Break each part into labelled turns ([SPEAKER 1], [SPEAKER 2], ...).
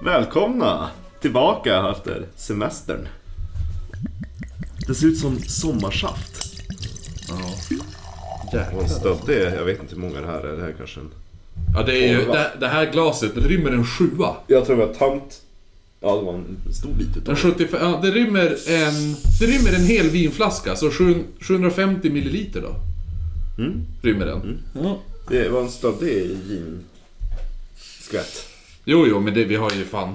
[SPEAKER 1] Välkomna tillbaka efter semestern. Det ser ut som sommarsaft.
[SPEAKER 2] Jäklar.
[SPEAKER 1] En stöddig, jag vet inte hur många det här är. Det här är kanske en...
[SPEAKER 3] Ja, det, är ju,
[SPEAKER 1] Elva.
[SPEAKER 3] det, det här glaset rymmer en sjua.
[SPEAKER 1] Jag tror det var tant... Ja, det var en stor bit utav
[SPEAKER 3] En 75, ja, det, rymmer en, det rymmer en hel vinflaska, så 700 750 milliliter då. Rymmer den. Ja.
[SPEAKER 1] det. Det var en stöddig gin... Skvätt.
[SPEAKER 3] Jo, jo, men det, vi har ju fan...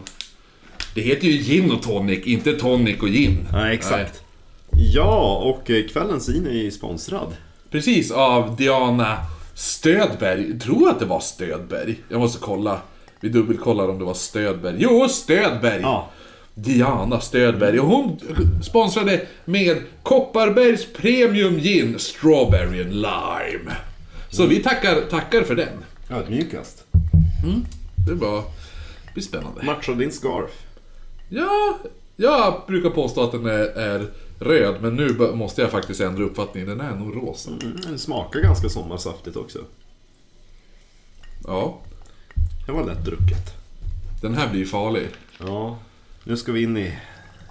[SPEAKER 3] Det heter ju gin och tonic, inte tonic och gin.
[SPEAKER 1] Nej,
[SPEAKER 3] exakt.
[SPEAKER 1] Ja, och eh, kvällens gin är ju sponsrad.
[SPEAKER 3] Precis, av Diana Stödberg. Jag tror att det var Stödberg. Jag måste kolla. Vi dubbelkollar om det var Stödberg. Jo, Stödberg!
[SPEAKER 1] Ja.
[SPEAKER 3] Diana Stödberg. Och hon sponsrade med Kopparbergs Premium Gin Strawberry and Lime. Så vi tackar, tackar för den.
[SPEAKER 1] Ödmjukast.
[SPEAKER 3] Det var... Det blir spännande.
[SPEAKER 1] Matchar din scarf.
[SPEAKER 3] Ja, jag brukar påstå att den är, är röd, men nu bör- måste jag faktiskt ändra uppfattning. Den är nog rosa.
[SPEAKER 1] Mm, den smakar ganska sommarsaftigt också.
[SPEAKER 3] Ja,
[SPEAKER 1] Det var lätt drucket.
[SPEAKER 3] den här blir farlig.
[SPEAKER 1] Ja, nu ska vi in i,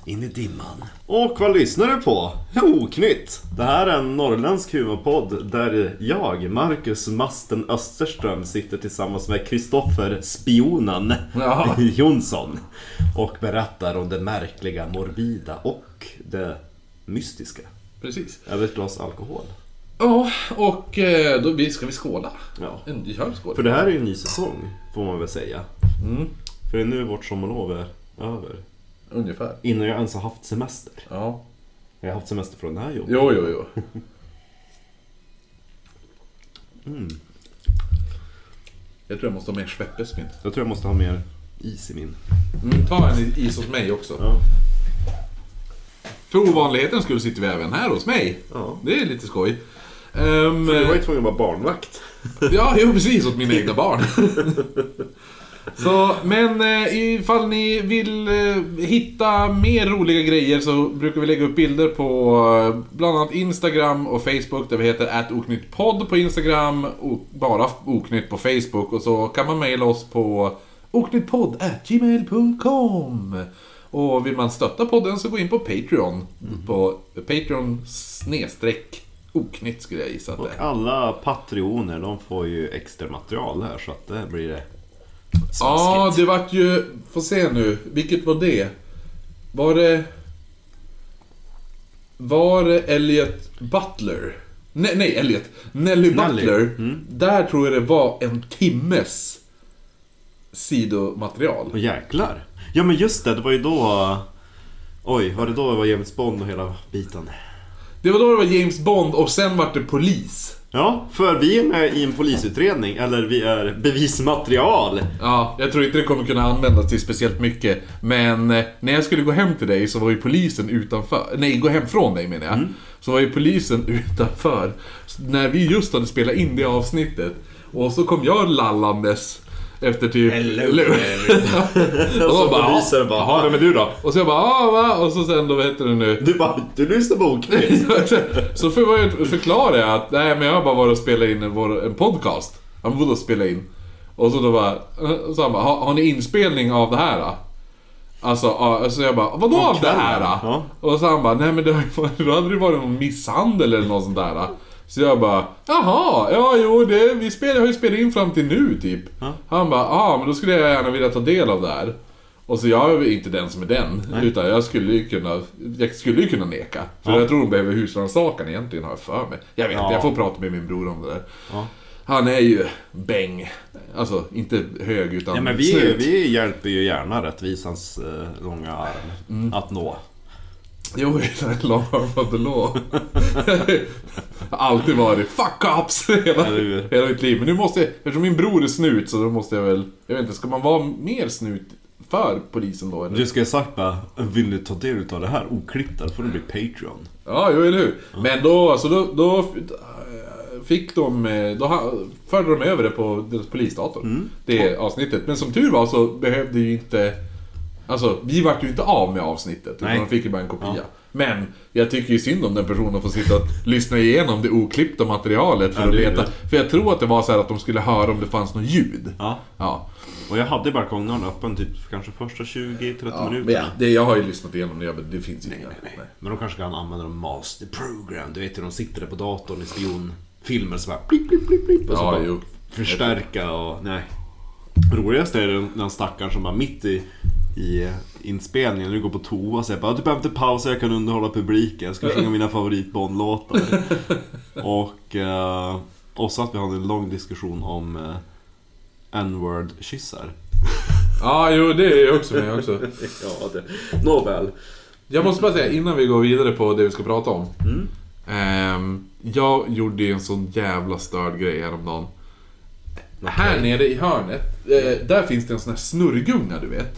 [SPEAKER 1] in i dimman. Och vad lyssnar du på? Oknytt! Det här är en norrländsk humorpodd där jag, Marcus Masten Österström, sitter tillsammans med Kristoffer Spionen
[SPEAKER 3] Ja.
[SPEAKER 1] Jonsson och berättar om det märkliga, morbida och det mystiska.
[SPEAKER 3] Precis.
[SPEAKER 1] Över ett glas alkohol.
[SPEAKER 3] Ja, och eh, då vi- ska vi skåla?
[SPEAKER 1] Ja.
[SPEAKER 3] En gör skål.
[SPEAKER 1] För det här är ju en ny säsong, får man väl säga. Mm. För det är nu vårt sommarlov är över.
[SPEAKER 3] Ungefär.
[SPEAKER 1] Innan jag ens har haft semester.
[SPEAKER 3] Ja.
[SPEAKER 1] Jag har haft semester från det här jobbet.
[SPEAKER 3] Jo, jo, jo.
[SPEAKER 1] Mm.
[SPEAKER 3] Jag tror jag måste ha mer sveppesmin.
[SPEAKER 1] Jag tror jag måste ha mer is i min.
[SPEAKER 3] Mm, ta en i- is hos mig också.
[SPEAKER 1] Ja.
[SPEAKER 3] För ovanligheten skulle sitter vi även här hos mig.
[SPEAKER 1] Ja.
[SPEAKER 3] Det är lite skoj. Ehm,
[SPEAKER 1] Du var ju tvungen att vara barnvakt.
[SPEAKER 3] Ja, jo precis, åt mina egna barn. Så, men eh, ifall ni vill eh, hitta mer roliga grejer så brukar vi lägga upp bilder på eh, bland annat Instagram och Facebook där vi heter oknyttpodd på Instagram och bara oknytt på Facebook och så kan man mejla oss på oknyttpodd@gmail.com Och vill man stötta podden så gå in på Patreon. På Patreon snedstreck oknytt skulle jag gissa att det
[SPEAKER 1] Och
[SPEAKER 3] är.
[SPEAKER 1] alla patrioner, de får ju extra material här så att det blir det.
[SPEAKER 3] Ja, det vart ju... Få se nu. Vilket var det? Var det... Var det Elliot Butler? Nej, nej Elliot. Nelly Butler. Där tror jag det var en timmes
[SPEAKER 1] Och
[SPEAKER 3] sidomaterial.
[SPEAKER 1] jäklar! Ja men just det, det var ju då... Oj, var det då det var James Bond och hela biten?
[SPEAKER 3] Det var då det var James Bond och sen vart det polis.
[SPEAKER 1] Ja, för vi är med i en polisutredning, eller vi är bevismaterial.
[SPEAKER 3] Ja, jag tror inte det kommer kunna användas till speciellt mycket. Men eh, när jag skulle gå hem till dig så var ju polisen utanför. Nej, gå hem från dig menar jag.
[SPEAKER 1] Mm.
[SPEAKER 3] Så var ju polisen utanför. S- När vi just hade spelat in det avsnittet. Och så kom jag lallandes. Efter typ...
[SPEAKER 1] Hello,
[SPEAKER 3] och
[SPEAKER 1] Så
[SPEAKER 3] så bara...
[SPEAKER 1] polisen
[SPEAKER 3] "Ja,
[SPEAKER 1] bara,
[SPEAKER 3] Jaha, vem är du då? Och så jag bara, "Ja, va? Och så sen då, vad heter det nu?
[SPEAKER 1] Du bara, du lyssnar på Oknytt?
[SPEAKER 3] så för var jag förklarade jag att nej men jag har bara varit och spelat in en, vår, en podcast. Han bodde och spela in. Och så då bara, eh, så han bara, har, har ni inspelning av det här då? Alltså, ja, alltså jag bara, vadå av det här då?
[SPEAKER 1] Ja.
[SPEAKER 3] Och så han bara, nej men det har ju varit- då hade det varit någon misshandel eller något sånt där. då." Så jag bara, jaha, ja jo det, vi spelar, jag har ju spelat in fram till nu typ. Han bara, ja men då skulle jag gärna vilja ta del av det här. Och så jag är ju inte den som är den, utan jag skulle ju kunna, jag skulle ju kunna neka. För jag tror hon behöver husrannsakan egentligen har jag för mig. Jag vet
[SPEAKER 1] Ja.
[SPEAKER 3] inte, jag får prata med min bror om det där.
[SPEAKER 1] Ja.
[SPEAKER 3] Han är ju bäng. Alltså, inte hög utan
[SPEAKER 1] Ja men vi, är ju-
[SPEAKER 3] snut.
[SPEAKER 1] vi hjälper ju gärna rättvisans eh, långa arm att nå.
[SPEAKER 3] Jo, long arm of the law. Alltid varit fuck ups hela,
[SPEAKER 1] Eller hur?
[SPEAKER 3] hela mitt liv. Men nu måste jag, eftersom min bror är snut så då måste jag väl, jag vet inte, ska man vara mer snut för polisen då eller?
[SPEAKER 1] Du ska ju sagt bara, vill du ta del av det här oklippt där får du bli Patreon.
[SPEAKER 3] Ja, jo eller hur. Men då, alltså då, då f- fick de, eh, då ha- förde de
[SPEAKER 1] Mm.
[SPEAKER 3] över det på deras polisdator. Det avsnittet. Men som tur var så behövde ju inte Alltså, vi vart ju inte av med avsnittet. Utan
[SPEAKER 1] Nej.
[SPEAKER 3] de fick ju bara en kopia.
[SPEAKER 1] Ja.
[SPEAKER 3] Men jag tycker ju synd om den personen får sitta och lyssna igenom det oklippta materialet för
[SPEAKER 1] Ja,
[SPEAKER 3] att
[SPEAKER 1] det är
[SPEAKER 3] veta. För jag tror att det var så här att de skulle höra om det fanns något ljud.
[SPEAKER 1] Ja.
[SPEAKER 3] Ja.
[SPEAKER 1] Och jag hade balkongen öppen typ för kanske första 20-30
[SPEAKER 3] ja. Men
[SPEAKER 1] minuterna.
[SPEAKER 3] ja, det, jag har ju lyssnat igenom det, men det finns inga. Nej.
[SPEAKER 1] Men de kanske kan använda dem master program. Du vet hur de sitter där på datorn i spionfilmer så bara blipp, blipp, blipp, blipp. Och så
[SPEAKER 3] Ja,
[SPEAKER 1] bara
[SPEAKER 3] jo.
[SPEAKER 1] förstärka och nej. Roligast är den, den stackaren som bara mitt i, i eh, inspelningen, när du går på toa och säger bara du behöver inte pausa, jag kan underhålla publiken. Jag ska sjunga mina favorit Bond-låtar. och, eh, och så att vi hade en lång diskussion om eh, N-word-kyssar.
[SPEAKER 3] Ja, jo, det är jag också med också.
[SPEAKER 1] Ja, det. Nåväl.
[SPEAKER 3] Jag måste bara säga innan vi går vidare på det vi ska prata om. Ehm, jag gjorde ju en sån jävla störd grej häromdagen. Här nere i hörnet, eh, där finns det en sån här snurrgunga du vet.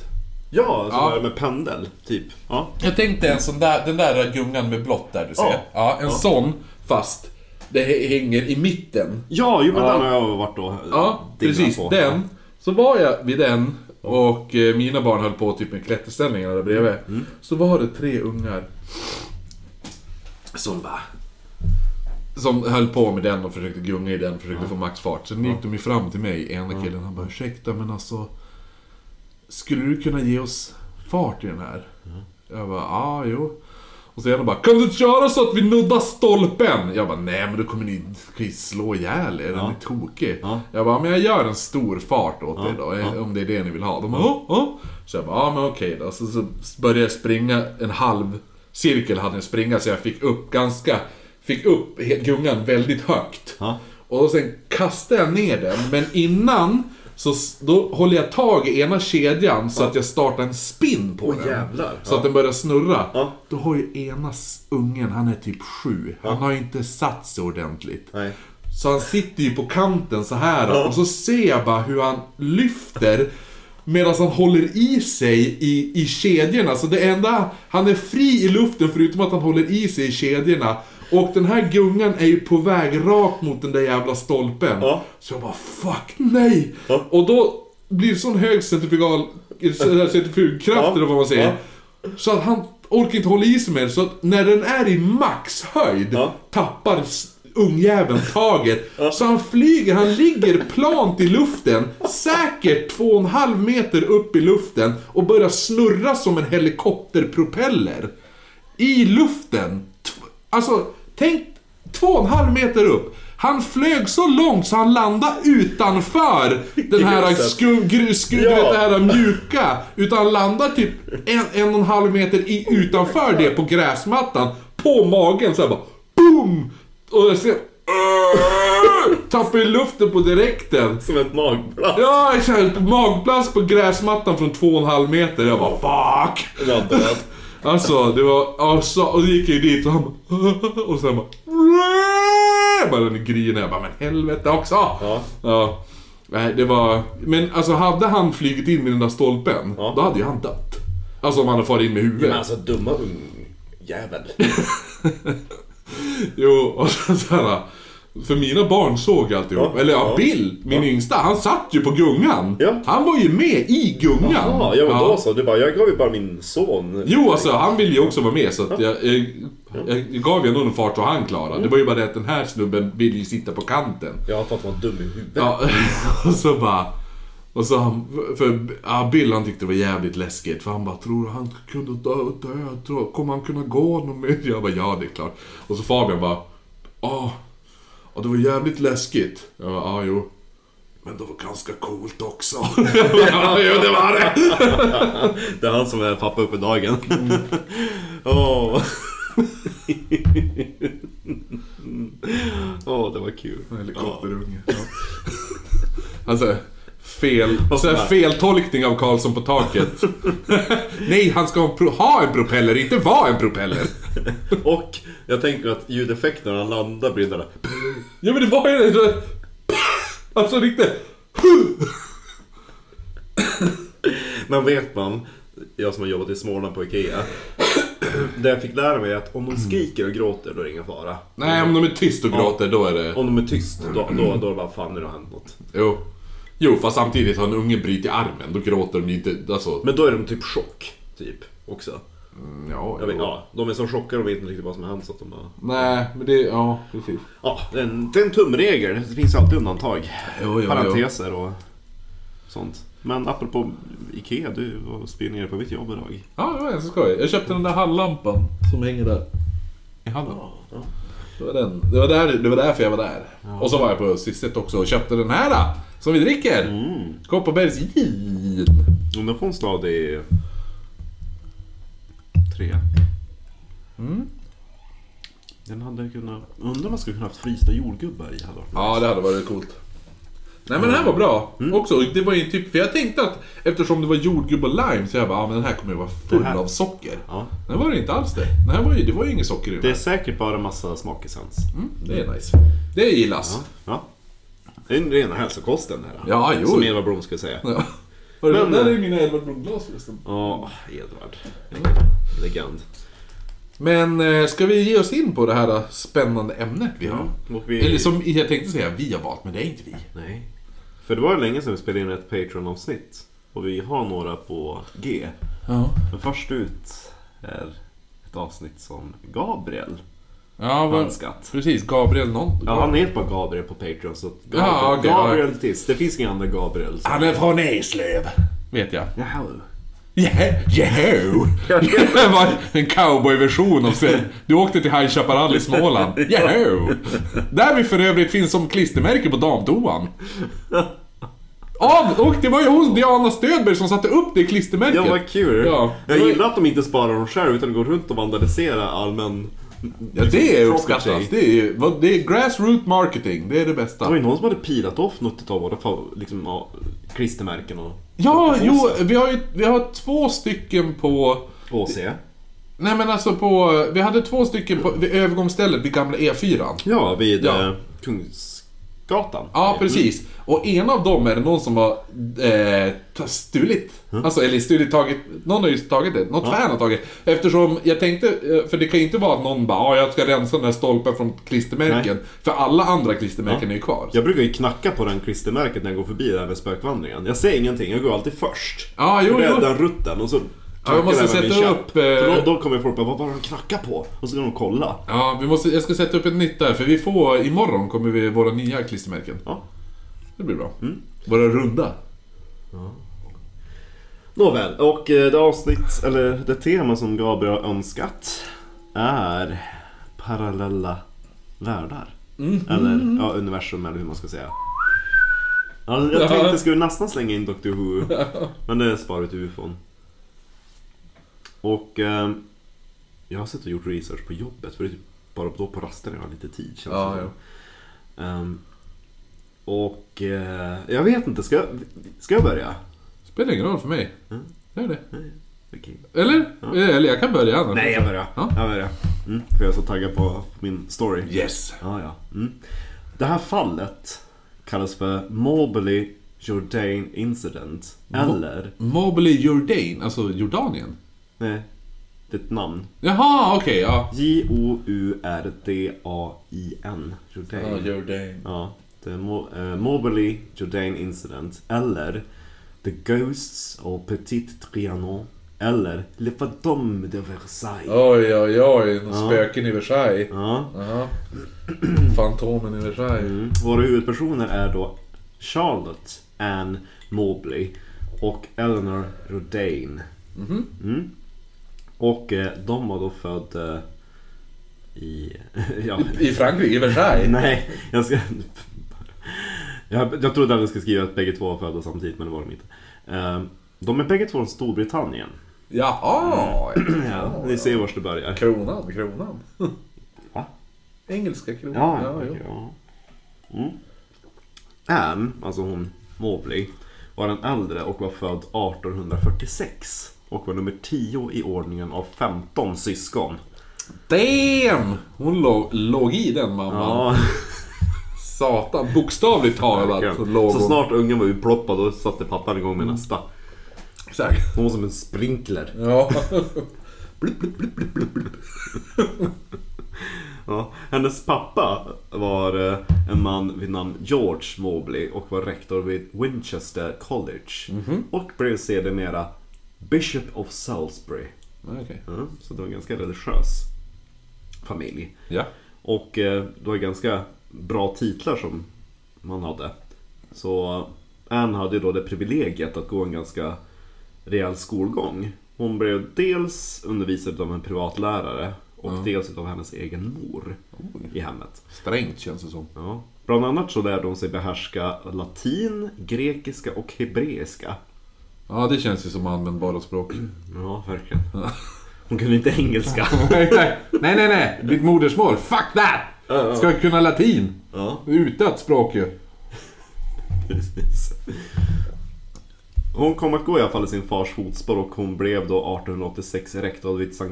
[SPEAKER 1] Ja, så
[SPEAKER 3] Ja.
[SPEAKER 1] där med pendel, typ. Ja.
[SPEAKER 3] Jag tänkte en sån där, den där gungan med blått där du ser.
[SPEAKER 1] Ja.
[SPEAKER 3] Ja, en sån fast det h- hänger i mitten.
[SPEAKER 1] Ja, jo men
[SPEAKER 3] Ja.
[SPEAKER 1] den har jag varit och
[SPEAKER 3] Ja,
[SPEAKER 1] dinglat
[SPEAKER 3] precis.
[SPEAKER 1] på.
[SPEAKER 3] Den. Så var jag vid den och eh, mina barn höll på typ med klätterställningar där bredvid. Så var det tre ungar som bara... Som höll på med den och försökte gunga i den, försökte få maxfart. Sen gick de ju fram till mig, ena killen, han bara ursäkta men alltså... Skulle du kunna ge oss fart i den här? Jag bara, ja ah, jo. Och så ena bara, kan du inte köra så att vi nuddar stolpen? Jag bara, nej men då kommer ni, kan ju slå ihjäl er, den är tokig.
[SPEAKER 1] Ja.
[SPEAKER 3] Jag bara, men jag gör en stor fart åt er då, om det är det ni vill ha. De bara, ja, ja. Så jag bara, ja men okej då. Så, så började jag springa en halv cirkel hade jag springa, så jag fick upp ganska, fick upp he- gungan väldigt högt.
[SPEAKER 1] Ja.
[SPEAKER 3] Och sen kastade jag ner den, men innan så s- då håller jag tag i ena kedjan så att jag startar en spin på den.
[SPEAKER 1] jävlar.
[SPEAKER 3] Så att den börjar snurra.
[SPEAKER 1] Ja.
[SPEAKER 3] Då har ju ena s- ungen, han är typ sju, han har ju inte satt sig ordentligt.
[SPEAKER 1] Nej.
[SPEAKER 3] Så han sitter ju på kanten så här och så ser jag bara hur han lyfter medan han håller i sig i, i kedjorna. Så det enda, han är fri i luften förutom att han håller i sig i kedjorna. Och den här gungan är ju på väg rakt mot den där jävla stolpen.
[SPEAKER 1] Ja.
[SPEAKER 3] Så jag bara fuck nej!
[SPEAKER 1] Ja.
[SPEAKER 3] Och då blir det sån hög centrifugal, eh, centrifugkraft
[SPEAKER 1] Ja.
[SPEAKER 3] eller vad man säger.
[SPEAKER 1] Ja.
[SPEAKER 3] Så att han orkar inte hålla i sig mer, så att när den är i maxhöjd
[SPEAKER 1] Ja.
[SPEAKER 3] tappar s- ungjäveln taget. Så han flyger, han ligger plant i luften, säkert 2,5 meter upp i luften och börjar snurra som en helikopterpropeller. I luften! Tv- Alltså, tänk 2,5 meter upp. Han flög så långt så han landade utanför den här
[SPEAKER 1] Gruset.
[SPEAKER 3] skum, grus, du
[SPEAKER 1] Ja.
[SPEAKER 3] vet det här mjuka. Utan landar typ en, en och en halv meter i, utanför det på gräsmattan. På magen såhär bara BOOM! Och jag ser... "Åh!" Tappar ju luften på direkten.
[SPEAKER 1] Som ett magblad.
[SPEAKER 3] Ja, jag känner magplats på gräsmattan från två och en halv meter. Jag bara FUCK!
[SPEAKER 1] Ja, död.
[SPEAKER 3] Alltså, det var... Alltså, och så gick jag ju dit och han bara, Och sen bara... "Rrrr!" Bara den grinen. Jag bara, men helvete också!
[SPEAKER 1] Ja.
[SPEAKER 3] ja. Nej, det var... Men alltså, hade han flugit in i den där stolpen,
[SPEAKER 1] Ja.
[SPEAKER 3] då hade ju han dött. Alltså om han hade farit in med huvudet.
[SPEAKER 1] Men alltså dumma ungjävel.
[SPEAKER 3] Jo, och så så här. För mina barn såg alltihop.
[SPEAKER 1] Ja,
[SPEAKER 3] Eller ja,
[SPEAKER 1] ja.
[SPEAKER 3] Bill, min yngsta, han satt ju på gungan.
[SPEAKER 1] Ja.
[SPEAKER 3] Han var ju med i gungan.
[SPEAKER 1] Ja, ja men
[SPEAKER 3] Ja.
[SPEAKER 1] då så. Du bara, jag gav ju bara min son.
[SPEAKER 3] Jo, alltså han ville ju också vara med så att jag, jag, jag gav ju ändå en fart och han klarade. Det var ju bara det att den här snubben ville ju sitta på kanten.
[SPEAKER 1] Jag har fått vara dum i huvudet.
[SPEAKER 3] Ja, och så bara... Och så han, för ja, Bill han tyckte det var jävligt läskigt för han bara tror du han kunde dö, dö tror, kommer han kunna gå någon mer? Jag bara ja det är klart. Och så Fabian bara ja, ja det var jävligt läskigt. Jag bara ja jo. Men det var ganska coolt också. Jag bara, ja jo det var det.
[SPEAKER 1] Det är han som är pappa uppe i dagen.
[SPEAKER 3] Mm.
[SPEAKER 1] Åh. Åh, det var kul.
[SPEAKER 3] Helikopterunge. Ja. Alltså, fel,
[SPEAKER 1] Vad
[SPEAKER 3] så här,
[SPEAKER 1] fan?
[SPEAKER 3] feltolkning av Karlsson på taket. Nej, han ska ha en, pro- ha en propeller, inte vara en propeller.
[SPEAKER 1] Och jag tänker att ljudeffekten när han landar blir det där.
[SPEAKER 3] Ja men det var ju det. Alltså riktigt.
[SPEAKER 1] Men vet man, jag som har jobbat i Småland på IKEA. Det jag fick lära mig är att om
[SPEAKER 3] Mm.
[SPEAKER 1] de skriker och gråter då är det ingen fara.
[SPEAKER 3] Nej, om de är tyst och gråter då är det... Mm.
[SPEAKER 1] Om de är tyst, då, då, då är det bara fan nu har det hänt något.
[SPEAKER 3] Jo. Jo, fast samtidigt har en unge brytit armen, då gråter de ju inte. Alltså,
[SPEAKER 1] Men då är de typ chock, typ. Också.
[SPEAKER 3] mm, ja,
[SPEAKER 1] Jag vet,
[SPEAKER 3] jo.
[SPEAKER 1] ja, de är så chockade och vet inte riktigt vad som har hänt så att de bara...
[SPEAKER 3] Nej, men det, ja precis.
[SPEAKER 1] Ja, det är en, det är en tumregel. Det finns alltid undantag.
[SPEAKER 3] Jo, jo, jo.
[SPEAKER 1] Parenteser och sånt. Men apropå Ikea, du var spionerade på mitt jobb idag.
[SPEAKER 3] Ja, det var ganska skoj. Jag köpte den där hallampan som hänger där. I hallen. Det var den. Det var, där, det var därför jag var där. Och så var jag på sistet också och köpte den här ah, som vi dricker.
[SPEAKER 1] Mm.
[SPEAKER 3] Kopparbergs gin.
[SPEAKER 1] Undrar på en stad i... Tre.
[SPEAKER 3] Mm.
[SPEAKER 1] Den hade kunnat... Undrar om man skulle kunna haft frysta jordgubbar i. Hade varit
[SPEAKER 3] Ja, det hade varit coolt. Nej men den här var bra
[SPEAKER 1] Mm.
[SPEAKER 3] också. Det var ju typ, för jag tänkte att eftersom det var jordgubb och lime så jag bara, ah, men den här kommer ju vara full
[SPEAKER 1] Det här-
[SPEAKER 3] av socker.
[SPEAKER 1] Ja.
[SPEAKER 3] Den var det inte alls det. Den här var ju, det var ju ingen socker i den.
[SPEAKER 1] Det är
[SPEAKER 3] Det,
[SPEAKER 1] säkert bara massa smakessens.
[SPEAKER 3] det är nice. Det gillas.
[SPEAKER 1] Ja. Det är den rena hälsokosten det här.
[SPEAKER 3] Ja, jo.
[SPEAKER 1] Som Edvard Blom skulle säga.
[SPEAKER 3] Ja. Har du,
[SPEAKER 1] Men- eh,
[SPEAKER 3] där är mina Edvard Blom-glas förresten.
[SPEAKER 1] Ja, Edvard.
[SPEAKER 3] Mm.
[SPEAKER 1] Legend.
[SPEAKER 3] Men eh, ska vi ge oss in på det här eh, spännande ämnet vi har?
[SPEAKER 1] Och vi...
[SPEAKER 3] Eller som jag tänkte säga, vi har valt, men det är inte vi.
[SPEAKER 1] Nej. För det var ju länge sedan vi spelade in ett Patreon-avsnitt. Och vi har några på G.
[SPEAKER 3] Ja,
[SPEAKER 1] Men först ut är ett avsnitt som Gabriel.
[SPEAKER 3] ja vad-
[SPEAKER 1] Hans skatt.
[SPEAKER 3] precis. Gabriel någon.
[SPEAKER 1] Ja, han heter bara Gabriel på Patreon. Så Gabriel,
[SPEAKER 3] Ja, okej, ja.
[SPEAKER 1] Gabriel Tiss. Det finns inga andra Gabriel. Så.
[SPEAKER 3] Han är från Eslöv. Vet jag.
[SPEAKER 1] Jaha.
[SPEAKER 3] Yeah, Jeho! Det var en cowboyversion av sig. Du åkte till High Chaparral i Småland. Jeho! Där vi för övrigt finns som klistermärke på damtoan. Av, och det var ju hon, Diana Stödberg, som satte upp det klistermärket.
[SPEAKER 1] Ja, vad kul.
[SPEAKER 3] Ja.
[SPEAKER 1] Jag gillar att de inte sparar dem själv utan går runt och vandaliserar allmän...
[SPEAKER 3] Ja, det är
[SPEAKER 1] Proper
[SPEAKER 3] uppskattat.
[SPEAKER 1] tjej.
[SPEAKER 3] Det är, ju- vad- det är grassroot marketing, det är det
[SPEAKER 1] Det var
[SPEAKER 3] bästa.
[SPEAKER 1] ju någon som hade pilat off något av våra fa- liksom, ja, klistermärken och
[SPEAKER 3] Ja, jo, vi har ju vi har två stycken på...
[SPEAKER 1] HC.
[SPEAKER 3] Nej men alltså på... Vi hade två stycken på, vid övergångsstället vid gamla E E4.
[SPEAKER 1] Ja, vid
[SPEAKER 3] Ja.
[SPEAKER 1] Eh, Kungsgatan.
[SPEAKER 3] Ja, precis. Och en av dem är det någon som har eh, ta- stulit. Alltså, eller stulit, tagit... Någon har ju tagit det. Något fan har tagit. Eftersom jag tänkte... eh, För det kan ju inte vara att någon bara ah, jag ska rensa den här stolpen från klistermärken. För alla andra klistermärken är ju kvar. Ja,
[SPEAKER 1] Jag brukar ju knacka på den klistermärket när jag går förbi där med spökvandringen. Jag säger ingenting, jag går alltid först.
[SPEAKER 3] ah, jo,
[SPEAKER 1] Jo,
[SPEAKER 3] jo.
[SPEAKER 1] Den rutten och så...
[SPEAKER 3] Ja, jag måste
[SPEAKER 1] knackar med min
[SPEAKER 3] sätta
[SPEAKER 1] käpp.
[SPEAKER 3] upp, eh,
[SPEAKER 1] För då, då kommer folk bara, vad var det de knackade på? Och så går de och kolla.
[SPEAKER 3] Ja, vi måste, jag ska sätta upp ett nytt där, för vi får, imorgon kommer vi våra nya klistermärken.
[SPEAKER 1] Ja.
[SPEAKER 3] Det blir bra. Våra runda.
[SPEAKER 1] Nåväl, och eh, det avsnitt, eller det tema som Gabriel har önskat är parallella världar.
[SPEAKER 3] Mhm.
[SPEAKER 1] Eller ja, universum eller hur man ska säga. Ja, jag tänkte jag skulle nästan slänga in Dr Who, men det sparar vi till ufon. Och eh, jag har suttit och gjort research på jobbet, för det är typ bara då på rasten jag har lite tid känns det
[SPEAKER 3] Ja,
[SPEAKER 1] som. Ehm, Och eh, jag vet inte, ska jag, ska jag börja?
[SPEAKER 3] Spelar ingen roll för mig. Gör det.
[SPEAKER 1] Okej.
[SPEAKER 3] Eller? Eh, Eller Mm. jag kan börja annars.
[SPEAKER 1] Nej, jag börjar.
[SPEAKER 3] Ja.
[SPEAKER 1] Jag börjar. Mm, för jag är så taggad på min story.
[SPEAKER 3] Yes.
[SPEAKER 1] Ja, ja. Mm. Det här fallet kallas för Mobley Jordan Incident. Eller...
[SPEAKER 3] Mobley Jordan, alltså Jordanien.
[SPEAKER 1] Nej, det är ett namn.
[SPEAKER 3] Jaha, okej, ja.
[SPEAKER 1] J-O-U-R-D-A-I-N. Jordan.
[SPEAKER 3] Jordan.
[SPEAKER 1] Ja, det är Mo- eh, Moberly Jordan Incident eller The Ghosts of Petit Trianon eller Le Fantôme de Versailles.
[SPEAKER 3] Oj, oj, oj. Spöken i Versailles.
[SPEAKER 1] Ja.
[SPEAKER 3] Ja. Fantomen i Versailles.
[SPEAKER 1] Mm. Våra huvudpersoner är då Charlotte Ann Mobley och Eleanor Rodane. Mm. Och eh, de var då född eh, i... ja,
[SPEAKER 3] I Frankrike, i Versailles.
[SPEAKER 1] nej, jag ska... Jag, jag trodde att jag skulle skriva att bägge två var födda samtidigt, men det var de inte. Eh, de är bägge två från Storbritannien.
[SPEAKER 3] Jaha!
[SPEAKER 1] Ja, ni ser vars det börjar.
[SPEAKER 3] Kronan, kronan.
[SPEAKER 1] Va?
[SPEAKER 3] Engelska kronan.
[SPEAKER 1] Ja,
[SPEAKER 3] ja,
[SPEAKER 1] okej,
[SPEAKER 3] jo.
[SPEAKER 1] ja. Mm. Anne, alltså hon Mobley, var den äldre och var född 1846. Och var nummer 10 i ordningen av 15 syskon.
[SPEAKER 3] Damn! Hon låg, låg i den mamman.
[SPEAKER 1] Ja,
[SPEAKER 3] Satan, bokstavligt talat så låg
[SPEAKER 1] så
[SPEAKER 3] hon.
[SPEAKER 1] snart ungen var utploppad då satte pappan igång med nästa.
[SPEAKER 3] Exakt.
[SPEAKER 1] Hon var som en sprinkler.
[SPEAKER 3] Ja.
[SPEAKER 1] Ja, hennes pappa var eh, en man vid namn George Mobley och var rektor vid Winchester College. Och blev sedermera Bishop of Salisbury.
[SPEAKER 3] Okej.
[SPEAKER 1] Mm, så det var en ganska religiös familj.
[SPEAKER 3] Ja.
[SPEAKER 1] Och eh, det var ganska bra titlar som man hade. Så Anne hade ju då det privilegiet att gå en ganska rejäl skolgång. Hon blev dels undervisad av en privatlärare och dels av hennes egen mor i hemmet.
[SPEAKER 3] Strängt känns det som.
[SPEAKER 1] Ja. Bland annat så lärde hon sig behärska latin, grekiska och hebreiska.
[SPEAKER 3] Ja, det känns ju som användbara språk.
[SPEAKER 1] Ja, verkligen. Hon kunde inte engelska.
[SPEAKER 3] nej, nej, nej, nej, nej. Ditt modersmål. Fuck that! Ska jag kunna latin?
[SPEAKER 1] Ja.
[SPEAKER 3] Utdött språk ju.
[SPEAKER 1] Precis. Hon kom att gå i alla fall i sin fars fotspår och hon blev då 1886 rektor vid St.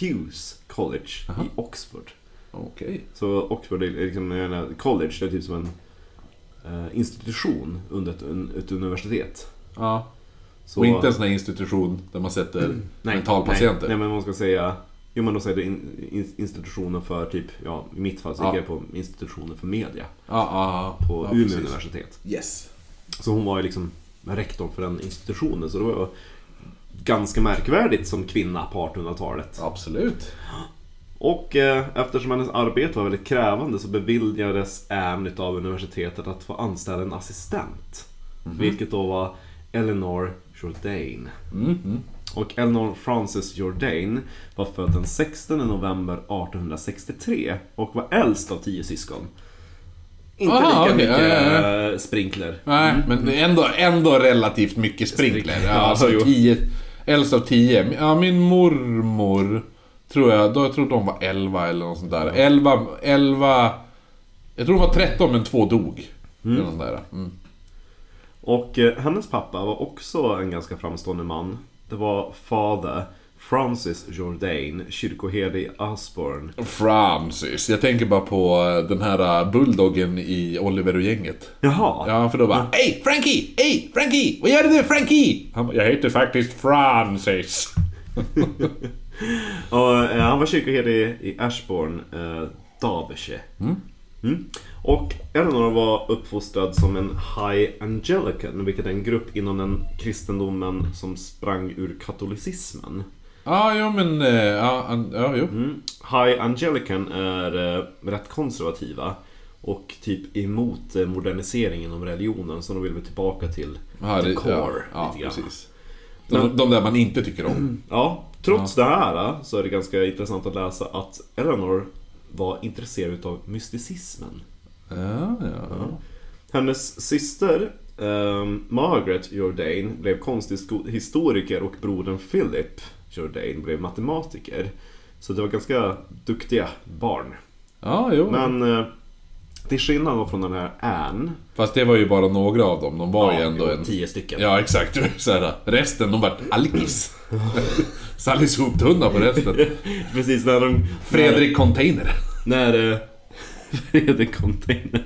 [SPEAKER 1] Hughes College i Oxford.
[SPEAKER 3] Okej.
[SPEAKER 1] Så Oxford är liksom, jag menar, college, det är typ som en eh, institution under ett, un, ett universitet.
[SPEAKER 3] Ja.
[SPEAKER 1] Så,
[SPEAKER 3] Och inte en sån här institution där man sätter
[SPEAKER 1] nej,
[SPEAKER 3] mentalpatienter.
[SPEAKER 1] Nej, nej, men man ska säga, jo men då säger du in, in, institutionen för typ, ja i mitt fall så gick
[SPEAKER 3] Ja.
[SPEAKER 1] jag på institutionen för media
[SPEAKER 3] Ja, ja, ja.
[SPEAKER 1] på
[SPEAKER 3] ja,
[SPEAKER 1] Umeå
[SPEAKER 3] precis.
[SPEAKER 1] universitet.
[SPEAKER 3] Yes.
[SPEAKER 1] Så hon var ju liksom rektor för den institutionen. Så det var ganska märkvärdigt som kvinna på 1800-talet.
[SPEAKER 3] Absolut.
[SPEAKER 1] Och eh, eftersom hennes arbete var väldigt krävande så beviljades Anne av universitetet att få anställa en assistent.
[SPEAKER 3] Mhm.
[SPEAKER 1] Vilket då var Eleanor Jourdain.
[SPEAKER 3] Mhm.
[SPEAKER 1] Och Eleanor Frances Jourdain var född den 16 november 1863 och var äldst av tio syskon. Inte
[SPEAKER 3] Aha,
[SPEAKER 1] lika
[SPEAKER 3] okej,
[SPEAKER 1] mycket
[SPEAKER 3] ja, ja,
[SPEAKER 1] eh, sprinkler.
[SPEAKER 3] Nej, men det är ändå, ändå relativt mycket sprinkler. Mm. Ja,
[SPEAKER 1] Sprinkler.
[SPEAKER 3] alltså
[SPEAKER 1] Ja, jo.
[SPEAKER 3] tio, äldst av tio. Ja, min mormor tror jag, då jag tror de var 11 eller något sånt där. 11, 11... Jag tror de var 13 men två dog. Eller något sånt där. Mm.
[SPEAKER 1] Och eh, hennes pappa var också en ganska framstående man. Det var fader Francis Jourdain, kyrkoherde i Osborne.
[SPEAKER 3] Francis. Jag tänker bara på eh, den här eh, bulldoggen i Oliver och gänget.
[SPEAKER 1] Jaha!
[SPEAKER 3] Ja, för då bara Hej Frankie! Hej Frankie! Vad gör du Frankie? Mm. Han bara, jag heter faktiskt Francis.
[SPEAKER 1] Och, eh, han var kyrkoherde i, i Ashbourne, eh, Derbyshire. Mm. Och Eleanor var uppfostrad som en High Angelican, vilket är en grupp inom den kristendomen som sprang ur katolicismen.
[SPEAKER 3] Ja, jo men... eh, Ja, an- ja jo.
[SPEAKER 1] Mm. High Angelican är eh, rätt konservativa och typ emot eh, moderniseringen om religionen så de vill väl tillbaka till
[SPEAKER 3] Ja,
[SPEAKER 1] the
[SPEAKER 3] det-
[SPEAKER 1] core
[SPEAKER 3] ja, ja,
[SPEAKER 1] lite grann.
[SPEAKER 3] precis. De, de där man inte tycker om.
[SPEAKER 1] Ja, trots det här eh, så är det ganska intressant att läsa att Eleanor var intresserad av mysticismen.
[SPEAKER 3] Ja, ja.
[SPEAKER 1] Hennes syster ehm, Margaret Jourdain blev konsthistoriker och brodern Philip Jourdain blev matematiker. Så det var ganska duktiga barn.
[SPEAKER 3] Ja, jo.
[SPEAKER 1] Men eh, till skillnad då från den här Anne.
[SPEAKER 3] Fast det var ju bara några av dem. De var ju ändå en...
[SPEAKER 1] Tio stycken.
[SPEAKER 3] Ja, exakt. Så här, resten, de vart alkis. Sally soptunna på resten.
[SPEAKER 1] Precis när de...
[SPEAKER 3] Fredrik Container.
[SPEAKER 1] När... när eh, Fredrik Container.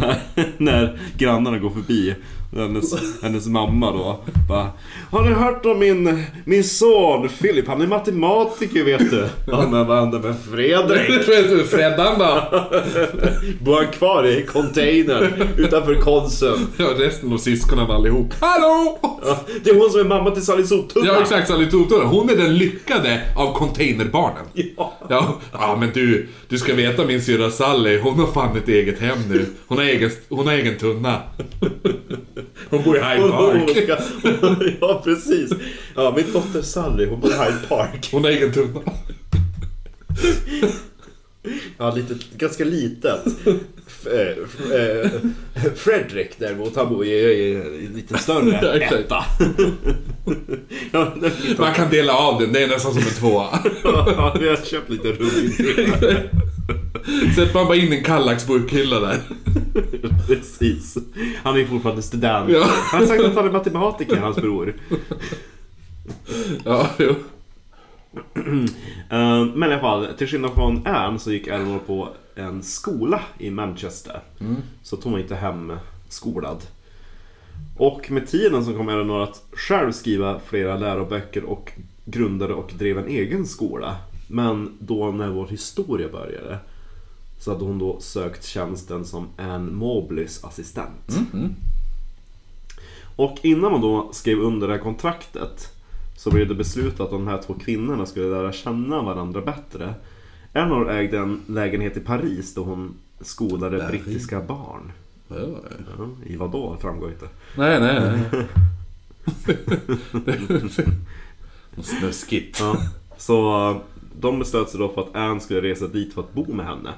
[SPEAKER 1] när, när grannarna går förbi. och Hennes, hennes mamma då bara Har ni hört om min, min son Filip? Han är matematiker vet du. Ja men vad hände med Fredrik?
[SPEAKER 3] Freddan då?
[SPEAKER 1] Bor han kvar i containern utanför Konsum?
[SPEAKER 3] Ja, resten av syskonen allihop. Hallå!
[SPEAKER 1] Ja, det är hon som är mamma till Sally Soptunna.
[SPEAKER 3] Ja, exakt. Sally Soptunna. Hon är den lyckade av containerbarnen.
[SPEAKER 1] Ja.
[SPEAKER 3] Ja, ja men du, du ska veta min syrra Sally, hon har fan ett eget hem nu. Hon har egen, hon har egen tunna. Hon bor i Hyde Park.
[SPEAKER 1] Olika- ja, precis. Ja, min dotter Sally, hon bor i Hyde Park.
[SPEAKER 3] Hon har egen tunna.
[SPEAKER 1] Ja, lite, ganska litet. F- eh, f- eh, Fredrik däremot, han bor i, i, i en lite
[SPEAKER 3] Ja,
[SPEAKER 1] större
[SPEAKER 3] exakt.
[SPEAKER 1] etta. Ja, men-
[SPEAKER 3] Man kan dela av den, det är nästan som en tvåa.
[SPEAKER 1] ja, vi har köpt lite rum i
[SPEAKER 3] Sätter man bara in en Kallax-bokhylla där.
[SPEAKER 1] Precis. Han är ju fortfarande student.
[SPEAKER 3] Ja.
[SPEAKER 1] Han har sagt att han är matematiker, hans bror.
[SPEAKER 3] Ja, jo.
[SPEAKER 1] Eh, Men i alla fall, till skillnad från Anne så gick Eleanor på en skola i Manchester.
[SPEAKER 3] Mm.
[SPEAKER 1] Så att hon var inte hemskolad. Och med tiden så kom Eleanor att själv skriva flera läroböcker och grundade och drev en egen skola. Men då när vår historia började så hade hon då sökt tjänsten som Ann Mobleys assistent. Och innan man då skrev under det här kontraktet så blev det beslutat att de här två kvinnorna skulle lära känna varandra bättre. Eleanor ägde en lägenhet i Paris då hon skolade
[SPEAKER 3] Paris.
[SPEAKER 1] brittiska barn.
[SPEAKER 3] Ja.
[SPEAKER 1] Ja, I vad då? Framgår inte.
[SPEAKER 3] Nej, nej, nej. Något Snuskigt.
[SPEAKER 1] Ja. Så eh, de beslöt sig då för att Anne skulle resa dit för att bo med henne.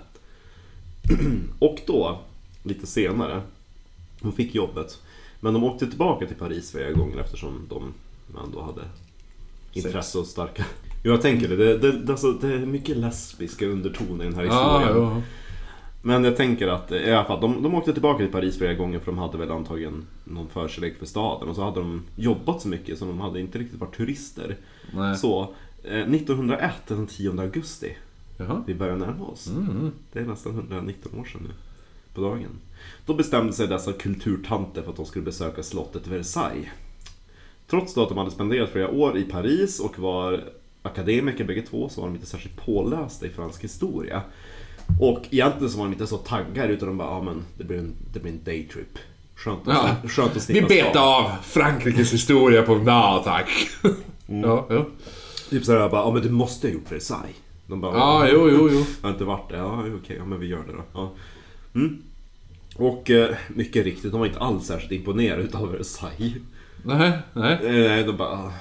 [SPEAKER 1] Och då, lite senare, hon fick jobbet. Men de åkte tillbaka till Paris flera gånger eftersom de ändå hade intresse och starka... Jo, jag tänker det. Det, det, alltså, det är mycket lesbiska undertoner i den här
[SPEAKER 3] Ja,
[SPEAKER 1] historien.
[SPEAKER 3] ja.
[SPEAKER 1] Men jag tänker att eh, i alla fall, de, de åkte tillbaka till Paris flera gånger för de hade väl antagligen någon förkärlek för staden. Och så hade de jobbat så mycket så de hade inte riktigt varit turister.
[SPEAKER 3] Nej.
[SPEAKER 1] Så, eh, 1901 den 10 augusti.
[SPEAKER 3] Jaha.
[SPEAKER 1] Vi börjar närma oss.
[SPEAKER 3] Mm.
[SPEAKER 1] Det är nästan 119 år sedan nu. På dagen. Då bestämde sig dessa kulturtanter för att de skulle besöka slottet Versailles. Trots då att de hade spenderat flera år i Paris och var akademiker bägge två så var de inte särskilt pålästa i fransk historia. Och egentligen så var de inte så taggade utan de bara, ja men det blir en, det blir en daytrip. Skönt att,
[SPEAKER 3] Ja.
[SPEAKER 1] skönt att slippa
[SPEAKER 3] Vi betar
[SPEAKER 1] stan.
[SPEAKER 3] av Frankrikes historia på en dag, tack.
[SPEAKER 1] Mm.
[SPEAKER 3] Ja, ja.
[SPEAKER 1] Typ sådär bara, ja men du måste ha gjort Versailles. De bara,
[SPEAKER 3] Ja, jo, jo, jo.
[SPEAKER 1] Jag har inte varit det. Ja, okej. Ja, men vi gör det då. Ja. Mm. Och eh, mycket riktigt, de var inte alls särskilt imponerade utav Versailles.
[SPEAKER 3] Nej, nej.
[SPEAKER 1] Eh, Nej, de bara... ah,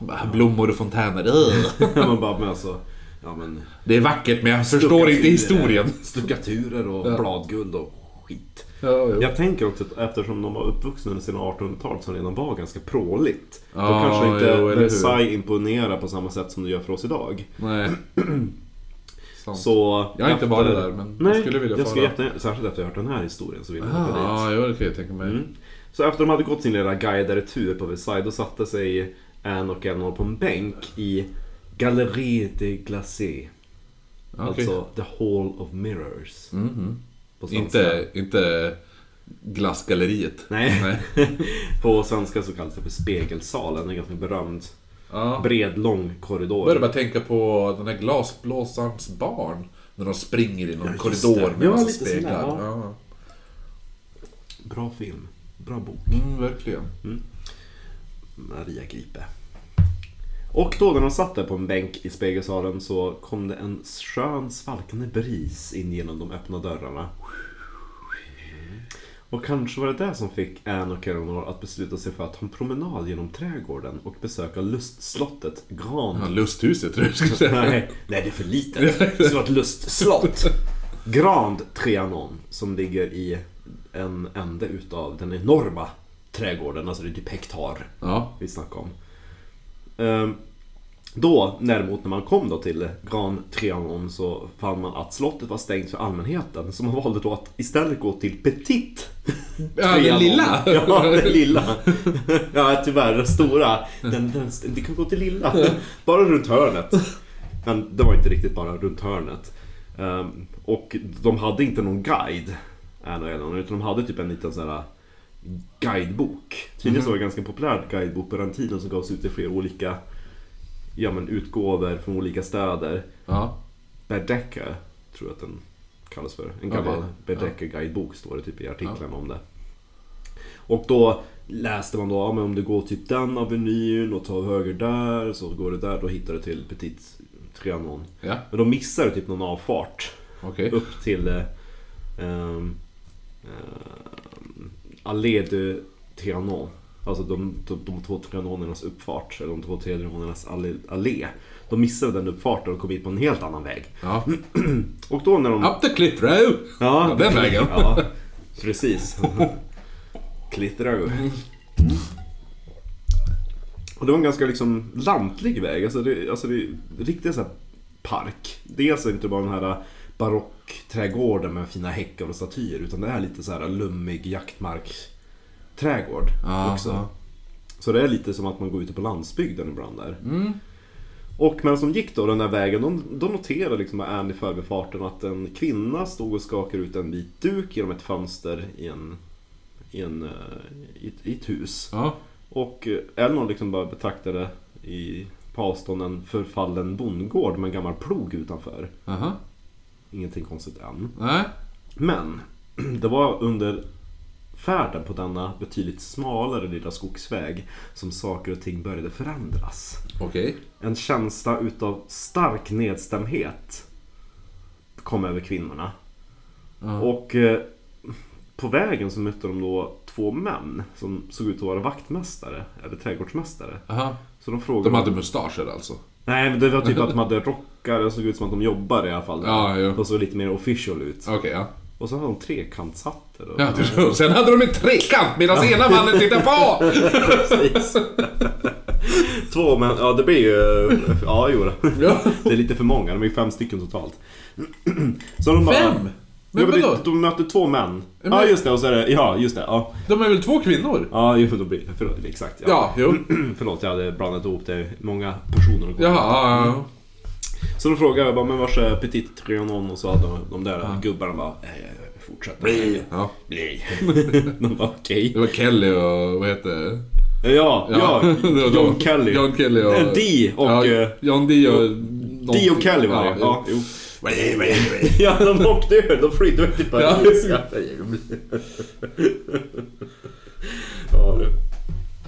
[SPEAKER 1] Ja.
[SPEAKER 3] Blommor och fontäner. ugh.
[SPEAKER 1] Man bara, men alltså... Ja, men, Eh,
[SPEAKER 3] Det är vackert, men jag förstår inte historien.
[SPEAKER 1] Stuckaturer och
[SPEAKER 3] Ja.
[SPEAKER 1] bladguld och skit.
[SPEAKER 3] Ja, jo.
[SPEAKER 1] Jag tänker också att eftersom de var uppvuxna under sina 1800-talet som redan var ganska pråligt. då
[SPEAKER 3] Ja,
[SPEAKER 1] kanske inte
[SPEAKER 3] jo, eller hur.
[SPEAKER 1] Versailles imponerar på samma sätt som det gör för oss idag.
[SPEAKER 3] Nej. Sant.
[SPEAKER 1] Så
[SPEAKER 3] Jag har inte varit där, men jag
[SPEAKER 1] nej,
[SPEAKER 3] skulle vilja
[SPEAKER 1] jag skulle
[SPEAKER 3] fara.
[SPEAKER 1] jättegärna, särskilt efter jag hört den här historien så vill jag åka dit.
[SPEAKER 3] Ah, Ja, jo, det kan jag tänka mig.
[SPEAKER 1] Mm. Så efter de hade gått sin lilla guidade tur på Versailles, då satte sig Anne och Eleanor på en bänk i Galerie de Glacé.
[SPEAKER 3] Okej. Mhm.
[SPEAKER 1] Alltså The Hall of Mirrors. På svenska.
[SPEAKER 3] Inte, inte glassgalleriet.
[SPEAKER 1] Nej. på svenska så kallas det för Spegelsalen. En ganska berömd,
[SPEAKER 3] Ja.
[SPEAKER 1] bred, lång korridor.
[SPEAKER 3] Jag började bara tänka på den här glasblåsarens barn. När de springer i någon
[SPEAKER 1] Ja, just
[SPEAKER 3] korridor
[SPEAKER 1] det.
[SPEAKER 3] med
[SPEAKER 1] Ja,
[SPEAKER 3] massa
[SPEAKER 1] lite sån där,
[SPEAKER 3] speglar.
[SPEAKER 1] ja.
[SPEAKER 3] Ja.
[SPEAKER 1] Bra film. Bra bok.
[SPEAKER 3] Mm, verkligen.
[SPEAKER 1] Maria Gripe. Och då när de satt där på en bänk i spegelsalen så kom det en skön svalkande bris in genom de öppna dörrarna. Och kanske var det det som fick Anne och Eleanor att besluta sig för att ta en promenad genom trädgården och besöka lustslottet Grand.
[SPEAKER 3] Ja, lusthuset tror jag jag skulle säga.
[SPEAKER 1] Nej, nej, det är för litet. Det ska vara ett lustslott. Grand Trianon som ligger i en ände utav den enorma trädgården, alltså det är typ hektar
[SPEAKER 3] Ja.
[SPEAKER 1] vi snackade om. Ehm, Då, däremot när man kom då till Grand Trianon så fann man att slottet var stängt för allmänheten. Så man valde då att istället gå till Petit
[SPEAKER 3] ja, den
[SPEAKER 1] Trianon.
[SPEAKER 3] lilla.
[SPEAKER 1] Ja, den lilla. Ja, tyvärr. Den stora. Den, den, det kan gå till lilla. Bara runt hörnet. Men det var inte riktigt bara runt hörnet. Ehm, och de hade inte någon guide, Anna och Eleanor, utan de hade typ en liten sån här guidebok. Tydligen så
[SPEAKER 3] Mhm.
[SPEAKER 1] var det en ganska populär guidebok på den tiden som gavs ut i flera olika ja, men, utgåvor från olika städer.
[SPEAKER 3] ja.
[SPEAKER 1] Berdecker, tror jag att den kallas för. En gammal
[SPEAKER 3] Okej.
[SPEAKER 1] Berdecker-guidebok står det typ i artiklarna om det. Och då läste man då, ja, men om du går typ den avenyn och tar höger där, så går du där, då hittar du till Petit Trianon.
[SPEAKER 3] Ja,
[SPEAKER 1] Men då missar du typ någon avfart
[SPEAKER 3] okej.
[SPEAKER 1] upp till eh, ehm, ehm, Allée de Trianon. Alltså de, de, de två trianonernas uppfart, eller de två trianonernas allé, allé. De missade den uppfarten och kom in på en helt annan väg.
[SPEAKER 3] Ja.
[SPEAKER 1] Och då när de...
[SPEAKER 3] Up the cliff road!
[SPEAKER 1] Ja,
[SPEAKER 3] den vägen.
[SPEAKER 1] Ja, precis. Klittrar upp. Och det var en ganska liksom lantlig väg. Alltså det, alltså det är riktigt så här park. Dels är det inte bara den här barockträdgården med fina häckar och statyer. Utan det är lite så här lummig jaktmarksträdgård
[SPEAKER 3] Ja,
[SPEAKER 1] också.
[SPEAKER 3] ja.
[SPEAKER 1] Så det är lite som att man går ute på landsbygden ibland där.
[SPEAKER 3] Mm.
[SPEAKER 1] Och medan de gick då den där vägen, de, de noterade liksom med Anne i förbifarten att en kvinna stod och skakade ut en vit duk genom ett fönster i, en, i, en, eh, i, ett, i ett hus.
[SPEAKER 3] Ja.
[SPEAKER 1] Och eh, Eleanor liksom bara betraktade i på avstånd en förfallen bondgård med en gammal plog utanför.
[SPEAKER 3] Aha.
[SPEAKER 1] Ingenting konstigt än.
[SPEAKER 3] Nej.
[SPEAKER 1] Men det var under färden på denna betydligt smalare lilla skogsväg som saker och ting började förändras.
[SPEAKER 3] Okej.
[SPEAKER 1] En känsla utav stark nedstämdhet kom över kvinnorna.
[SPEAKER 3] Ja.
[SPEAKER 1] Och eh, på vägen så mötte de då två män som såg ut att vara vaktmästare eller trädgårdsmästare.
[SPEAKER 3] Aha.
[SPEAKER 1] Så de frågade...
[SPEAKER 3] De hade mustascher alltså.
[SPEAKER 1] Nej, men det var typ att de hade rockar och såg ut som att de jobbar i alla fall.
[SPEAKER 3] Ja, jo.
[SPEAKER 1] De såg lite mer official ut.
[SPEAKER 3] Okej, ja.
[SPEAKER 1] Och så hade de trekantshatter. Och...
[SPEAKER 3] ja. och Sen hade de en trekant medan ena mannen tittade på!
[SPEAKER 1] Precis. Två män, ja det blir ju... Ja, jo då.
[SPEAKER 3] Ja.
[SPEAKER 1] Det är lite för många, de är ju fem stycken totalt. Så de bara,
[SPEAKER 3] Fem?
[SPEAKER 1] Men
[SPEAKER 3] Men
[SPEAKER 1] ja, men
[SPEAKER 3] vadå?
[SPEAKER 1] det- de möter två män.
[SPEAKER 3] Men-
[SPEAKER 1] Ja just det, och så är det, ja just det. Ja,
[SPEAKER 3] De är väl två kvinnor?
[SPEAKER 1] ja jo, då blir det, förlåt, exakt. Ja. Mm,
[SPEAKER 3] Ja, jo.
[SPEAKER 1] Förlåt, jag hade blandat ihop det. Många personer och
[SPEAKER 3] Jaha, ja, ja.
[SPEAKER 1] Så de frågade jag bara, men vars är Petit Trianon? Och så hade de, de där gubbarna bara, "Eh, eh, fortsätt. Nej.
[SPEAKER 3] ja.
[SPEAKER 1] Nej. de bara okej.
[SPEAKER 3] Det var Kelly och vad heter det?
[SPEAKER 1] Ja, ja,
[SPEAKER 3] Det var de.
[SPEAKER 1] John Kelly.
[SPEAKER 3] John Kelly och...
[SPEAKER 1] Eh, Dee och...
[SPEAKER 3] Ja,
[SPEAKER 1] eh,
[SPEAKER 3] John Dee och...
[SPEAKER 1] Dee och Kelly var det. Ja, jo. Ja, de åkte ju. De flydde väl till Paris. Ja, ja du.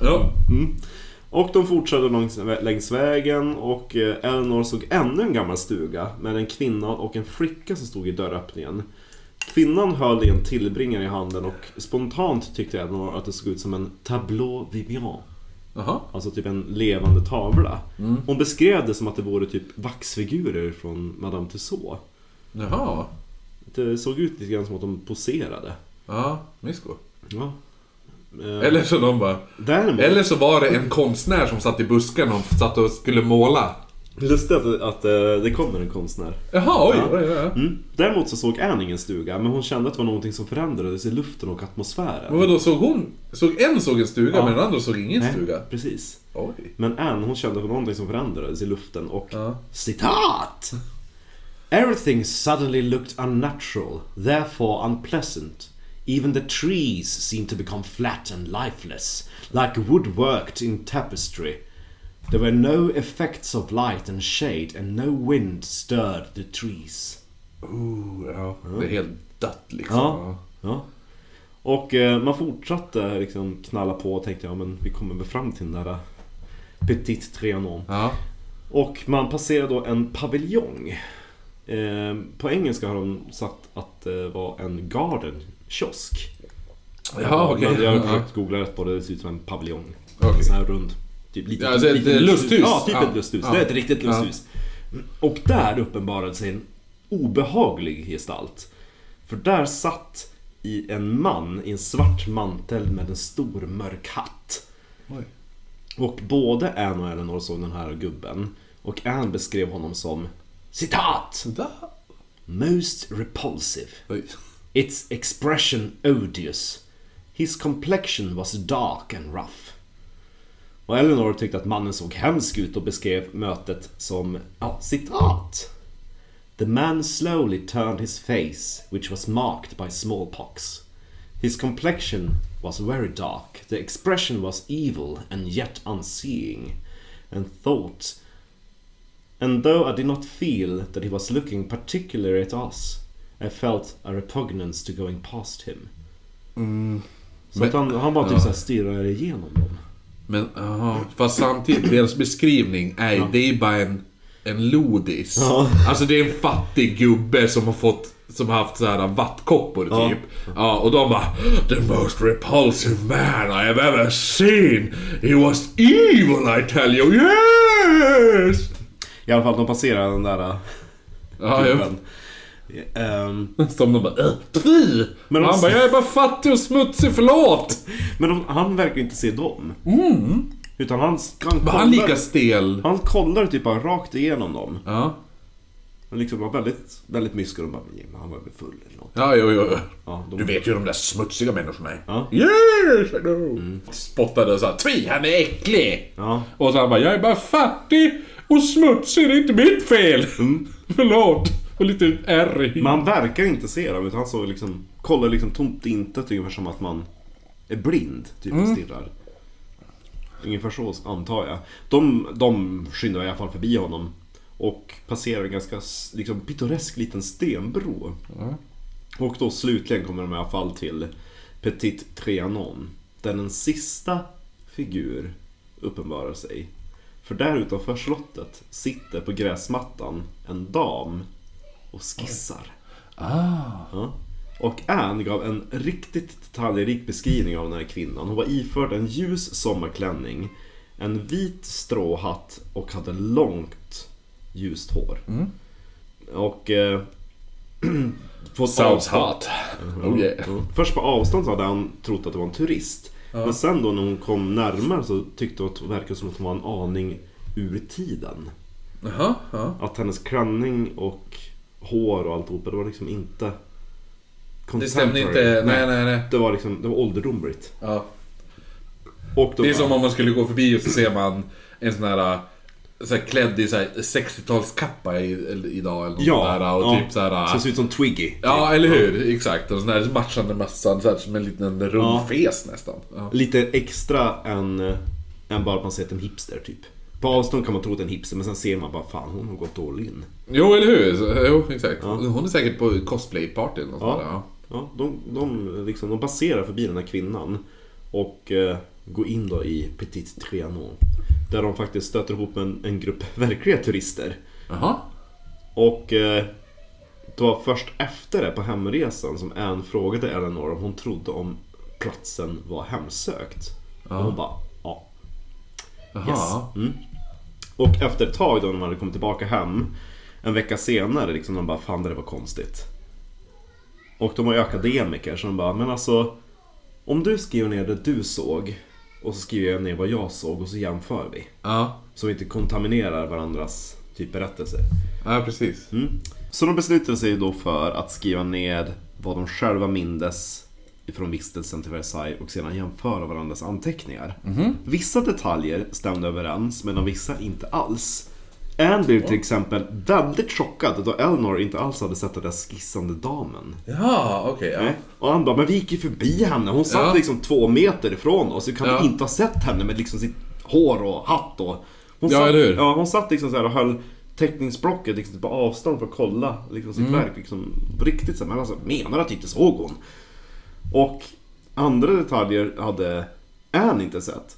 [SPEAKER 3] Ja.
[SPEAKER 1] Och de fortsatte långs, längs vägen och eh, Eleanor såg ännu en gammal stuga med en kvinna och en flicka som stod i dörröppningen. Kvinnan höll i en tillbringare i handen och spontant tyckte Eleanor att det såg ut som en tableau vivant.
[SPEAKER 3] Jaha.
[SPEAKER 1] Alltså typ en levande tavla. Hon beskrev det som att det vore typ vaxfigurer från Madame Tussauds.
[SPEAKER 3] Jaha.
[SPEAKER 1] Det såg ut lite grann som att de poserade.
[SPEAKER 3] Ja, mysko.
[SPEAKER 1] Ja. Eh,
[SPEAKER 3] Eller så de bara...
[SPEAKER 1] Däremot,
[SPEAKER 3] Eller så var det en konstnär som satt i busken och satt och skulle måla.
[SPEAKER 1] lustigt att, att eh, det kommer en konstnär.
[SPEAKER 3] Jaha, oj. oj, oj, oj.
[SPEAKER 1] Mm. Däremot så såg Ann ingen stuga, men hon kände att det var någonting som förändrades i luften och atmosfären.
[SPEAKER 3] Men vadå, såg hon... Såg en såg en stuga
[SPEAKER 1] Ja.
[SPEAKER 3] men den andra såg ingen
[SPEAKER 1] Nej,
[SPEAKER 3] stuga?
[SPEAKER 1] Precis.
[SPEAKER 3] Oj.
[SPEAKER 1] Men Ann, hon kände för någonting som förändrades i luften och...
[SPEAKER 3] Ja.
[SPEAKER 1] Citat! Everything suddenly looked unnatural, therefore unpleasant. Even the trees seemed to become flat and lifeless, like woodworked in tapestry. There were no effects of light and shade and no wind stirred the trees.
[SPEAKER 3] Ooh, Oh, ja. Det är helt dött liksom.
[SPEAKER 1] Ja. Ja. Och eh, man fortsatte liksom knalla på och tänkte ja men vi kommer väl fram till den där eh, Petit Trianon.
[SPEAKER 3] Ja.
[SPEAKER 1] Och man passerar då en paviljong. Eh, på engelska har de satt att det var en garden kiosk.
[SPEAKER 3] Jaha, okej.
[SPEAKER 1] Men Jag har
[SPEAKER 3] Ja.
[SPEAKER 1] försökt googla rätt på det, det ser ut som en paviljong.
[SPEAKER 3] Okej.
[SPEAKER 1] En sån här rund. Typ lite,
[SPEAKER 3] Ja, alltså ett, eh, lusthus.
[SPEAKER 1] Ja, typ
[SPEAKER 3] Ja.
[SPEAKER 1] ett lusthus.
[SPEAKER 3] Ja.
[SPEAKER 1] Det är ett riktigt
[SPEAKER 3] Ja.
[SPEAKER 1] lusthus. Och där uppenbarade sig en obehaglig gestalt. För där satt i en man i en svart mantel med en stor mörk hatt.
[SPEAKER 3] Oj.
[SPEAKER 1] Och både Ann och Eleanor såg den här gubben. Och Ann beskrev honom som citat!
[SPEAKER 3] Där.
[SPEAKER 1] Most repulsive.
[SPEAKER 3] Oj.
[SPEAKER 1] Its expression odious. His complexion was dark and rough. Och Eleanor tyckte att mannen såg hemsk ut och beskrev mötet som, ja, citat. The man slowly turned his face, which was marked by smallpox. His complexion was very dark, the expression was evil and yet unseeing, and thought and though I did not feel that he was looking particularly at us, I felt a repugnance to going past him. Mm. Så
[SPEAKER 3] Men-
[SPEAKER 1] att han, han bara typ så här stirrar igenom dem.
[SPEAKER 3] Men ja, fast samtidigt, deras beskrivning är det är bara en, en lodis.
[SPEAKER 1] Ja.
[SPEAKER 3] Alltså det är en fattig gubbe som har fått som har haft så här vattkoppor typ. Ja, och de bara The most repulsive man I have ever seen. He was evil I tell you, yes!
[SPEAKER 1] I alla fall, de passerar den där
[SPEAKER 3] Ja, ja.
[SPEAKER 1] gubben. Ehm,
[SPEAKER 3] Som de bara "Äh, fy!
[SPEAKER 1] Men
[SPEAKER 3] Men
[SPEAKER 1] de-
[SPEAKER 3] han bara jag är bara fattig och smutsig, förlåt!
[SPEAKER 1] men de, han verkar inte se dem. Utan han, han,
[SPEAKER 3] Var
[SPEAKER 1] kollar,
[SPEAKER 3] han lika stel?
[SPEAKER 1] han kollar typ bara rakt igenom dem.
[SPEAKER 3] Ja,
[SPEAKER 1] Han liksom var väldigt, väldigt mysko. De bara, "Men han var väl full eller något.
[SPEAKER 3] ja jo, jo.
[SPEAKER 1] Ja, de,
[SPEAKER 3] Du vet ju hur de där smutsiga människorna är.
[SPEAKER 1] Ja. Mm.
[SPEAKER 3] Yes, I know. Spottade och sa Tvi, han är äcklig!
[SPEAKER 1] Ja.
[SPEAKER 3] Och så han bara, jag är bara fattig och smutsig, det är inte mitt fel!
[SPEAKER 1] Mm.
[SPEAKER 3] Förlåt! Och lite ärrig.
[SPEAKER 1] Men han verkar inte se dem utan han såg liksom, kollar liksom tomt intet ungefär som att man är blind. Typ och stirrar. Ungefär så antar jag. De, de skyndar i alla fall förbi honom. Och passerar en ganska s- liksom, pittoresk liten stenbro.
[SPEAKER 3] Ja.
[SPEAKER 1] Och då slutligen kommer de i alla fall till Petit Trianon. Där den sista figur uppenbarar sig. För där utanför slottet sitter på gräsmattan en dam och skissar.
[SPEAKER 3] Ah.
[SPEAKER 1] Ja. Och Anne gav en riktigt detaljrik beskrivning av den här kvinnan. Hon var iförd en ljus sommarklänning, en vit stråhatt och hade långt ljust hår. Och... Eh, på ett
[SPEAKER 3] Sounds
[SPEAKER 1] avstånd-
[SPEAKER 3] hot. Oh yeah.
[SPEAKER 1] Mm. Först på avstånd så hade han trott att det var en turist. Men sen då när hon kom närmare så tyckte hon att det verkade som att hon var en aning ur tiden.
[SPEAKER 3] Jaha, ja.
[SPEAKER 1] Att hennes klänning och hår och alltihopa, det var liksom inte...
[SPEAKER 3] Det stämde
[SPEAKER 1] contemporary.
[SPEAKER 3] inte. Nej, nej, nej.
[SPEAKER 1] Det var liksom, det var ålderdomligt.
[SPEAKER 3] Ja.
[SPEAKER 1] Och då
[SPEAKER 3] Det är som om man skulle gå förbi och så ser man en sån här, så här klädd i så här 60-talskappa i- eller idag eller något
[SPEAKER 1] Ja,
[SPEAKER 3] sånt där. Och
[SPEAKER 1] ja.
[SPEAKER 3] typ så här,
[SPEAKER 1] Så det ser ut som Twiggy.
[SPEAKER 3] Ja, eller hur? Exakt. Och sån här matchande mössan, så här, som en liten rund
[SPEAKER 1] Ja.
[SPEAKER 3] fes nästan. Ja.
[SPEAKER 1] Lite extra än, eh, än bara att man ser att en hipster typ. På avstånd kan man tro att det är en hipster men sen ser man bara fan hon har gått all in.
[SPEAKER 3] Jo, eller hur? Så- Jo, exakt. Hon är säkert på cosplaypartyn. och sånt
[SPEAKER 1] Ja.
[SPEAKER 3] där, Ja.
[SPEAKER 1] Ja, de, de, liksom, de passerar förbi den här kvinnan och eh, går in då i Petit Trianon. Där de faktiskt stöter ihop med en, en grupp verkliga turister.
[SPEAKER 3] Jaha.
[SPEAKER 1] Och eh, det var först efter det på hemresan som Anne frågade Eleanor om hon trodde om platsen var hemsökt. Och hon bara ja.
[SPEAKER 3] Jaha.
[SPEAKER 1] Yes. Mm. Och efter ett tag då när man hade kommit tillbaka hem En vecka senare liksom de bara fan det där var konstigt Och de var ju akademiker så de bara men alltså Om du skriver ner det du såg Och så skriver jag ner vad jag såg och så jämför vi
[SPEAKER 3] Ja.
[SPEAKER 1] Så vi inte kontaminerar varandras typ berättelser
[SPEAKER 3] ja, precis.
[SPEAKER 1] Mm. Så de beslutade sig då för att skriva ned vad de själva mindes från vistelsen till Versailles och sedan jämföra varandras anteckningar. Vissa detaljer stämde överens medan vissa inte alls. Anne blev till exempel väldigt chockad då Eleanor inte alls hade sett den där skissande damen.
[SPEAKER 3] Ja, okej. ja.
[SPEAKER 1] Nej. Och han bara, men vi gick ju förbi henne. Hon satt
[SPEAKER 3] Ja.
[SPEAKER 1] liksom två meter ifrån oss. Hur kan
[SPEAKER 3] Ja.
[SPEAKER 1] vi inte ha sett henne med liksom sitt hår och hatt och... Hon
[SPEAKER 3] Ja,
[SPEAKER 1] satt,
[SPEAKER 3] eller hur?
[SPEAKER 1] Ja, hon satt liksom så här och höll teckningsblocket liksom på avstånd för att kolla liksom
[SPEAKER 3] Mm.
[SPEAKER 1] sitt verk. Liksom, riktigt så här, men alltså, menar du att jag inte såg hon? Och andra detaljer hade Ann inte sett.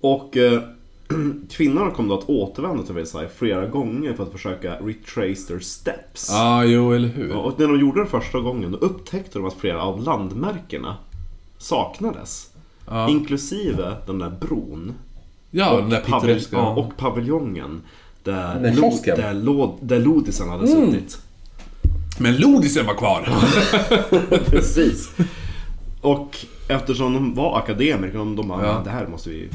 [SPEAKER 1] Och eh, kvinnorna kom då att återvända till Versailles flera gånger för att försöka retrace their steps.
[SPEAKER 3] Ja, jo, eller hur?
[SPEAKER 1] Ja, och när de gjorde det första gången då upptäckte de att flera av landmärkena saknades.
[SPEAKER 3] Ja.
[SPEAKER 1] Inklusive den där bron.
[SPEAKER 3] Ja, den där
[SPEAKER 1] Pavilj-
[SPEAKER 3] pittoreska.
[SPEAKER 1] ja, och paviljongen. Där,
[SPEAKER 3] Den där
[SPEAKER 1] lo-
[SPEAKER 3] kiosken. Mm.
[SPEAKER 1] där, lo- där lodisen hade suttit.
[SPEAKER 3] Men lodisen var kvar!
[SPEAKER 1] Precis. Och eftersom de var akademiker, de, de bara,
[SPEAKER 3] Ja.
[SPEAKER 1] det här måste vi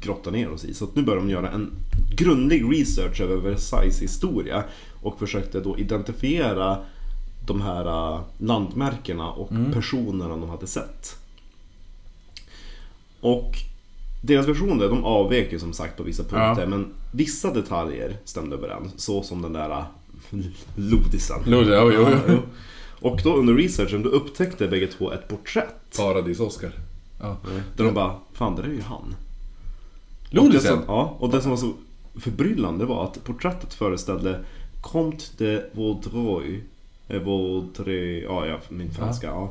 [SPEAKER 1] grotta ner oss i. Så att nu började de göra en grundlig research över Versailles historia och försökte då identifiera de här eh, landmärkena och personerna de hade sett. Och deras versioner, de avvek ju som sagt på vissa punkter, men vissa detaljer stämde överens. Så som den där eh, lodisen.
[SPEAKER 3] Lodisen, jo, jo, jo.
[SPEAKER 1] Och då under researchen då upptäckte bägge två ett porträtt.
[SPEAKER 3] Paradis-Oscar. Ja.
[SPEAKER 1] Där de bara, fan det där är ju han. Det som,
[SPEAKER 3] Lodisen?
[SPEAKER 1] ja, och det som var så förbryllande var att porträttet föreställde Comte de Vaudreuil. Eh, Vaudreuil, ja jag- min franska. Ja.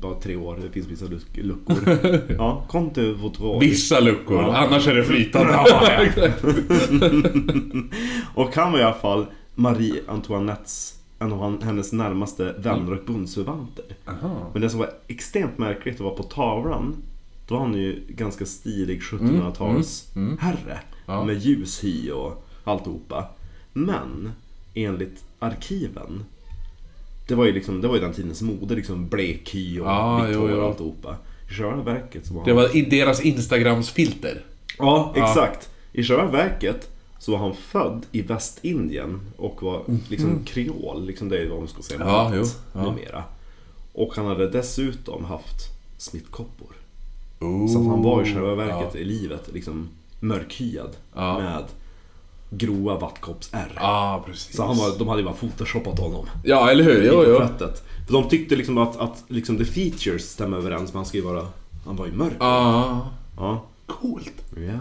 [SPEAKER 1] Bara tre år, det finns vissa luck- luckor. Ja, Comte de Vaudreuil.
[SPEAKER 3] Vissa luckor,
[SPEAKER 1] Ja.
[SPEAKER 3] annars är det flytande.
[SPEAKER 1] Och han var i alla fall Marie Antoinettes, en av han- hennes närmaste vänner och bundsförvanter.
[SPEAKER 3] Aha.
[SPEAKER 1] Men det som var extremt märkligt var på tavlan, då var han ju ganska stilig 1700-tals herre.
[SPEAKER 3] Mm, Ja.
[SPEAKER 1] Med ljus hy och alltihopa. Men enligt arkiven, det var ju, liksom, det var ju den tidens mode, liksom blek hy och
[SPEAKER 3] Ja,
[SPEAKER 1] vitt
[SPEAKER 3] jo,
[SPEAKER 1] hår
[SPEAKER 3] jo.
[SPEAKER 1] och alltihopa. I själva verket så var han...
[SPEAKER 3] Det var i deras Instagrams filter.
[SPEAKER 1] Ja, exakt. I själva verket så var han född i Västindien och var liksom kreol, liksom det är vad man skulle säga
[SPEAKER 3] Mhm. Ja,
[SPEAKER 1] med allt
[SPEAKER 3] jo, ja.
[SPEAKER 1] numera. Och han hade dessutom haft smittkoppor. Så att han var i själva verket i livet liksom mörkhyad
[SPEAKER 3] Ja.
[SPEAKER 1] med grova vattkoppsärr.
[SPEAKER 3] Ja, precis.
[SPEAKER 1] Så han var, de hade ju bara photoshoppat honom
[SPEAKER 3] Ja, eller hur? Jo,
[SPEAKER 1] i
[SPEAKER 3] jo.
[SPEAKER 1] porträttet. För de tyckte liksom att, att liksom the features stämmer överens men han ska ju vara, han var ju mörk.
[SPEAKER 3] Ja.
[SPEAKER 1] Ja.
[SPEAKER 3] Coolt.
[SPEAKER 1] Ja.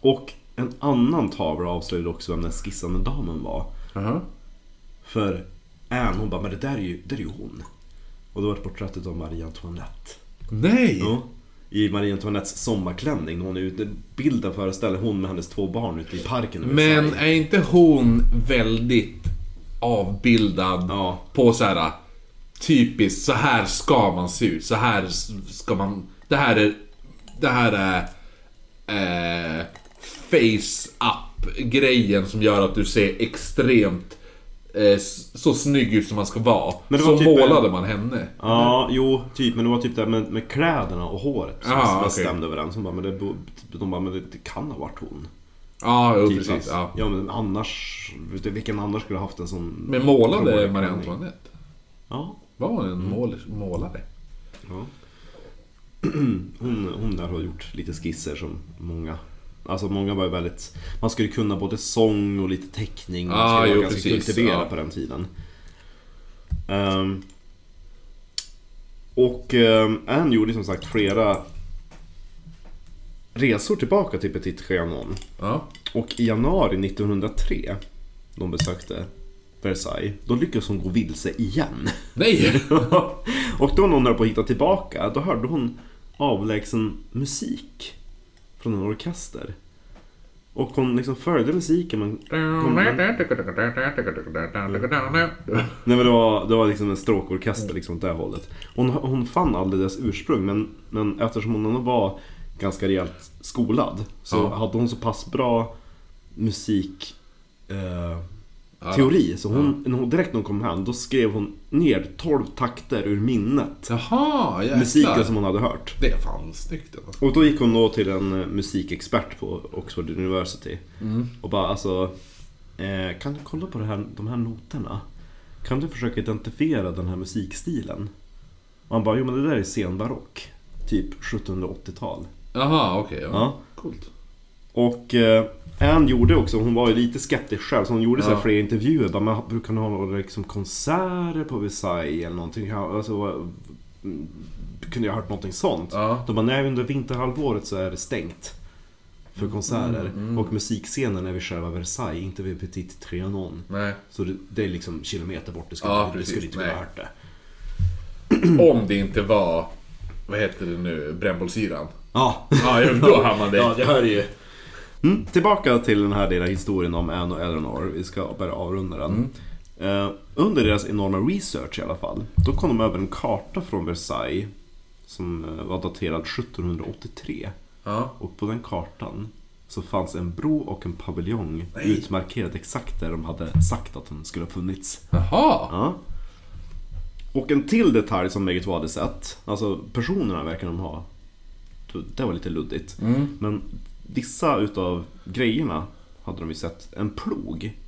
[SPEAKER 1] Och en annan tavla avslöjade också vem den skissande damen var.
[SPEAKER 3] Jaha.
[SPEAKER 1] För Anne hon bara, men det där är ju, det där är ju hon. Och då var det porträttet av Marie Antoinette.
[SPEAKER 3] Nej!
[SPEAKER 1] Ja. I Marie Antoinettes sommarklänning. Hon är ute, bilden föreställer hon med hennes två barn ute i parken. i
[SPEAKER 3] Men
[SPEAKER 1] Versailles.
[SPEAKER 3] är inte hon väldigt avbildad
[SPEAKER 1] Ja.
[SPEAKER 3] på så här typiskt så här ska man se ut, så här s- ska man... Det här är... Det här är... Eh, face up grejen som gör att du ser extremt eh, s- så snygg ut som man ska vara.
[SPEAKER 1] Men det var
[SPEAKER 3] så
[SPEAKER 1] typ en-
[SPEAKER 3] målade man henne.
[SPEAKER 1] Ja, jo, typ. Men det var typ det här med, med kläderna och håret som
[SPEAKER 3] Ja, Ah, okej.
[SPEAKER 1] stämde överens. Hon bara, men det, bo- de bara, men det, det kan ha varit hon.
[SPEAKER 3] Ja, jo,
[SPEAKER 1] Typ
[SPEAKER 3] precis.
[SPEAKER 1] att-
[SPEAKER 3] Ja.
[SPEAKER 1] ja, men annars, vet du, vilken annars skulle ha haft en sån...
[SPEAKER 3] Men målade
[SPEAKER 1] blå
[SPEAKER 3] Marie
[SPEAKER 1] klänning?
[SPEAKER 3] Antoinette?
[SPEAKER 1] Ja.
[SPEAKER 3] Var hon en
[SPEAKER 1] Mm.
[SPEAKER 3] mål, målare?
[SPEAKER 1] Ja. Hon, hon där har gjort lite skisser som många Alltså många var ju väldigt Man skulle kunna både sång och lite teckning Man
[SPEAKER 3] Ah,
[SPEAKER 1] skulle
[SPEAKER 3] jo,
[SPEAKER 1] vara ganska
[SPEAKER 3] precis,
[SPEAKER 1] kultiverad
[SPEAKER 3] ja.
[SPEAKER 1] på den tiden Ehm, Och um, Anne gjorde som sagt flera Resor tillbaka till Petit Trianon
[SPEAKER 3] Ja.
[SPEAKER 1] Och i januari 1903 De besökte Versailles Då lyckades hon gå vilse igen
[SPEAKER 3] Nej!
[SPEAKER 1] och då när hon höll på att hitta tillbaka, då hörde hon avlägsen musik från en orkester. Och hon liksom följde musiken men... Nej men det var, det var liksom en stråkorkester liksom åt det här hållet. Hon, hon fann aldrig dess ursprung men, men eftersom hon ändå var ganska rejält skolad så
[SPEAKER 3] Ja.
[SPEAKER 1] hade hon så pass bra musik... Eh, teori. Så hon, när hon, direkt när hon kom hem då skrev hon ner 12 takter ur minnet.
[SPEAKER 3] Jaha, jäklar.
[SPEAKER 1] musiken som hon hade hört.
[SPEAKER 3] Det är fan snyggt alltså. ändå.
[SPEAKER 1] Och då gick hon då till en eh, musikexpert på Oxford University. Och bara alltså, eh, kan du kolla på det här, de här noterna? Kan du försöka identifiera den här musikstilen? Och han bara, jo men det där är senbarock. Typ 1780-tal.
[SPEAKER 3] Jaha, okej. ja.
[SPEAKER 1] Ja.
[SPEAKER 3] Coolt.
[SPEAKER 1] Och eh, Anne gjorde också, hon var ju lite skeptisk själv, så hon gjorde så här
[SPEAKER 3] Ja.
[SPEAKER 1] fler intervjuer. Bara, men brukar ni ha några liksom, konserter på Versailles eller någonting? Ja, Alltså, vad- mm, kunde jag ha hört någonting sånt?
[SPEAKER 3] Ja.
[SPEAKER 1] De bara, nej under vinterhalvåret så är det stängt.
[SPEAKER 3] Mm,
[SPEAKER 1] För konserter. Och musikscenen är vid själva Versailles, inte vid Petit Trianon.
[SPEAKER 3] Nej.
[SPEAKER 1] Så det, det är liksom kilometer bort, du skulle,
[SPEAKER 3] Ja,
[SPEAKER 1] du
[SPEAKER 3] precis,
[SPEAKER 1] skulle inte kunna
[SPEAKER 3] nej.
[SPEAKER 1] ha hört det.
[SPEAKER 3] Om det inte var, vad heter det nu, brännbollsyran.
[SPEAKER 1] Ja.
[SPEAKER 3] Ja, ja, då har man det.
[SPEAKER 1] Ja, det hör ju. Mm, tillbaka till den här lilla historien om Anne och Eleanor. Vi ska börja avrunda den. Eh, under deras enorma research i alla fall, då kom de över en karta från Versailles som eh, var daterad 1783.
[SPEAKER 3] Ja.
[SPEAKER 1] Och på den kartan så fanns en bro och en paviljong utmarkerad exakt där de hade sagt att de skulle ha funnits.
[SPEAKER 3] Jaha.
[SPEAKER 1] Ja. Och en till detalj som bägge två hade sett, alltså personerna verkar de ha. Det var lite luddigt. Men vissa utav grejerna hade de ju sett. En plog.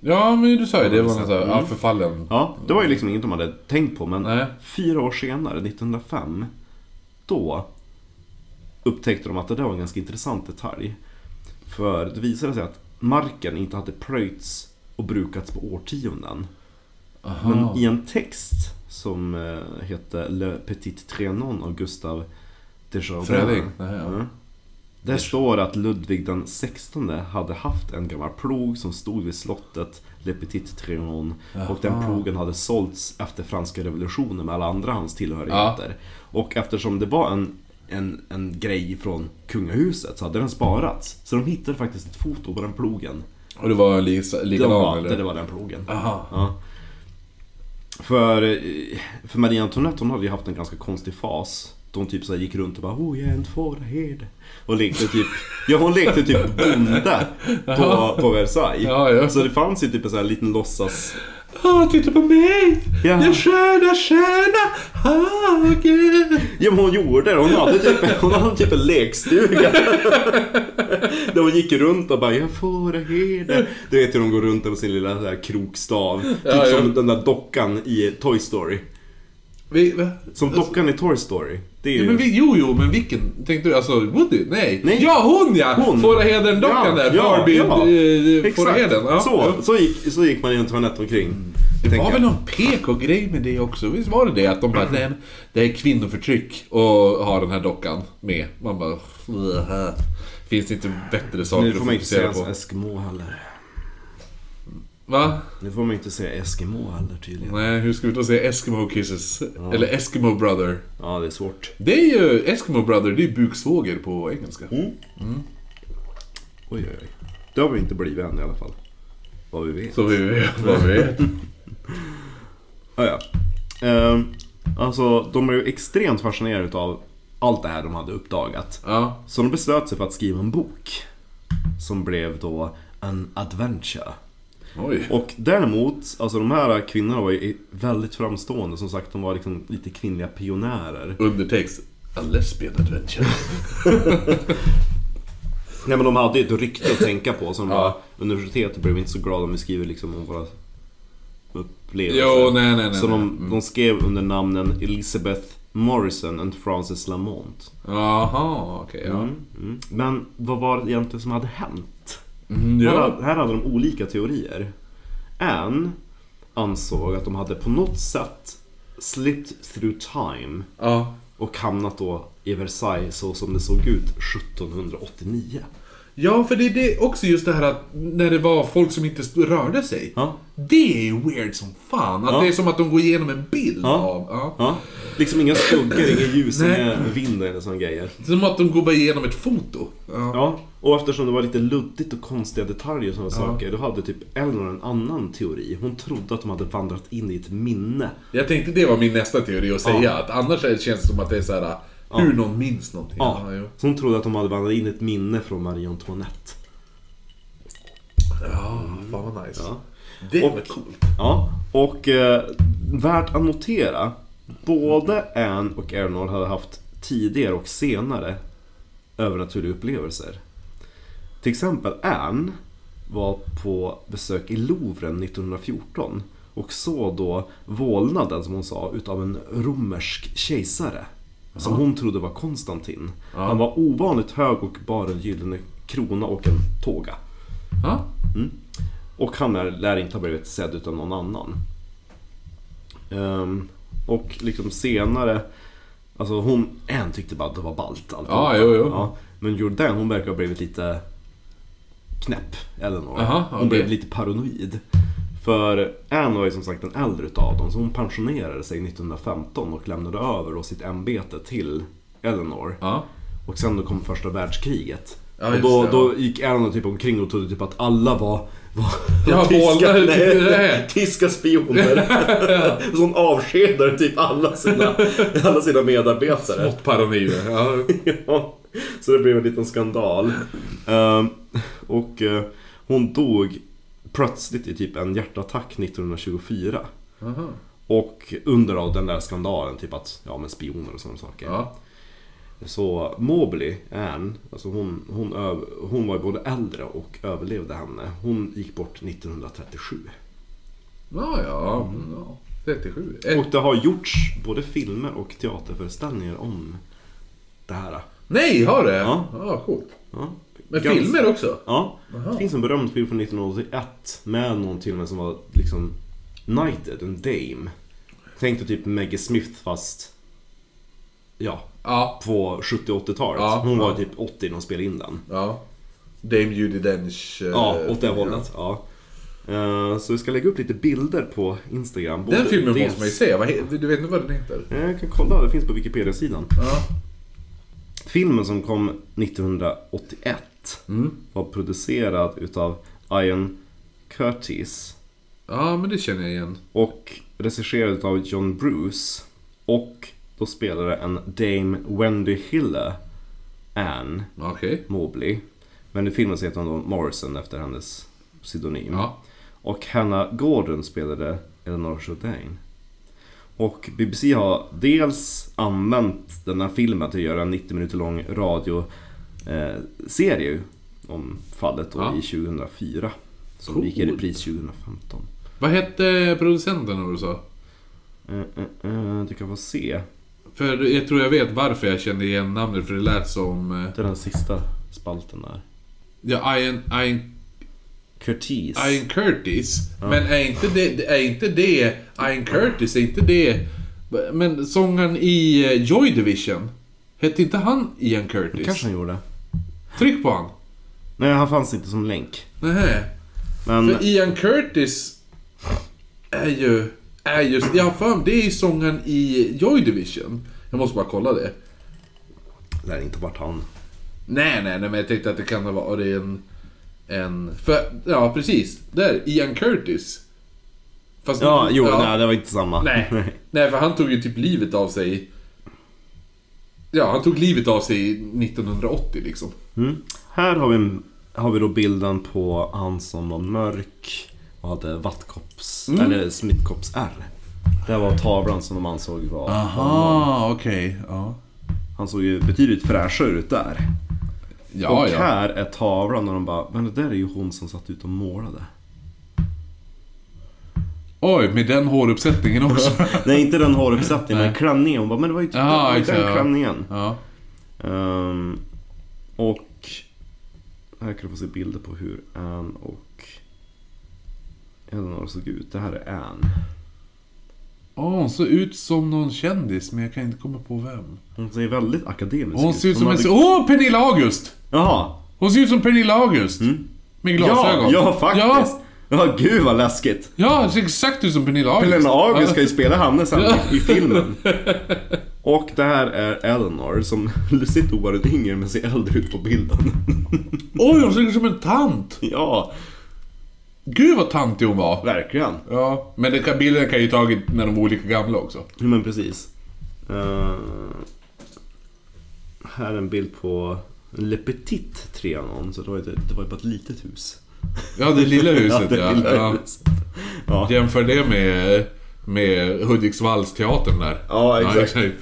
[SPEAKER 3] Ja, men du sa ju det var någon sån här, ja, förfallen.
[SPEAKER 1] Ja, det var ju liksom inget de hade tänkt på men
[SPEAKER 3] Nej.
[SPEAKER 1] fyra år senare, 1905, då upptäckte de att det där var en ganska intressant detalj. För det visade sig att marken inte hade plöjts och brukats på årtionden. Men i en text som eh, hette Le Petit Trianon av Gustav Desjardins.
[SPEAKER 3] Fredrik, nej, ja.
[SPEAKER 1] Mm. Där står att Ludvig den 16 hade haft en gammal plog som stod vid slottet Le Petit Trianon och den plogen hade sålts efter franska revolutionen med alla andra hans tillhörigheter. Och eftersom det var en, en, en grej från kungahuset så hade den sparats. Så de hittade faktiskt ett foto på den plogen.
[SPEAKER 3] Och det var en lisa,
[SPEAKER 1] De
[SPEAKER 3] likadan
[SPEAKER 1] bara,
[SPEAKER 3] eller?
[SPEAKER 1] det, det var den plogen.
[SPEAKER 3] Aha.
[SPEAKER 1] Ja. För, eh, för Marie Antoinette hon hade ju haft en ganska konstig fas. Då hon typ så här gick runt och bara oh jag är en fåraherde. Och lekte typ, ja hon lekte typ bonde på, på Versailles.
[SPEAKER 3] Ja, ja.
[SPEAKER 1] Så det fanns ju typ en sån här liten låtsas...
[SPEAKER 3] Ah, titta på mig!
[SPEAKER 1] Ja.
[SPEAKER 3] Jag sköna, sköna hage.
[SPEAKER 1] Ja men hon gjorde det, hon hade typ, hon hade typ en lekstuga. Där hon gick runt och bara jag fåraherde. Du vet hur de går runt där med sin lilla så här krokstav. Typ
[SPEAKER 3] Ja, ja.
[SPEAKER 1] som den där dockan i Toy Story.
[SPEAKER 3] Vi, va?
[SPEAKER 1] Som dockan i Toy Story. Det är ju...
[SPEAKER 3] Alltså- Ja, men vi, jo, jo, men vilken? Tänkte du alltså Woody? Nej.
[SPEAKER 1] Nej.
[SPEAKER 3] Ja, hon ja!
[SPEAKER 1] Hon.
[SPEAKER 3] Fåraheden-dockan
[SPEAKER 1] Ja,
[SPEAKER 3] där.
[SPEAKER 1] ja,
[SPEAKER 3] Barbie,
[SPEAKER 1] ja.
[SPEAKER 3] eh,
[SPEAKER 1] Exakt.
[SPEAKER 3] Fåraheden. Ja. Mm.
[SPEAKER 1] Så, så, gick, så gick man i en toalett omkring.
[SPEAKER 3] Det
[SPEAKER 1] tänker
[SPEAKER 3] var
[SPEAKER 1] jag. Mm.
[SPEAKER 3] väl någon PK-grej med det också? Visst var det det? Att de bara, nej, men det är kvinnoförtryck och ha den här dockan med. Man bara, "Bleh." finns det inte bättre saker
[SPEAKER 1] Nu
[SPEAKER 3] att
[SPEAKER 1] får man inte säga
[SPEAKER 3] fokusera på?
[SPEAKER 1] alltså Eskimo heller.
[SPEAKER 3] Va?
[SPEAKER 1] Nu får man inte säga Eskimo heller tydligen.
[SPEAKER 3] Nej, hur ska vi då säga Eskimo Kisses? Eller Eskimo Brother?
[SPEAKER 1] Ja, det är svårt.
[SPEAKER 3] Det är ju, Eskimo Brother, det är buksvåger på engelska.
[SPEAKER 1] Mm.
[SPEAKER 3] Mm.
[SPEAKER 1] Oj, oj, oj. Det har vi inte blivit än i alla fall. Vad vi vet.
[SPEAKER 3] Så vi vet vad vi är.
[SPEAKER 1] Ah, ja. Ehm, alltså, de är ju extremt fascinerade utav allt det här de hade uppdagat.
[SPEAKER 3] Ja.
[SPEAKER 1] Så de beslöt sig för att skriva en bok. Som blev då An Adventure.
[SPEAKER 3] Oj.
[SPEAKER 1] Och däremot, alltså de här kvinnorna var ju väldigt framstående. Som sagt, de var liksom lite kvinnliga pionjärer.
[SPEAKER 3] Undertext. A lesbian adventure.
[SPEAKER 1] Nej men de hade ju ett rykte att tänka på. Som bara, universitetet blev inte så glada om vi skriver liksom om våra upplevelser.
[SPEAKER 3] Jo, nej, nej, nej.
[SPEAKER 1] Så
[SPEAKER 3] nej.
[SPEAKER 1] de, de skrev under namnen Elizabeth Morrison and Frances Lamont.
[SPEAKER 3] Jaha, okej. ja.
[SPEAKER 1] Mm. Mm. Men vad var det egentligen som hade hänt?
[SPEAKER 3] Mm, ja.
[SPEAKER 1] Här, här hade de olika teorier. En ansåg att de hade på något sätt slipped through time
[SPEAKER 3] ja.
[SPEAKER 1] och hamnat då i Versailles så som det såg ut 1789.
[SPEAKER 3] Ja, för det är det också just det här att när det var folk som inte st- rörde sig.
[SPEAKER 1] Ja.
[SPEAKER 3] Det är ju weird som fan. Att
[SPEAKER 1] Ja.
[SPEAKER 3] det är som att de går igenom en bild
[SPEAKER 1] Ja.
[SPEAKER 3] av. Ja.
[SPEAKER 1] Ja. Liksom inga skuggor, inga ljus,
[SPEAKER 3] Nej.
[SPEAKER 1] inga vind eller sådana grejer.
[SPEAKER 3] Som att de går bara igenom ett foto. Ja.
[SPEAKER 1] Ja, och eftersom det var lite luddigt och konstiga detaljer och sådana saker, då hade typ Eleanor en annan teori. Hon trodde att de hade vandrat in i ett minne.
[SPEAKER 3] Jag tänkte det var min nästa teori att säga. Att annars är- känns det som att det är så här hur någon minns någonting.
[SPEAKER 1] Ja.
[SPEAKER 3] Ja, jo.
[SPEAKER 1] Så hon trodde att de hade vandrat in i ett minne från Marie Antoinette.
[SPEAKER 3] ja fan vad nice.
[SPEAKER 1] Ja.
[SPEAKER 3] Det
[SPEAKER 1] Och-
[SPEAKER 3] var coolt.
[SPEAKER 1] Ja, och eh, värt att notera, både Anne och Eleanor hade haft tidigare och senare övernaturliga upplevelser. Till exempel Anne var på besök i Louvren 1914 och såg då vålnaden, som hon sa, utav en romersk kejsare. Som hon trodde var Konstantin. Han var ovanligt hög och bar en gyllene krona och en tåga.
[SPEAKER 3] Ja.
[SPEAKER 1] Och han är, lär inte ha blivit sedd utan någon annan. Ehm, och liksom senare, alltså hon, en tyckte bara att det var ballt allt.
[SPEAKER 3] Ja, jo, jo.
[SPEAKER 1] Ja, men Jordan hon verkar ha blivit lite knäpp, Eleanor.
[SPEAKER 3] Aha,
[SPEAKER 1] hon
[SPEAKER 3] okej.
[SPEAKER 1] blev lite paranoid. För Anne var ju som sagt den äldre utav dem, så hon pensionerade sig 1915 och lämnade över då sitt ämbete till Eleanor.
[SPEAKER 3] Ja.
[SPEAKER 1] Och sen då kom första världskriget.
[SPEAKER 3] Ja,
[SPEAKER 1] och
[SPEAKER 3] just
[SPEAKER 1] då,
[SPEAKER 3] det, ja.
[SPEAKER 1] då gick Erna typ omkring och trodde typ att alla var... var
[SPEAKER 3] Ja, vålnade, tyckte du det?
[SPEAKER 1] nej, tyska spioner. Så hon avskedade typ alla sina, alla sina medarbetare.
[SPEAKER 3] Mått paranoid. Ja.
[SPEAKER 1] Ja, så det blev en liten skandal. Ehm, och eh, hon dog plötsligt i typ en hjärtattack 1924.
[SPEAKER 3] Aha.
[SPEAKER 1] Och under av den där skandalen, typ att, ja men spioner och sådana saker.
[SPEAKER 3] Ja.
[SPEAKER 1] Så Mobley, Ann, alltså hon, hon, öv, hon var både äldre och överlevde henne. Hon gick bort 1937.
[SPEAKER 3] Ja, ja. ja. 37. Eh,
[SPEAKER 1] Mm. Och det har gjorts både filmer och teaterföreställningar om det här.
[SPEAKER 3] Nej, har det?
[SPEAKER 1] Ja.
[SPEAKER 3] Ja, coolt.
[SPEAKER 1] Ja.
[SPEAKER 3] Men
[SPEAKER 1] Gans-
[SPEAKER 3] filmer också?
[SPEAKER 1] Ja. Det finns en berömd film från 1981 med någon till och med som var liksom Knighted, en dame. Tänk dig typ Maggie Smith fast ja,
[SPEAKER 3] Ja.
[SPEAKER 1] på 70 och 80-talet.
[SPEAKER 3] Ja,
[SPEAKER 1] Hon var
[SPEAKER 3] ja.
[SPEAKER 1] typ 80 när hon spelade in den.
[SPEAKER 3] ja. Dame Judi Dench. eh,
[SPEAKER 1] Ja, åt det
[SPEAKER 3] film,
[SPEAKER 1] hållet. Ja. Eh, Så vi ska lägga upp lite bilder på Instagram.
[SPEAKER 3] ja.
[SPEAKER 1] Både
[SPEAKER 3] Den filmen
[SPEAKER 1] dels-
[SPEAKER 3] måste man ju se. Vad he- Du vet inte vad den heter?
[SPEAKER 1] Eh, Jag kan kolla, det finns på Wikipedia-sidan.
[SPEAKER 3] Ja.
[SPEAKER 1] Filmen som kom 1981
[SPEAKER 3] Mm.
[SPEAKER 1] var producerad utav Ian Curtis
[SPEAKER 3] ja, men det känner jag igen.
[SPEAKER 1] och regisserad utav John Bruce. Och då spelade en Dame Wendy Hiller, Anne
[SPEAKER 3] Okej.
[SPEAKER 1] Mobley. Men i filmen så heter hon då Morrison efter hennes pseudonym.
[SPEAKER 3] Ja.
[SPEAKER 1] Och Hannah Gordon spelade Eleanor Jourdain. Och BBC har dels använt den här filmen till att göra en 90 minuter lång radioserie om fallet då
[SPEAKER 3] Ja.
[SPEAKER 1] i 2004. Som
[SPEAKER 3] Coolt.
[SPEAKER 1] gick i repris 2015.
[SPEAKER 3] Vad hette producenten du sa?
[SPEAKER 1] Eh, eh, eh, du kan få se.
[SPEAKER 3] För jag tror jag vet varför jag kände igen namnet, för det lät som... eh,
[SPEAKER 1] Det är den sista spalten där.
[SPEAKER 3] Ja, Ian... Ian...
[SPEAKER 1] Curtis.
[SPEAKER 3] Ian Curtis. Men är inte det... Är inte det... Ian Curtis, är inte det... Men sångaren i eh, Joy Division. Hette inte han Ian Curtis?
[SPEAKER 1] Kanske han gjorde.
[SPEAKER 3] Tryck på han.
[SPEAKER 1] Nej, han fanns inte som länk.
[SPEAKER 3] Nähä.
[SPEAKER 1] Men...
[SPEAKER 3] För Ian Curtis är ju... Är just... Jag har för mig, det är ju sångaren i Joy Division. Jag måste bara kolla det.
[SPEAKER 1] Det är inte vart han.
[SPEAKER 3] Nej, nej, nej, men jag tänkte att det kan ha varit en... En... För, ja, precis. Där, Ian Curtis. Fast
[SPEAKER 1] Ja, jo,
[SPEAKER 3] ja,
[SPEAKER 1] nej det var inte samma.
[SPEAKER 3] nej. Nej, för han tog ju typ livet av sig... Ja, han tog livet av sig 1980 liksom.
[SPEAKER 1] Mm. Här har vi, en- har vi då bilden på han som var mörk och hade vattkops,
[SPEAKER 3] Mm.
[SPEAKER 1] eller smittkoppsärr. Det här var tavlan som de ansåg var...
[SPEAKER 3] Ah. Aha, okej. Ja.
[SPEAKER 1] Han såg ju betydligt fräschare ut där.
[SPEAKER 3] Ah, Ja,
[SPEAKER 1] och
[SPEAKER 3] ja.
[SPEAKER 1] här är tavlan och de bara, men det där är ju hon som satt ut och målade.
[SPEAKER 3] Oj, med den håruppsättningen också.
[SPEAKER 1] Nej, inte den håruppsättningen, men
[SPEAKER 3] Nej.
[SPEAKER 1] klänningen. Hon bara, men det var ju typ
[SPEAKER 3] Ja,
[SPEAKER 1] den,
[SPEAKER 3] exakt,
[SPEAKER 1] den
[SPEAKER 3] ja.
[SPEAKER 1] klänningen.
[SPEAKER 3] ja.
[SPEAKER 1] Ehm, och här kan du få se bilder på hur Ann och Eleanor såg ut. Det här är Ann.
[SPEAKER 3] Åh, hon ser ut som någon kändis, men jag kan inte komma på vem.
[SPEAKER 1] Hon ser väldigt akademisk
[SPEAKER 3] Hon
[SPEAKER 1] ut.
[SPEAKER 3] ser ut som en...
[SPEAKER 1] hade-
[SPEAKER 3] Åh, Pernilla August!
[SPEAKER 1] Jaha!
[SPEAKER 3] Hon ser ut som Pernilla August. Med
[SPEAKER 1] Ja,
[SPEAKER 3] glasögon.
[SPEAKER 1] ja faktiskt!
[SPEAKER 3] Mm. Ja,
[SPEAKER 1] Ja. gud vad läskigt!
[SPEAKER 3] ja hon ser exakt ut som Pernilla August.
[SPEAKER 1] Helena August ska
[SPEAKER 3] Ja.
[SPEAKER 1] ju spela henne sen i- i filmen. Och det här är Eleanor som sitter ovanligt yngre men ser äldre ut på bilden.
[SPEAKER 3] Oj, hon ser ut som en tant!
[SPEAKER 1] Ja,
[SPEAKER 3] Gud vad tantig hon var.
[SPEAKER 1] verkligen.
[SPEAKER 3] Ja, men den kan, bilden kan ju tagit när de var olika gamla också.
[SPEAKER 1] Jo, men precis. Eh, här är en bild på Le Petit Trianon, så det var ju, det var ju bara ett litet hus.
[SPEAKER 3] Ja, det lilla huset ja.
[SPEAKER 1] lilla
[SPEAKER 3] ja.
[SPEAKER 1] huset. Ja.
[SPEAKER 3] Jämför det med, med Hudiksvallsteatern där.
[SPEAKER 1] Ja, exakt.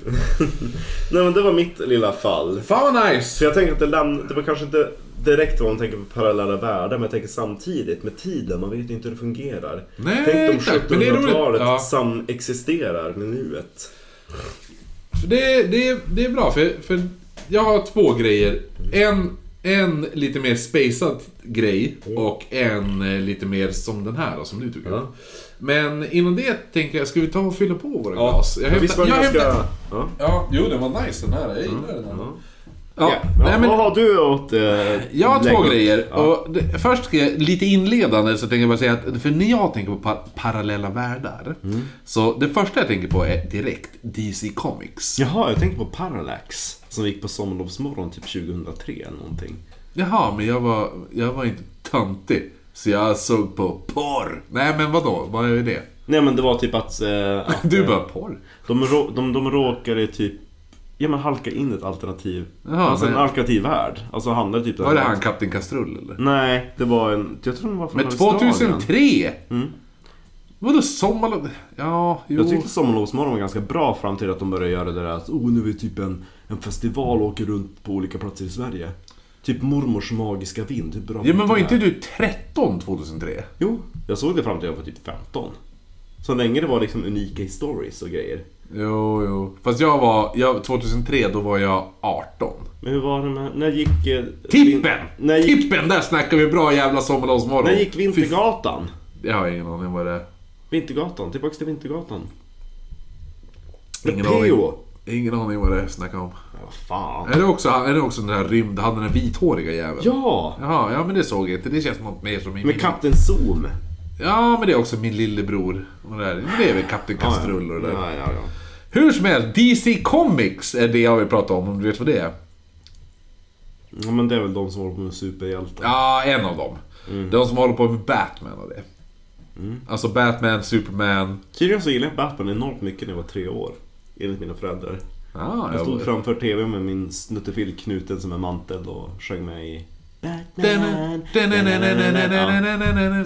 [SPEAKER 1] Nej men det var mitt lilla fall.
[SPEAKER 3] Fan vad
[SPEAKER 1] Så
[SPEAKER 3] nice!
[SPEAKER 1] jag tänker att det, läm- det var kanske inte direkt vad man tänker på parallella världar, men jag tänker samtidigt med tiden, man vet ju inte hur det fungerar.
[SPEAKER 3] Nej,
[SPEAKER 1] Tänk om
[SPEAKER 3] exakt, men det är roligt.
[SPEAKER 1] 1700-talet
[SPEAKER 3] Ja.
[SPEAKER 1] samexisterar med nuet.
[SPEAKER 3] För Det, det, det är bra, för, för jag har två grejer. En, en lite mer spacad grej och en eh, lite mer som den här då, som du tycker.
[SPEAKER 1] Mm. Ja.
[SPEAKER 3] Men innan det tänker jag, ska vi ta och fylla på våra glas? Jag
[SPEAKER 1] Ja, visst var
[SPEAKER 3] hämtar-
[SPEAKER 1] det
[SPEAKER 3] jag
[SPEAKER 1] ganska...
[SPEAKER 3] hämtar-
[SPEAKER 1] Ja.
[SPEAKER 3] Ja, jo den var nice den här. Jag gillar den här.
[SPEAKER 1] Ja.
[SPEAKER 3] Ja,
[SPEAKER 1] Mm. Ja,
[SPEAKER 3] nej, men,
[SPEAKER 1] Vad har du åt eh,
[SPEAKER 3] jag har två
[SPEAKER 1] lägg-
[SPEAKER 3] grejer.
[SPEAKER 1] Ja.
[SPEAKER 3] Och det, först ska jag, lite inledande så tänker jag bara säga att för när jag tänker på par parallella världar.
[SPEAKER 1] Mm.
[SPEAKER 3] Så det första jag tänker på är direkt DC Comics.
[SPEAKER 1] Jaha, jag tänkte på Parallax. Som gick på Sommarlovsmorgon typ 2003 eller någonting.
[SPEAKER 3] Jaha, men jag var, jag var inte töntig. Så jag såg på porr. Nej, men vadå? Vad är det?
[SPEAKER 1] Nej men det var typ att... Eh, att
[SPEAKER 3] Du
[SPEAKER 1] eh,
[SPEAKER 3] bara porr?
[SPEAKER 1] de, rå, de, de råkade typ... Ja men halka in ett alternativ.
[SPEAKER 3] Jaha,
[SPEAKER 1] alltså en
[SPEAKER 3] men-
[SPEAKER 1] alternativ värld. Alltså handlade typ...
[SPEAKER 3] Var det han Kapten Kastrull
[SPEAKER 1] Mm.
[SPEAKER 3] eller?
[SPEAKER 1] Nej, det var en... Jag tror den var från
[SPEAKER 3] Men
[SPEAKER 1] Australien.
[SPEAKER 3] 2003? Vadå sommarlov? Ja, jo.
[SPEAKER 1] Mm. Jag tyckte Sommarlovsmorgon var ganska bra fram till att de började göra det där att oh, nu är vi typ en, en festival och åker runt på olika platser i Sverige. Typ Mormors magiska vind. Hur bra
[SPEAKER 3] Ja, men var
[SPEAKER 1] det
[SPEAKER 3] inte
[SPEAKER 1] är.
[SPEAKER 3] du 13 2003?
[SPEAKER 1] Jo, jag såg det fram till jag var typ 15. Så länge det var liksom unika stories och grejer.
[SPEAKER 3] Jo, jo. Fast jag var... Jag, 2003, då var jag 18.
[SPEAKER 1] Men hur var det med... När gick... eh,
[SPEAKER 3] Tippen!
[SPEAKER 1] När gick,
[SPEAKER 3] Tippen! Där snackar vi bra jävla sommarlovsmorgon.
[SPEAKER 1] när gick
[SPEAKER 3] Fy f-
[SPEAKER 1] Vintergatan?
[SPEAKER 3] Jag har ingen aning vad det är.
[SPEAKER 1] Vintergatan, tillbaks till Vintergatan. Med
[SPEAKER 3] Ingen aning. Äh.
[SPEAKER 1] PO.
[SPEAKER 3] Ingen aning vad det är snackar om.
[SPEAKER 1] Ja, Vad fan.
[SPEAKER 3] Är det också, är det också den här rymd... Han den här vithåriga jäveln?
[SPEAKER 1] Ja!
[SPEAKER 3] Jaha, ja men det såg jag inte. Det känns något mer som i min...
[SPEAKER 1] Med Kapten Zoom.
[SPEAKER 3] Ja, men det är också min lillebror. Och det, där. Men det är väl Kapten Kastrull och det där.
[SPEAKER 1] Ja, ja, ja.
[SPEAKER 3] Hur som helst, DC Comics är det jag vill prata om, om du vet vad det är.
[SPEAKER 1] ja men det är väl de som håller på med superhjältar.
[SPEAKER 3] Ja, en av dem.
[SPEAKER 1] Mm.
[SPEAKER 3] De som håller på med Batman och det. Alltså Batman, Superman...
[SPEAKER 1] Tydligen så gillade jag Batman enormt mycket när jag var tre år. Enligt mina föräldrar.
[SPEAKER 3] Ah,
[SPEAKER 1] Jag stod framför TV med min snuttefilt knuten som en mantel och sjöng med i... Batman. Ja,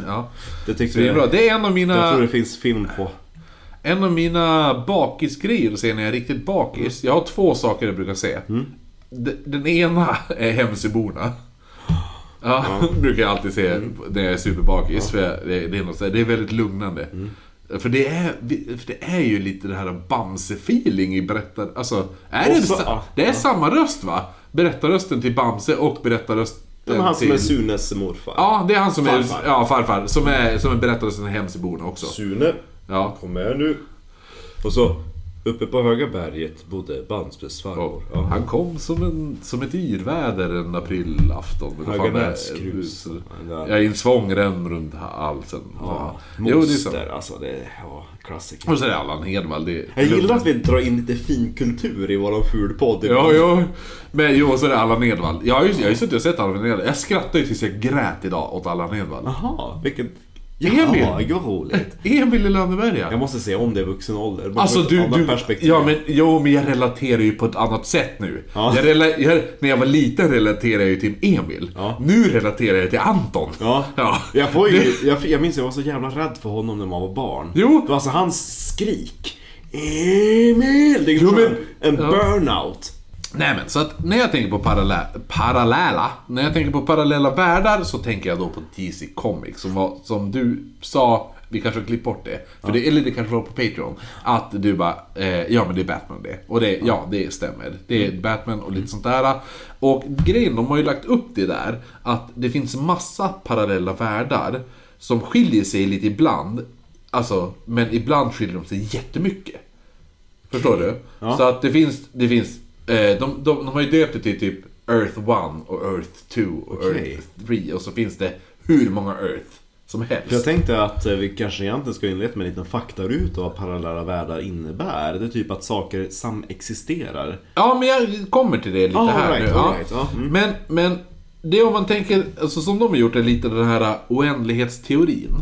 [SPEAKER 3] Ja,
[SPEAKER 1] Det
[SPEAKER 3] så
[SPEAKER 1] tyckte
[SPEAKER 3] det är bra.
[SPEAKER 1] jag.
[SPEAKER 3] Det är en av
[SPEAKER 1] Jag tror
[SPEAKER 3] mina,
[SPEAKER 1] det finns film på.
[SPEAKER 3] en av mina bakisgrejer att se när jag är riktigt bakis. Jag har två saker jag brukar se.
[SPEAKER 1] Mm.
[SPEAKER 3] D- Den ena är Hemsöborna. Ja, brukar jag alltid se
[SPEAKER 1] Mm.
[SPEAKER 3] när jag är superbakis. För jag, det, det, är något, så här- det är väldigt lugnande.
[SPEAKER 1] Mm.
[SPEAKER 3] För, det är, för det är ju lite det här Bamse-feeling i berättar... Alltså, är
[SPEAKER 1] Och
[SPEAKER 3] det,
[SPEAKER 1] så-
[SPEAKER 3] sa-
[SPEAKER 1] ja.
[SPEAKER 3] det är samma röst va? Berättarrösten till Bamse och berättarröst
[SPEAKER 1] Det var han som
[SPEAKER 3] till-
[SPEAKER 1] är Sunes morfar.
[SPEAKER 3] Ja, det är han som
[SPEAKER 1] Farfar.
[SPEAKER 3] är... Ja, farfar. Som är, som är berättelsen Hemsöborna också.
[SPEAKER 1] Sune,
[SPEAKER 3] Ja.
[SPEAKER 1] kom med nu. Och så, uppe på höga berget bodde Bamses farmor.
[SPEAKER 3] Ja, Han kom som, en, som ett yrväder en aprilafton. Vad fan
[SPEAKER 1] Höga
[SPEAKER 3] är det?
[SPEAKER 1] näskrus. Ja.
[SPEAKER 3] Ja, i en svångrem runt halsen. Ja. Jo, det är så.
[SPEAKER 1] Moster, alltså det är ja, klassiker.
[SPEAKER 3] Och så är det Allan Hedvall. Det är
[SPEAKER 1] Jag gillar att vi drar in lite finkultur i våran fulpodd.
[SPEAKER 3] Ja, jo. Men jo, så är det Allan Edwall. Jag har ju jag har ju suttit och sett Allan Edwall. Jag skrattade ju tills jag grät idag åt Allan Edwall.
[SPEAKER 1] Jaha, vilket...
[SPEAKER 3] Emil.
[SPEAKER 1] Ja, gud vad roligt.
[SPEAKER 3] Emil i Lönneberga.
[SPEAKER 1] Jag måste se om det är vuxen ålder. Bara
[SPEAKER 3] Alltså
[SPEAKER 1] från ett
[SPEAKER 3] du,
[SPEAKER 1] annat
[SPEAKER 3] du
[SPEAKER 1] perspektiv.
[SPEAKER 3] ja, men, jo men jag relaterar ju på ett annat sätt nu.
[SPEAKER 1] Ja.
[SPEAKER 3] Jag rela, jag, när jag var liten relaterade jag ju till Emil.
[SPEAKER 1] Ja.
[SPEAKER 3] Nu relaterar jag till Anton.
[SPEAKER 1] Ja.
[SPEAKER 3] Ja.
[SPEAKER 1] Jag, får ju, jag, jag minns jag var så jävla rädd för honom när man var barn.
[SPEAKER 3] Jo.
[SPEAKER 1] Det var alltså hans skrik. Emil! Det är
[SPEAKER 3] Jo,
[SPEAKER 1] som
[SPEAKER 3] men-
[SPEAKER 1] en, en
[SPEAKER 3] ja.
[SPEAKER 1] burnout.
[SPEAKER 3] Nej men så att när jag tänker på parallä, parallella, när jag tänker på parallella världar så tänker jag då på DC Comics som, var, som du sa, vi kanske har klippt bort det, för det, eller det kanske var på Patreon, att du bara eh, ja men det är Batman det. Och det, ja det stämmer, det är Batman och lite sånt där. Och grejen, de har ju lagt upp det där, att det finns massa parallella världar som skiljer sig lite ibland, alltså, men ibland skiljer de sig jättemycket. Förstår du? Så att det finns... Det finns eh, de, de, de har ju döpt det till typ Earth 1 och Earth 2 och
[SPEAKER 1] Okej.
[SPEAKER 3] Earth 3 och så finns det hur många Earth som helst.
[SPEAKER 1] För jag tänkte att eh, vi kanske egentligen ska inleda med en liten faktaruta vad parallella världar innebär. Det är typ att saker samexisterar.
[SPEAKER 3] Ja, men jag kommer till det lite
[SPEAKER 1] Ah,
[SPEAKER 3] här
[SPEAKER 1] alright,
[SPEAKER 3] nu. Ja.
[SPEAKER 1] alright, ja. Mm.
[SPEAKER 3] Men, men det är om man tänker, alltså, som de har gjort är lite den här oändlighetsteorin.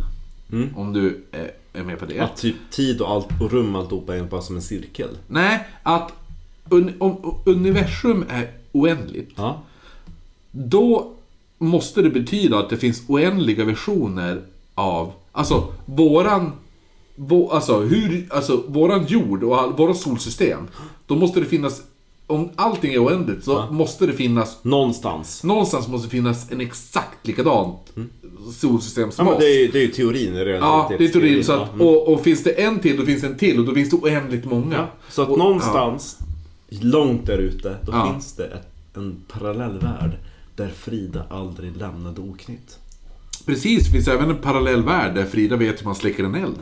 [SPEAKER 1] Mm.
[SPEAKER 3] Om du eh, är med på det.
[SPEAKER 1] Att typ tid och, allt, och rum alltihopa är bara som en cirkel.
[SPEAKER 3] Nej, att un, om universum är oändligt
[SPEAKER 1] Ja.
[SPEAKER 3] Då måste det betyda att det finns oändliga versioner av, alltså våran, vå, alltså hur, alltså våran jord och all, våran solsystem. Då måste det finnas, om allting är oändligt så måste det finnas,
[SPEAKER 1] Någonstans.
[SPEAKER 3] någonstans måste det finnas en exakt likadant solsystem
[SPEAKER 1] Mm. Ja,
[SPEAKER 3] som
[SPEAKER 1] men
[SPEAKER 3] oss.
[SPEAKER 1] det, är, ju- det är ju teorin. i
[SPEAKER 3] Ja, det är teorin. Så att,
[SPEAKER 1] ja.
[SPEAKER 3] och, och finns det en till, då finns det en till och då finns det oändligt många.
[SPEAKER 1] Så att
[SPEAKER 3] och,
[SPEAKER 1] någonstans, långt där ute, då
[SPEAKER 3] Ja.
[SPEAKER 1] finns det ett, en parallellvärld där Frida aldrig lämnade oknytt.
[SPEAKER 3] Ja, precis, det finns även en parallell värld där Frida vet hur man släcker en eld.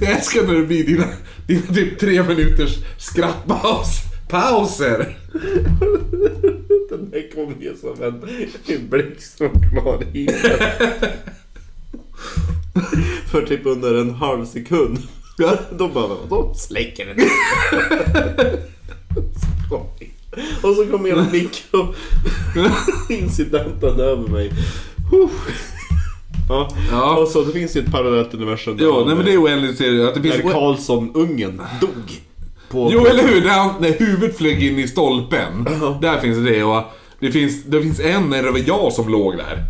[SPEAKER 3] Jag älskar när det blir dina, dina typ tre minuters skrattpaus. Pauser!
[SPEAKER 1] Den där kom ner som en, en blixt från klar himmel. För typ under en halv sekund.
[SPEAKER 3] Ja.
[SPEAKER 1] Då bara, då släcker den. Så kom- Och så kom hela mikroincidenten över mig. Huh. Ja.
[SPEAKER 3] Ja.
[SPEAKER 1] Och så det finns ju ett parallellt universum. där
[SPEAKER 3] Jo, nej men det är oändligt ser du. Att det
[SPEAKER 1] När
[SPEAKER 3] finns
[SPEAKER 1] Karlsson-ungen dog. På
[SPEAKER 3] Jo, eller hur? När, han, när huvudet flög in i stolpen. Där finns det och det finns, det finns en när det var jag som låg där.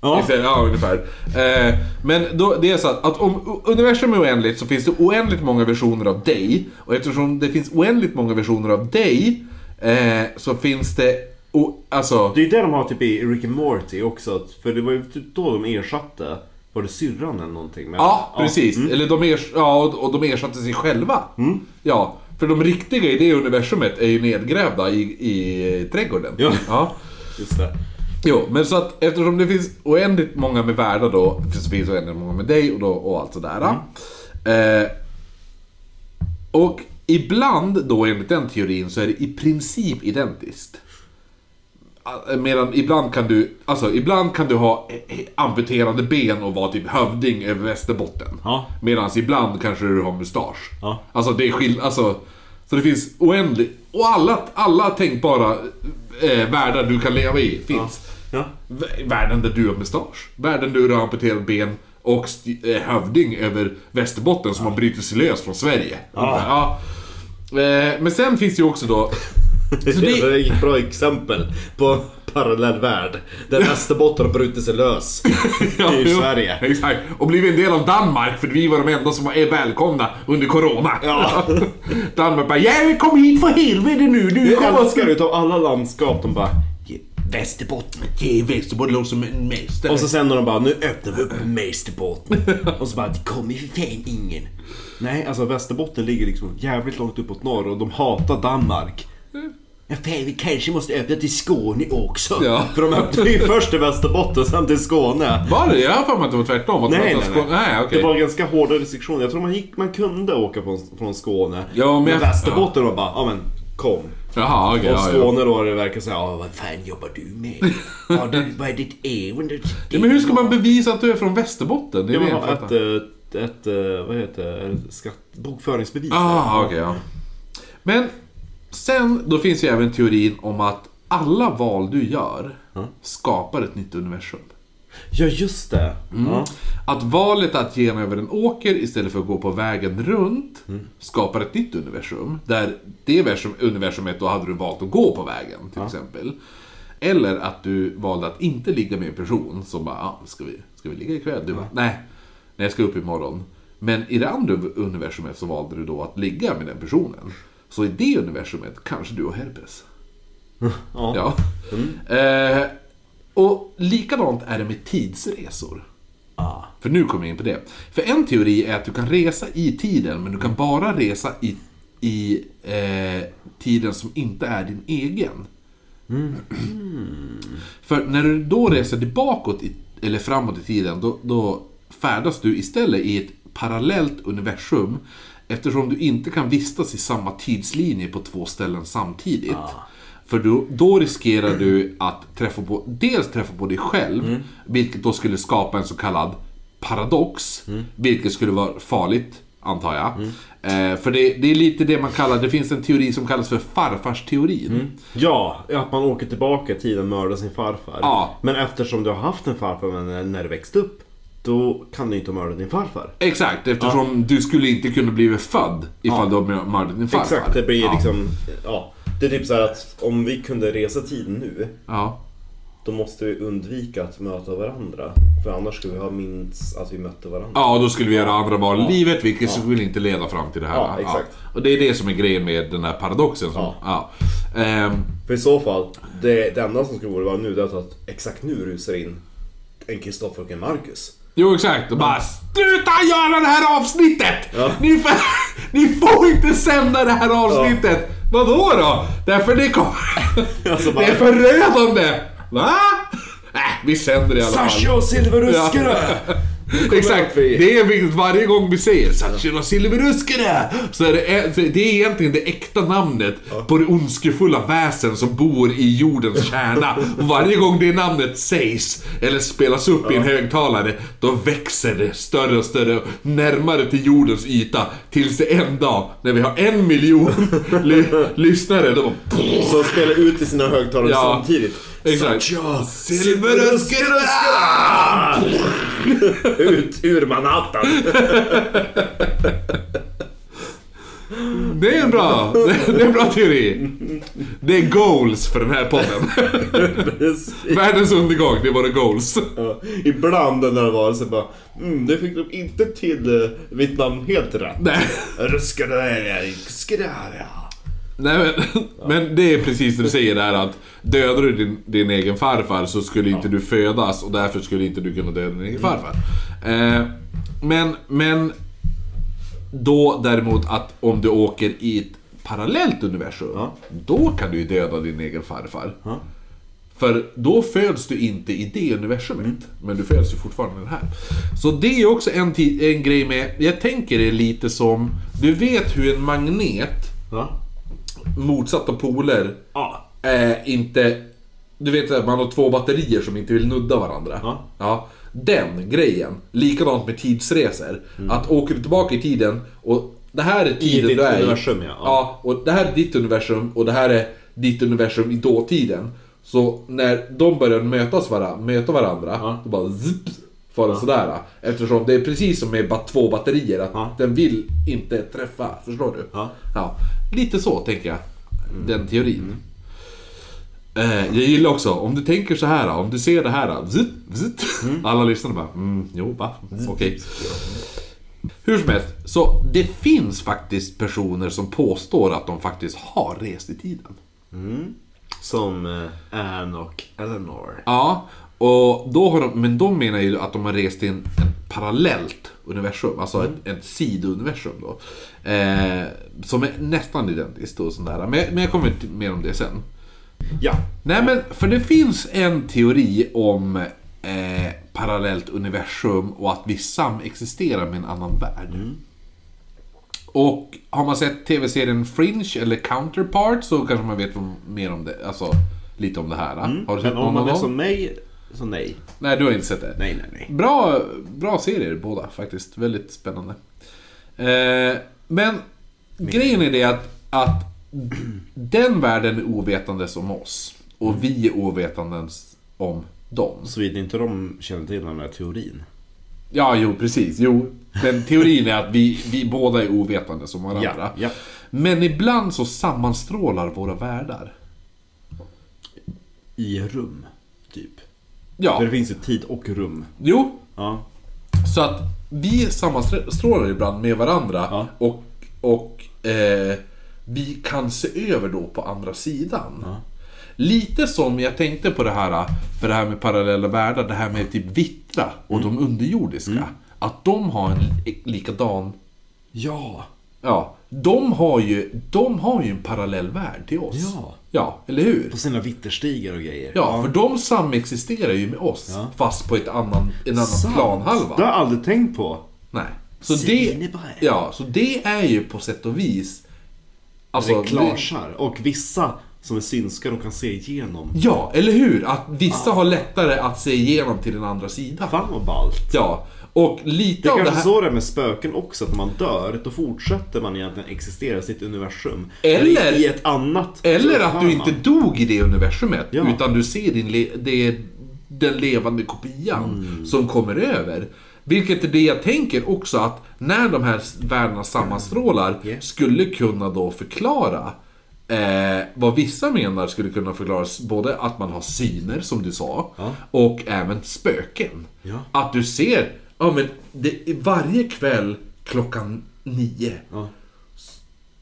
[SPEAKER 1] Ja.
[SPEAKER 3] Exakt, Ja, ungefär. Eh, men då, det är så att, att om universum är oändligt så finns det oändligt många versioner av dig. Och eftersom det finns oändligt många versioner av dig eh, så finns det... O, alltså...
[SPEAKER 1] Det är det de har typ i Rick and Morty också. att- För det var ju typ då de ersatte, var det syrran eller någonting? Men,
[SPEAKER 3] Ja, precis.
[SPEAKER 1] Mm.
[SPEAKER 3] Eller de ers- ja, och- och de ersatte sig själva. Ja, för de riktiga i det universumet är ju nedgrävda i, i trädgården.
[SPEAKER 1] Ja.
[SPEAKER 3] Ja.
[SPEAKER 1] Just det.
[SPEAKER 3] Jo, men så att eftersom det finns oändligt många med världar då, så finns det oändligt många med dig och, då, och allt sådär.
[SPEAKER 1] Mm.
[SPEAKER 3] Eh, och ibland då enligt den teorin så är det i princip identiskt. Eh, Medan ibland kan du, alltså ibland kan du ha eh, eh, amputerade ben och vara typ hövding över Västerbotten.
[SPEAKER 1] Ja.
[SPEAKER 3] Medan ibland kanske du har mustasch.
[SPEAKER 1] Ja.
[SPEAKER 3] Alltså det är skill- alltså Så det finns oändligt, och alla, alla tänkbara eh, världar du kan leva i finns.
[SPEAKER 1] Ja.
[SPEAKER 3] V- Världen där du har mustasch, världen där du har amputerat ben och st- eh, hövding över Västerbotten som har brutit sig lös från Sverige.
[SPEAKER 1] Ah.
[SPEAKER 3] Ja. Eh, Men sen finns det ju också då... Så
[SPEAKER 1] Det
[SPEAKER 3] det,
[SPEAKER 1] är ett bra exempel på en parallell värld. Där Västerbotten har brutit sig lös
[SPEAKER 3] Ja,
[SPEAKER 1] i
[SPEAKER 3] jo.
[SPEAKER 1] Sverige.
[SPEAKER 3] Exakt. Och blivit en del av Danmark för vi var de enda som var är välkomna under Corona.
[SPEAKER 1] Ja.
[SPEAKER 3] Danmark bara 'Jävlar kom hit för helvete nu, du
[SPEAKER 1] Jag
[SPEAKER 3] kommer
[SPEAKER 1] älskar utav alla landskap, de bara Västerbotten.
[SPEAKER 3] Det är Västerbotten låter som en mästare.
[SPEAKER 1] Och så sen när de bara, nu öppnar vi upp Mästerbotten. Och så bara, det kommer ju för fan ingen. Nej, alltså Västerbotten ligger liksom jävligt långt uppåt norr och de hatar Danmark. Ja, fan, vi kanske måste öppna till Skåne också.
[SPEAKER 3] Ja.
[SPEAKER 1] För de öppnade ju först till Västerbotten, sen till Skåne.
[SPEAKER 3] Var det? Jag har för mig att det var tvärtom. Att
[SPEAKER 1] Nej,
[SPEAKER 3] man-
[SPEAKER 1] nej, nej.
[SPEAKER 3] nej okej.
[SPEAKER 1] Det var ganska hårda restriktioner. Jag tror man, gick, man kunde åka på, från Skåne.
[SPEAKER 3] Ja, men jag-
[SPEAKER 1] Västerbotten var bara, ja men kom.
[SPEAKER 3] Jaha, okej.
[SPEAKER 1] Och
[SPEAKER 3] ja, ja.
[SPEAKER 1] Skåne då, det verkar säga, ja vad fan jobbar du med? Har du, vad är ditt e-? ärende?
[SPEAKER 3] Ja, men hur ska man bevisa att du är från Västerbotten? Det är
[SPEAKER 1] Ja,
[SPEAKER 3] det
[SPEAKER 1] man
[SPEAKER 3] jag
[SPEAKER 1] har ett,
[SPEAKER 3] fattar.
[SPEAKER 1] ett, ett, eh, vad heter det, ett skatt, bokföringsbevis.
[SPEAKER 3] Ah, okej, ja. Men sen, då finns ju även teorin om att alla val du gör skapar ett nytt universum.
[SPEAKER 1] Ja, just det.
[SPEAKER 3] Mm.
[SPEAKER 1] Ja.
[SPEAKER 3] Att valet att gena över en åker istället för att gå på vägen runt skapar ett nytt universum. Där det versum- universumet då hade du valt att gå på vägen till exempel. Eller att du valde att inte ligga med en person som bara, ah, ska, vi, ska vi ligga ikväll? Du bara, nej, nej jag ska upp imorgon. Men i det andra universumet så valde du då att ligga med den personen. Så i det universumet kanske du har herpes.
[SPEAKER 1] Ja.
[SPEAKER 3] Ja. Eh, och likadant är det med tidsresor.
[SPEAKER 1] Ah.
[SPEAKER 3] För nu kommer jag in på det. För en teori är att du kan resa i tiden, men du kan bara resa i, i eh, tiden som inte är din egen. För när du då reser tillbaka i, eller framåt i tiden, då, då färdas du istället i ett parallellt universum eftersom du inte kan vistas i samma tidslinje på två ställen samtidigt. För då, då riskerar du att träffa på, dels träffa på dig själv, vilket då skulle skapa en så kallad paradox, vilket skulle vara farligt, antar jag. Eh, för det, det är lite det man kallar, det finns en teori som kallas för farfarsteorin.
[SPEAKER 1] Ja, att man åker tillbaka i tiden och mördar sin farfar.
[SPEAKER 3] Ja.
[SPEAKER 1] Men eftersom du har haft en farfar men när du växte upp, då kan du inte mörda din farfar.
[SPEAKER 3] Exakt, eftersom du skulle inte kunna bli född ifall du har mördat din farfar.
[SPEAKER 1] Exakt, det blir
[SPEAKER 3] ja.
[SPEAKER 1] liksom... Ja. Det är typ så här att om vi kunde resa tiden nu,
[SPEAKER 3] Ja.
[SPEAKER 1] då måste vi undvika att möta varandra. För annars skulle vi ha minst att vi mötte varandra.
[SPEAKER 3] ja, då skulle vi göra andra val i livet vilket skulle inte leda fram till det här.
[SPEAKER 1] Ja, exakt.
[SPEAKER 3] Och det är det som är grejen med den här paradoxen. Som, ja.
[SPEAKER 1] Ja.
[SPEAKER 3] Ehm,
[SPEAKER 1] För i så fall, det, det enda som skulle vara nu det är att exakt nu rusar in en Kristoffer och en Marcus.
[SPEAKER 3] jo, exakt. Och bara SLUTA GÖRA DET HÄR AVSNITTET!
[SPEAKER 1] Ja.
[SPEAKER 3] Ni, får, ni får inte sända det här avsnittet! Vadå då? Därför det kommer...
[SPEAKER 1] Alltså bara-
[SPEAKER 3] det är förödande! Va? Äh, vi sänder det i alla fall.
[SPEAKER 1] och Silver
[SPEAKER 3] Exakt,
[SPEAKER 1] upp i-
[SPEAKER 3] det är vilket varje gång vi säger Satchino Silveruskere så är det, e- så det är egentligen det äkta namnet på det ondskefulla väsen som bor i jordens kärna. Och varje gång det namnet sägs eller spelas upp i en högtalare, då växer det större och större och närmare till jordens yta. Tills det en dag, när vi har en miljon ly- lyssnare, då bara,
[SPEAKER 1] Som spelar ut i sina högtalare
[SPEAKER 3] Ja.
[SPEAKER 1] samtidigt.
[SPEAKER 3] Exakt.
[SPEAKER 1] Satcha,
[SPEAKER 3] Silveruskere!
[SPEAKER 1] Ut ur Manhattan!
[SPEAKER 3] Det är en bra, det är en bra teori. Det är goals för den här podden. Världens undergång, det är våra goals.
[SPEAKER 1] Ja, Ibland den där varelsen bara mm, det fick de inte till eh, mitt namn helt rätt.
[SPEAKER 3] Nej,
[SPEAKER 1] Ruskadä- skadä-
[SPEAKER 3] nej men, men det är precis det du säger där att dödar du din, din egen farfar så skulle inte du födas och därför skulle inte du kunna döda din
[SPEAKER 1] Mm.
[SPEAKER 3] egen farfar. Eh, men, men då däremot att om du åker i ett parallellt universum,
[SPEAKER 1] Ja.
[SPEAKER 3] då kan du ju döda din egen farfar.
[SPEAKER 1] Ja.
[SPEAKER 3] För då föds du inte i det universumet,
[SPEAKER 1] Mm.
[SPEAKER 3] men du föds ju fortfarande i det här. Så det är ju också en, ti- en grej med, jag tänker det lite som, du vet hur en magnet,
[SPEAKER 1] Ja.
[SPEAKER 3] motsatta poler,
[SPEAKER 1] Ja.
[SPEAKER 3] eh, inte... Du vet att man har två batterier som inte vill nudda varandra.
[SPEAKER 1] Ja.
[SPEAKER 3] den grejen. Likadant med tidsresor.
[SPEAKER 1] Mm.
[SPEAKER 3] Att åker du tillbaka i tiden och det här är tiden
[SPEAKER 1] ditt
[SPEAKER 3] du är
[SPEAKER 1] universum, ja.
[SPEAKER 3] ja. och det här är ditt universum och det här är ditt universum i dåtiden. Så när de börjar mötas varandra, möta varandra,
[SPEAKER 1] Ja.
[SPEAKER 3] då bara zipp, far den sådär. Eftersom det är precis som med ba- två batterier, att
[SPEAKER 1] Ja.
[SPEAKER 3] den vill inte träffa. Förstår du?
[SPEAKER 1] Ja. Mm.
[SPEAKER 3] Ja, lite så tänker jag. Den teorin. Eh, jag gillar också, om du tänker så här, om du ser det här. Zut, zut. Alla lyssnar bara, mm, jo, va, okej. Hur som helst, så det finns faktiskt personer som påstår att de faktiskt har rest i tiden.
[SPEAKER 1] Som eh, Anne och Eleanor.
[SPEAKER 3] Ja, och då har de, men de menar ju att de har rest in ett parallellt universum, alltså ett, ett sidouniversum då. Eh, som är nästan identiskt och sådär. Men, men jag kommer till mer om det sen.
[SPEAKER 1] Ja.
[SPEAKER 3] Nej men, för det finns en teori om eh, parallellt universum och att vi samexisterar med en annan värld.
[SPEAKER 1] Mm.
[SPEAKER 3] Och har man sett tv-serien Fringe eller Counterpart så kanske man vet om- mer om det, alltså lite om det här. Har du sett
[SPEAKER 1] Mm. Men
[SPEAKER 3] någon
[SPEAKER 1] om man
[SPEAKER 3] av
[SPEAKER 1] är
[SPEAKER 3] dem?
[SPEAKER 1] som mig, så nej.
[SPEAKER 3] Nej, du har inte sett det?
[SPEAKER 1] Nej, nej, nej.
[SPEAKER 3] Bra, bra serier båda faktiskt. Väldigt spännande. Eh, men grejen är det att, att den världen är ovetandes om oss.
[SPEAKER 1] Mm.
[SPEAKER 3] Och vi är ovetandes om dem.
[SPEAKER 1] Såvida inte de känner till den här teorin.
[SPEAKER 3] Ja, jo precis. Jo, men teorin är att vi, vi båda är ovetandes om varandra.
[SPEAKER 1] Ja, ja.
[SPEAKER 3] Men ibland så sammanstrålar våra världar.
[SPEAKER 1] I rum, typ. För
[SPEAKER 3] Ja,
[SPEAKER 1] det finns ju tid och rum.
[SPEAKER 3] jo,
[SPEAKER 1] Ja.
[SPEAKER 3] Så att vi sammanstrålar ibland med varandra
[SPEAKER 1] Ja.
[SPEAKER 3] och, och eh, vi kan se över då på andra sidan. Lite som jag tänkte på det här, för det här med parallella världar, det här med typ vittra och
[SPEAKER 1] Mm.
[SPEAKER 3] de underjordiska. Att de har en likadan,
[SPEAKER 1] Ja.
[SPEAKER 3] ja, de har ju, de har ju en parallell värld till oss.
[SPEAKER 1] Ja.
[SPEAKER 3] ja eller hur?
[SPEAKER 1] På sina vitterstigar och grejer.
[SPEAKER 3] Ja, för de samexisterar ju med oss, fast på ett annan, en annan
[SPEAKER 1] Sant.
[SPEAKER 3] planhalva.
[SPEAKER 1] Det har jag aldrig tänkt på.
[SPEAKER 3] Nej. Så det,
[SPEAKER 1] Svinebra.
[SPEAKER 3] ja, så det är ju på sätt och vis... Alltså,
[SPEAKER 1] Reklarsar. Och vissa som är synska, de kan se igenom.
[SPEAKER 3] Ja, eller hur? Att vissa har lättare att se igenom till den andra sidan.
[SPEAKER 1] Fan vad ballt.
[SPEAKER 3] Ja, och lite
[SPEAKER 1] Det är
[SPEAKER 3] av det
[SPEAKER 1] kanske
[SPEAKER 3] här...
[SPEAKER 1] så det är med spöken också, att när man dör, då fortsätter man egentligen existera i sitt universum.
[SPEAKER 3] Eller-
[SPEAKER 1] I ett annat.
[SPEAKER 3] Eller
[SPEAKER 1] så
[SPEAKER 3] att
[SPEAKER 1] hör
[SPEAKER 3] du
[SPEAKER 1] man.
[SPEAKER 3] inte dog i det universumet,
[SPEAKER 1] Ja.
[SPEAKER 3] utan du ser din le, det, den levande kopian
[SPEAKER 1] Mm.
[SPEAKER 3] som kommer över. Vilket är det jag tänker också att när de här världarna sammanstrålar
[SPEAKER 1] Yeah.
[SPEAKER 3] skulle kunna då förklara eh, vad vissa menar skulle kunna förklaras både att man har syner som du sa
[SPEAKER 1] Ja.
[SPEAKER 3] och även spöken.
[SPEAKER 1] Ja.
[SPEAKER 3] Att du ser, ja men det, varje kväll klockan nio
[SPEAKER 1] Ja.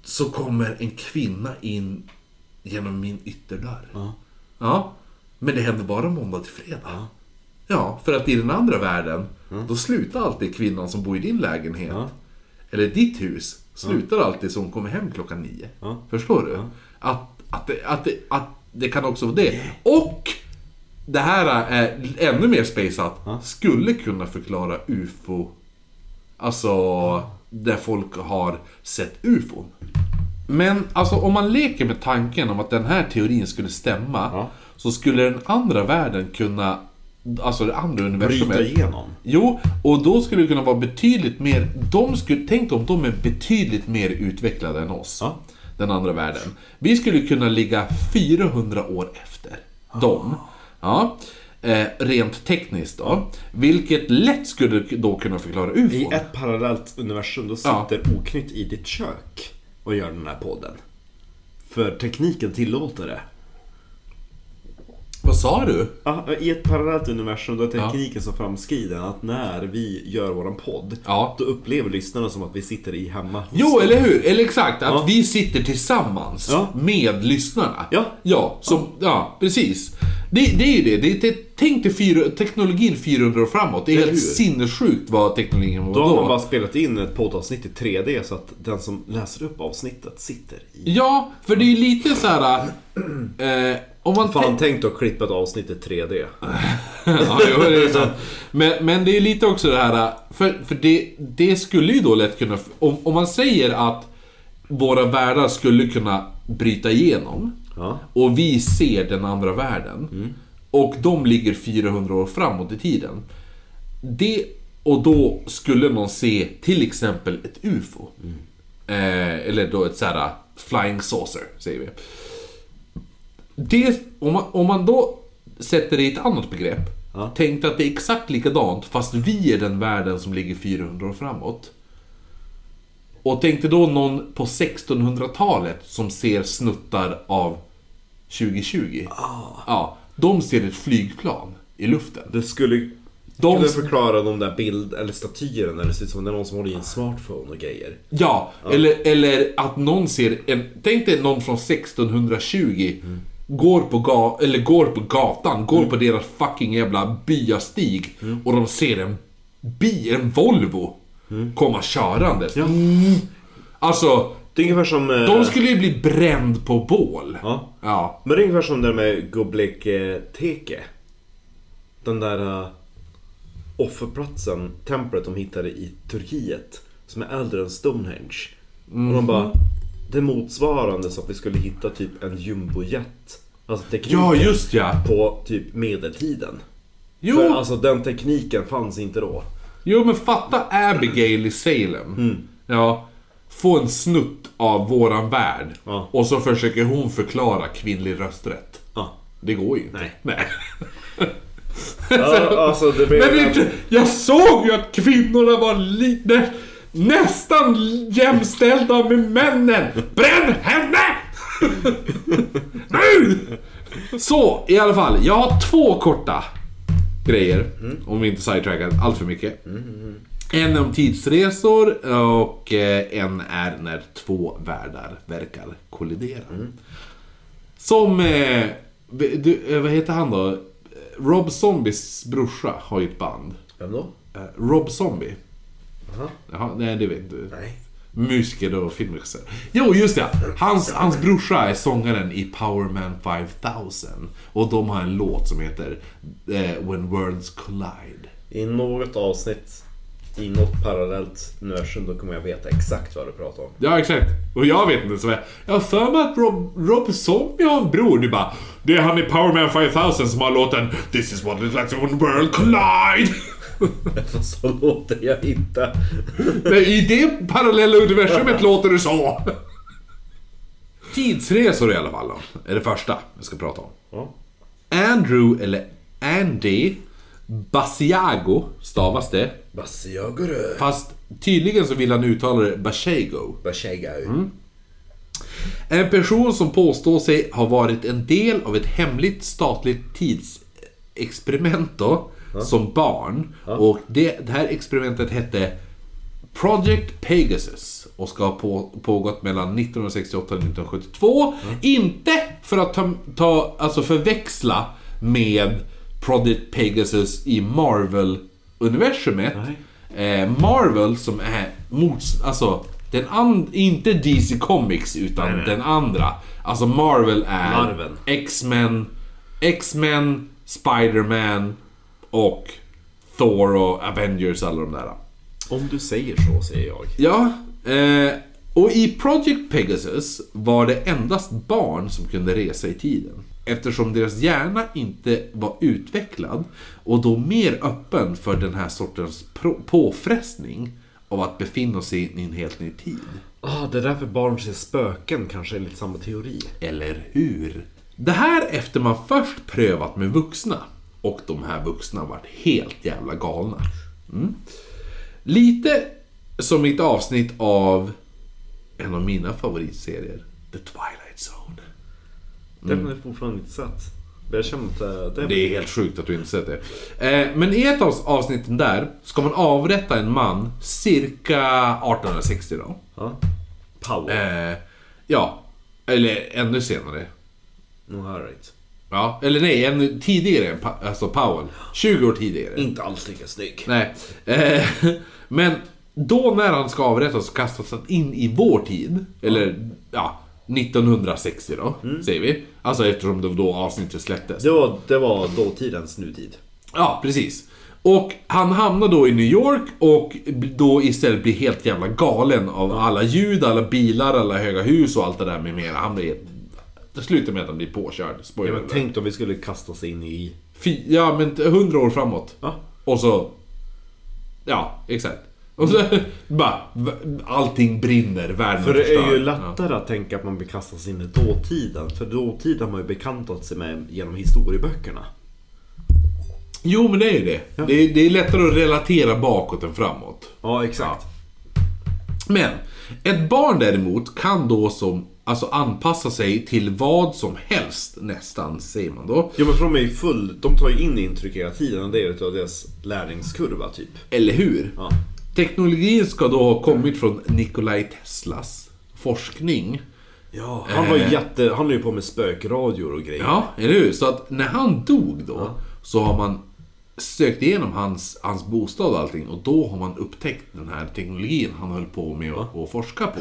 [SPEAKER 3] så kommer en kvinna in genom min ytterdörr.
[SPEAKER 1] Ja.
[SPEAKER 3] Ja, men det händer bara måndag till fredag. Ja, för att i den andra världen, då slutar alltid kvinnan som bor i din lägenhet,
[SPEAKER 1] Ja.
[SPEAKER 3] eller ditt hus, slutar alltid så hon kommer hem klockan nio.
[SPEAKER 1] Ja.
[SPEAKER 3] Förstår du? Att, att, det, att, det, att det kan också vara det. Och det här är ännu mer spejsat, skulle kunna förklara UFO, alltså där folk har sett UFOn. Men alltså om man leker med tanken om att den här teorin skulle stämma
[SPEAKER 1] Ja.
[SPEAKER 3] Så skulle den andra världen kunna Alltså det andra
[SPEAKER 1] Bryta
[SPEAKER 3] universumet
[SPEAKER 1] igenom.
[SPEAKER 3] Jo, och då skulle det kunna vara betydligt mer de skulle, Tänk om de är betydligt mer utvecklade än oss
[SPEAKER 1] Ja.
[SPEAKER 3] Den andra världen Vi skulle kunna ligga 400 år efter
[SPEAKER 1] Ah.
[SPEAKER 3] dem ja. eh, Rent tekniskt då Vilket lätt skulle då kunna
[SPEAKER 1] I
[SPEAKER 3] förklara UFO
[SPEAKER 1] ett parallellt universum, då
[SPEAKER 3] Ja.
[SPEAKER 1] sitter Oknytt i ditt kök och gör den här podden. För tekniken tillåter det.
[SPEAKER 3] Vad sa du?
[SPEAKER 1] Ja, Ah, I ett parallellt universum, då är tekniken så framskriden att när vi gör våran podd,
[SPEAKER 3] Ja.
[SPEAKER 1] då upplever lyssnarna som att vi sitter i hemma hos
[SPEAKER 3] Jo,
[SPEAKER 1] dem.
[SPEAKER 3] eller hur? Eller exakt, att
[SPEAKER 1] Ja.
[SPEAKER 3] vi sitter tillsammans
[SPEAKER 1] Ja.
[SPEAKER 3] med lyssnarna.
[SPEAKER 1] Ja.
[SPEAKER 3] Ja, som, ja precis. Det, det är ju det. det, är te- tänk dig fyra, teknologin 400 år framåt. Det är
[SPEAKER 1] Eller
[SPEAKER 3] helt
[SPEAKER 1] hur?
[SPEAKER 3] sinnessjukt vad teknologin var
[SPEAKER 1] Då
[SPEAKER 3] då.
[SPEAKER 1] har man bara spelat in ett poddavsnitt i 3D så att den som läser upp avsnittet sitter i...
[SPEAKER 3] Ja, för det är ju lite så här... Eh, om man tänker-
[SPEAKER 1] Fan, tänk dig att klippa ett avsnitt i 3D.
[SPEAKER 3] ja, jo, det är sant. Men, men det är lite också det här, för, för det, det skulle ju då lätt kunna, om, om man säger att våra världar skulle kunna bryta igenom
[SPEAKER 1] Ja.
[SPEAKER 3] och vi ser den andra världen och de ligger 400 år framåt i tiden. Det, och då skulle någon se till exempel ett UFO. Eh, eller då ett så här flying saucer, säger vi. Det, om, man, om man då sätter det i ett annat begrepp.
[SPEAKER 1] Ja.
[SPEAKER 3] Tänk dig att det är exakt likadant fast vi är den världen som ligger 400 år framåt. Och tänk dig då någon på 1600-talet som ser snuttar av 2020. Ja, de ser ett flygplan i luften.
[SPEAKER 1] Det skulle...
[SPEAKER 3] De-
[SPEAKER 1] Skulle förklara de där bild eller statyerna när det ser ut som det är någon som håller i en smartphone och grejer. Mm.
[SPEAKER 3] Ja, Eller, eller att någon ser en... Tänk dig någon från 1620 Går på, ga- eller går på gatan, går på deras fucking jävla byastig
[SPEAKER 1] Mm.
[SPEAKER 3] och de ser en bi, en Volvo,
[SPEAKER 1] Mm.
[SPEAKER 3] komma körandes. Mm. Alltså,
[SPEAKER 1] Det är ungefär som... eh,
[SPEAKER 3] de skulle ju bli bränd på bål.
[SPEAKER 1] Ja.
[SPEAKER 3] Ja.
[SPEAKER 1] Men det är ungefär som det där med Goblek-teke. Den där eh, offerplatsen, templet de hittade i Turkiet. Som är äldre än Stonehenge. Och de
[SPEAKER 3] Mhm.
[SPEAKER 1] bara... Det är motsvarande så att vi skulle hitta typ en jumbojet. Alltså tekniken
[SPEAKER 3] ja, just ja.
[SPEAKER 1] på typ medeltiden.
[SPEAKER 3] Jo,
[SPEAKER 1] För alltså den tekniken fanns inte då.
[SPEAKER 3] Jo men fatta Abigail i Salem.
[SPEAKER 1] Mm.
[SPEAKER 3] Ja. Få en snutt av våran värld.
[SPEAKER 1] Ja.
[SPEAKER 3] Och så försöker hon förklara kvinnlig rösträtt.
[SPEAKER 1] Ja.
[SPEAKER 3] Det går ju inte.
[SPEAKER 1] Nej.
[SPEAKER 3] Nej.
[SPEAKER 1] Ja, alltså det
[SPEAKER 3] Men
[SPEAKER 1] blev...
[SPEAKER 3] det, är inte- jag såg ju att kvinnorna var li, nä, nästan jämställda med männen. Bränn henne! nu! Så, i alla fall. Jag har två korta grejer. Om vi inte sidetrackar allt för mycket. En om tidsresor och eh, en är när två världar verkar kollidera. Som... Eh, du, eh, vad heter han då? Rob Zombies brorsa har ju ett band.
[SPEAKER 1] Vem då?
[SPEAKER 3] Eh, Rob Zombie.
[SPEAKER 1] Jaha.
[SPEAKER 3] Jaha, nej det vet du.
[SPEAKER 1] Nej.
[SPEAKER 3] Musiker och filmregissör. Jo, just det. Hans, hans brorsa är sångaren i Power Man 5000. Och de har en låt som heter eh, When Worlds Collide.
[SPEAKER 1] I något avsnitt, i något parallellt universum, då kommer jag veta exakt vad du pratar om.
[SPEAKER 3] Ja, exakt. Och jag vet inte. Så jag, jag har för mig att Rob, Rob Zombie har en bror. Du bara, det är han i Power Man 5000 som har låten This is what it's like when world collide.
[SPEAKER 1] Fast så låter jag inte.
[SPEAKER 3] Men I det parallella universumet låter det så. Tidsresor i alla fall då, är det första vi ska prata om.
[SPEAKER 1] Ja.
[SPEAKER 3] Andrew, eller Andy, Basiago stavas det.
[SPEAKER 1] Basiaguru.
[SPEAKER 3] Fast tydligen så vill han uttala det Bashago.
[SPEAKER 1] Bashegau.
[SPEAKER 3] En person som påstår sig ha varit en del av ett hemligt statligt tidsexperiment då, som barn. Och det, det här experimentet hette Project Pegasus och ska ha på, pågått mellan 1968 och 1972. Inte för att ta, ta, alltså förväxla med Project Pegasus i Marvel-universumet. Eh, Marvel som är mots... Alltså, den and, inte DC Comics utan den andra. Alltså Marvel är
[SPEAKER 1] Marvel.
[SPEAKER 3] X-Men, X-Men, Spider-Man och Thor och Avengers, alla de där.
[SPEAKER 1] Om du säger så, säger jag.
[SPEAKER 3] Ja, eh, och i Project Pegasus var det endast barn som kunde resa i tiden. Eftersom deras hjärna inte var utvecklad och då mer öppen för den här sortens pro- påfrestning av att befinna sig i en helt ny tid.
[SPEAKER 1] Ah, det är därför barn ser spöken, kanske enligt samma teori.
[SPEAKER 3] Eller hur? Det här efter man först prövat med vuxna. Och de här vuxna varit helt jävla galna. Mm. Lite som mitt avsnitt av en av mina favoritserier, The Twilight Zone.
[SPEAKER 1] Den har jag fortfarande inte sett. Men jag känner att eh, Mm. det...
[SPEAKER 3] Det är helt sjukt att du inte sett det. Eh, Men i ett av avsnitten där ska man avrätta en man cirka 1860 då.
[SPEAKER 1] Ja. Power.
[SPEAKER 3] Eh, Ja, eller ännu senare.
[SPEAKER 1] No, alright.
[SPEAKER 3] Ja, eller nej, ännu tidigare än Pa- alltså Powell. 20 år tidigare.
[SPEAKER 1] Inte alls lika snygg.
[SPEAKER 3] Nej. Eh, men då när han ska avrättas så kastas han in i vår tid. Eller ja, 1960 då,
[SPEAKER 1] Mm.
[SPEAKER 3] säger vi. Alltså eftersom det var då avsnittet släpptes.
[SPEAKER 1] Det var, det var dåtidens nutid.
[SPEAKER 3] Ja, precis. Och han hamnar då i New York och då istället blir helt jävla galen av alla ljud, alla bilar, alla höga hus och allt det där med mera. Han blir... Det slutar med att han blir påkörd. Spoiler
[SPEAKER 1] Ja, men
[SPEAKER 3] alert.
[SPEAKER 1] tänk om vi skulle kasta oss in i...
[SPEAKER 3] Fy, ja men 100 år framåt.
[SPEAKER 1] Ja.
[SPEAKER 3] Och så... Ja, exakt. Och så bara, v- allting brinner, världen
[SPEAKER 1] För det är ju
[SPEAKER 3] förstörd.
[SPEAKER 1] lättare att tänka att man blir kastad in i dåtiden. För dåtiden har man ju bekantat sig med genom historieböckerna.
[SPEAKER 3] Ja. Jo men det är ju det. Det, är, det är lättare att relatera bakåt än framåt.
[SPEAKER 1] Ja, exakt.
[SPEAKER 3] Men, ett barn däremot kan då som, alltså anpassa sig till vad som helst nästan, säger man då.
[SPEAKER 1] Ja, men för de är ju full... De tar ju in intryck hela tiden. och Det är ju utav deras lärningskurva, typ.
[SPEAKER 3] Eller hur?
[SPEAKER 1] Ja.
[SPEAKER 3] Teknologin ska då ha kommit från Nikolaj Teslas forskning
[SPEAKER 1] Ja, Eh. han var jätte... Han är ju på med spökradior och grejer.
[SPEAKER 3] Ja, eller hur? Så att när han dog då, så har man sökt igenom hans, hans bostad och allting. Och då har man upptäckt den här teknologin han höll på med att att forska på.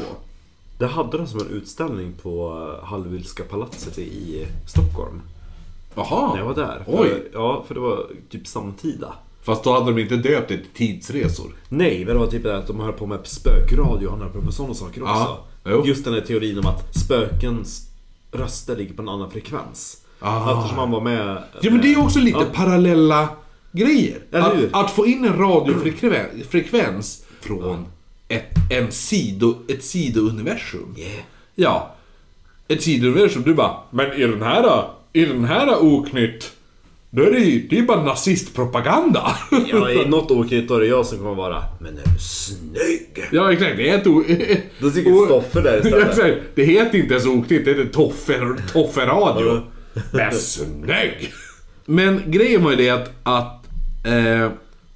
[SPEAKER 1] Det hade de som en utställning på eh, Hallwylska palatset i Stockholm.
[SPEAKER 3] Jaha!
[SPEAKER 1] När jag var där.
[SPEAKER 3] Oj!
[SPEAKER 1] För, ja, för det var typ samtida.
[SPEAKER 3] Fast då hade de inte döpt det till tidsresor.
[SPEAKER 1] Nej, men det var typ det att de höll på med spökradio. Han höll på med sådana saker också.
[SPEAKER 3] Ja, jo.
[SPEAKER 1] Just den här teorin om att spökens röster ligger på en annan frekvens.
[SPEAKER 3] Ah.
[SPEAKER 1] Eftersom han var med...
[SPEAKER 3] Ja men det är ju också lite parallella grejer.
[SPEAKER 1] Eller hur?
[SPEAKER 3] Att, att få in en radiofrekvens frekvens från ett, en sido, ett sidouniversum.
[SPEAKER 1] Yeah.
[SPEAKER 3] Ja. Ett sidouniversum. Du bara, men i den här, i den här oknytt, då är det ju, det är ju bara nazistpropaganda.
[SPEAKER 1] Ja, i något oknytt då är det jag som kommer vara Men är du snygg?
[SPEAKER 3] ja exakt, det är ett o...
[SPEAKER 1] Då tycker
[SPEAKER 3] o-
[SPEAKER 1] Stoffe där
[SPEAKER 3] Ja,
[SPEAKER 1] istället.
[SPEAKER 3] exakt. det heter inte ens oknytt, det heter toffer, Tofferadio. Men snygg! Men grejen var ju det att, att eh,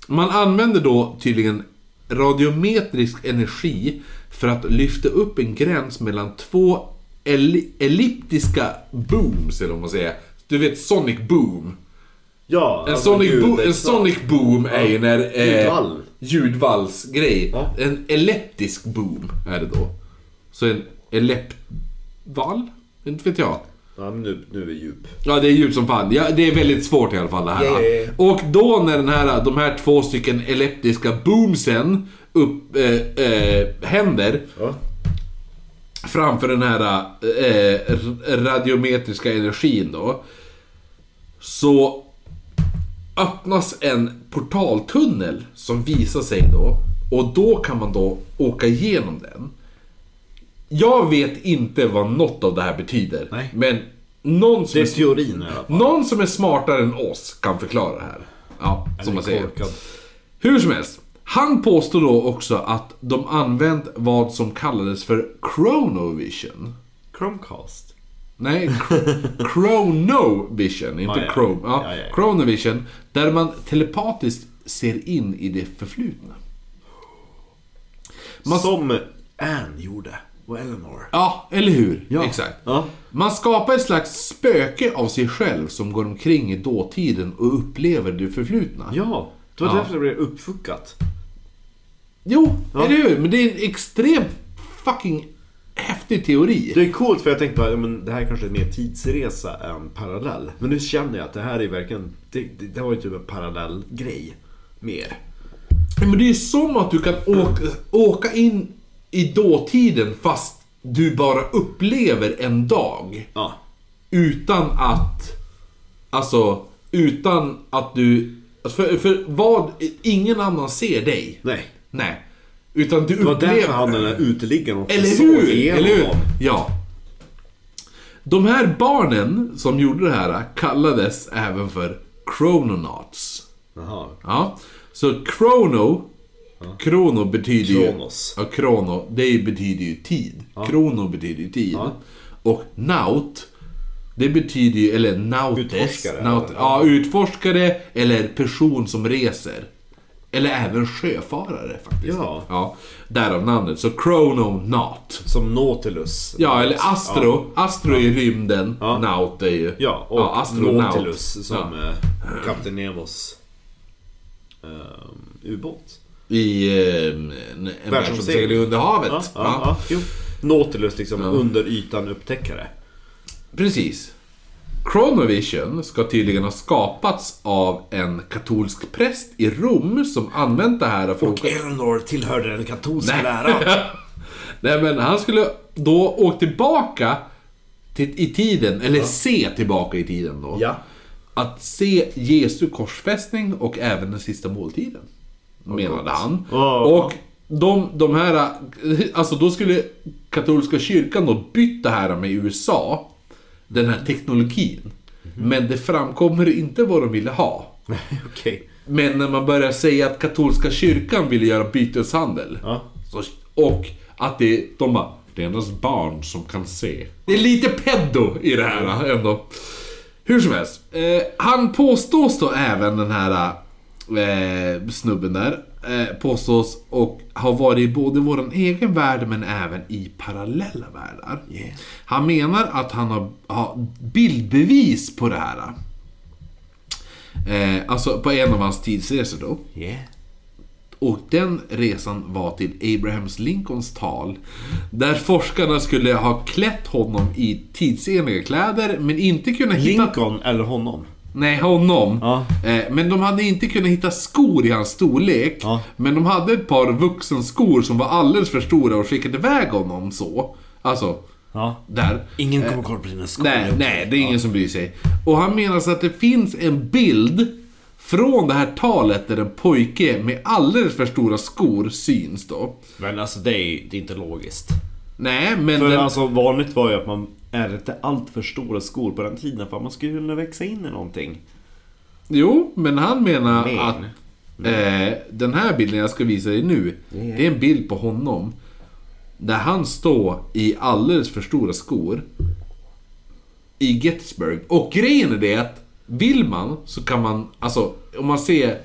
[SPEAKER 3] man använder då tydligen radiometrisk energi för att lyfta upp en gräns mellan två elli- elliptiska booms, eller vad man säger. Du vet Sonic Boom.
[SPEAKER 1] Ja,
[SPEAKER 3] En,
[SPEAKER 1] alltså,
[SPEAKER 3] sonic,
[SPEAKER 1] gud,
[SPEAKER 3] bo-
[SPEAKER 1] det är
[SPEAKER 3] en
[SPEAKER 1] klart.
[SPEAKER 3] sonic boom är ju när... Eh,
[SPEAKER 1] Ljudvall.
[SPEAKER 3] Ljudvallsgrej.
[SPEAKER 1] Ja.
[SPEAKER 3] En elektrisk boom är det då. Så en elept-vall? Inte vet jag.
[SPEAKER 1] Ja, men nu, nu är vi djup.
[SPEAKER 3] Ja, det är djupt som fan. Ja, det är väldigt svårt i alla fall det här.
[SPEAKER 1] Ja, ja, ja.
[SPEAKER 3] Och då när den här, de här två stycken elektriska boomsen upp, eh, eh, händer
[SPEAKER 1] Ja.
[SPEAKER 3] framför den här eh, r- radiometriska energin då. Så öppnas en portaltunnel som visar sig då. Och då kan man då åka igenom den. Jag vet inte vad något av det här betyder.
[SPEAKER 1] Nej.
[SPEAKER 3] Men någon som,
[SPEAKER 1] Det är
[SPEAKER 3] är,
[SPEAKER 1] teorin i alla fall.
[SPEAKER 3] någon som är smartare än oss kan förklara det här. Ja, som man säger.
[SPEAKER 1] Korkad.
[SPEAKER 3] Hur som helst. Han påstår då också att de använt vad som kallades för chronovision.
[SPEAKER 1] Chromecast.
[SPEAKER 3] Nej, kr- chronovision, inte
[SPEAKER 1] Ja, ja.
[SPEAKER 3] chrome. Ja,
[SPEAKER 1] Ja, ja, ja.
[SPEAKER 3] chronovision, där man telepatiskt ser in i det förflutna. Man-
[SPEAKER 1] Som Anne gjorde. Och Eleanor.
[SPEAKER 3] Ja, eller hur? Exakt.
[SPEAKER 1] Ja.
[SPEAKER 3] Man skapar ett slags spöke av sig själv som går omkring i dåtiden och upplever det förflutna.
[SPEAKER 1] Ja, det var
[SPEAKER 3] Ja.
[SPEAKER 1] därför det blev uppfuckat.
[SPEAKER 3] Jo, eller hur? Men det är en extremt fucking häftig teori.
[SPEAKER 1] Det är coolt för jag tänkte bara, ja, men det här kanske är mer tidsresa än parallell. Men nu känner jag att det här är verkligen, det, det, det var ju typ en parallell grej. Mer.
[SPEAKER 3] Men det är som att du kan åka, åka in i dåtiden fast du bara upplever en dag.
[SPEAKER 1] Ja.
[SPEAKER 3] Utan att... Alltså, utan att du... För, för vad... Ingen annan ser dig.
[SPEAKER 1] Nej.
[SPEAKER 3] Nej. Utan du
[SPEAKER 1] Det var
[SPEAKER 3] upplever...
[SPEAKER 1] därför han den där uteliggaren också
[SPEAKER 3] Eller
[SPEAKER 1] såg
[SPEAKER 3] hur?
[SPEAKER 1] igenom
[SPEAKER 3] Eller hur?
[SPEAKER 1] dem.
[SPEAKER 3] Ja. De här barnen som gjorde det här kallades även för Chrononauts.
[SPEAKER 1] Jaha.
[SPEAKER 3] Ja. Så Chrono, Chrono betyder ju...
[SPEAKER 1] Kronos.
[SPEAKER 3] Ja, Chrono, det är- betyder ju tid. Chrono betyder ju tid. Och Naut, det betyder ju, eller Nautes.
[SPEAKER 1] Utforskare.
[SPEAKER 3] Naut, ja, utforskare eller person som reser. Eller även sjöfarare faktiskt.
[SPEAKER 1] Ja.
[SPEAKER 3] ja därav namnet. Så Chrononaut.
[SPEAKER 1] Som Nautilus.
[SPEAKER 3] Ja, eller Astro. Astro är ju rymden. Naut är ju...
[SPEAKER 1] Ja, och
[SPEAKER 3] astronaut.
[SPEAKER 1] Nautilus som
[SPEAKER 3] Ja.
[SPEAKER 1] eh, Kapten Nemos ehm, ubåt.
[SPEAKER 3] I eh, en- en värld som seglar under havet.
[SPEAKER 1] Ja, ja,
[SPEAKER 3] Ja.
[SPEAKER 1] ja. Jo. Nautilus liksom under ytan upptäckare.
[SPEAKER 3] Precis. Chronovision ska tydligen ha skapats av en katolsk präst i Rom som använt det här för att...
[SPEAKER 1] Och Eleanor tillhörde den katolska läran.
[SPEAKER 3] Nej men han skulle då åka tillbaka till, i tiden, eller se tillbaka i tiden då.
[SPEAKER 1] Ja.
[SPEAKER 3] Att se Jesu korsfästning och även den sista måltiden. Menade han.
[SPEAKER 1] Ja.
[SPEAKER 3] Och de, de här, alltså då skulle katolska kyrkan då bytt det här med USA. Den här teknologin.
[SPEAKER 1] Mhm.
[SPEAKER 3] Men det framkommer inte vad de ville ha.
[SPEAKER 1] Okej.
[SPEAKER 3] Men när man börjar säga att katolska kyrkan ville göra byteshandel.
[SPEAKER 1] Ja.
[SPEAKER 3] Så, och att det, de bara, det är endast barn som kan se. Det är lite peddo i det här ändå. Hur som helst. Eh, han påstås då även den här eh, snubben där eh, påstås och har varit i både vår egen värld men även i parallella världar.
[SPEAKER 1] Yeah.
[SPEAKER 3] Han menar att han har, har bildbevis på det här. Eh, alltså på en av hans tidsresor då.
[SPEAKER 1] Yeah.
[SPEAKER 3] Och den resan var till Abrahams Lincolns tal. Där forskarna skulle ha klätt honom i tidsenliga kläder men inte kunna hitta...
[SPEAKER 1] Lincoln eller honom?
[SPEAKER 3] Nej, honom.
[SPEAKER 1] Ja.
[SPEAKER 3] Eh, Men de hade inte kunnat hitta skor i hans storlek.
[SPEAKER 1] Ja.
[SPEAKER 3] Men de hade ett par vuxenskor som var alldeles för stora och skickade iväg honom så. Alltså,
[SPEAKER 1] Ja.
[SPEAKER 3] där.
[SPEAKER 1] Ingen kommer kolla på dina skor.
[SPEAKER 3] Nej, nej, det är ingen som bryr sig. Och han menar så att det finns en bild från det här talet där en pojke med alldeles för stora skor syns då.
[SPEAKER 1] Men alltså det är, det är inte logiskt.
[SPEAKER 3] Nej, men...
[SPEAKER 1] För
[SPEAKER 3] Den,
[SPEAKER 1] alltså vanligt var ju att man ärvde allt för stora skor på den tiden för att man skulle kunna växa in i någonting.
[SPEAKER 3] Jo, men han menar
[SPEAKER 1] Men.
[SPEAKER 3] att eh, den här bilden jag ska visa dig nu, det är en bild på honom. Där han står i alldeles för stora skor. I Gettysburg. Och grejen är det att vill man så kan man, alltså om man ser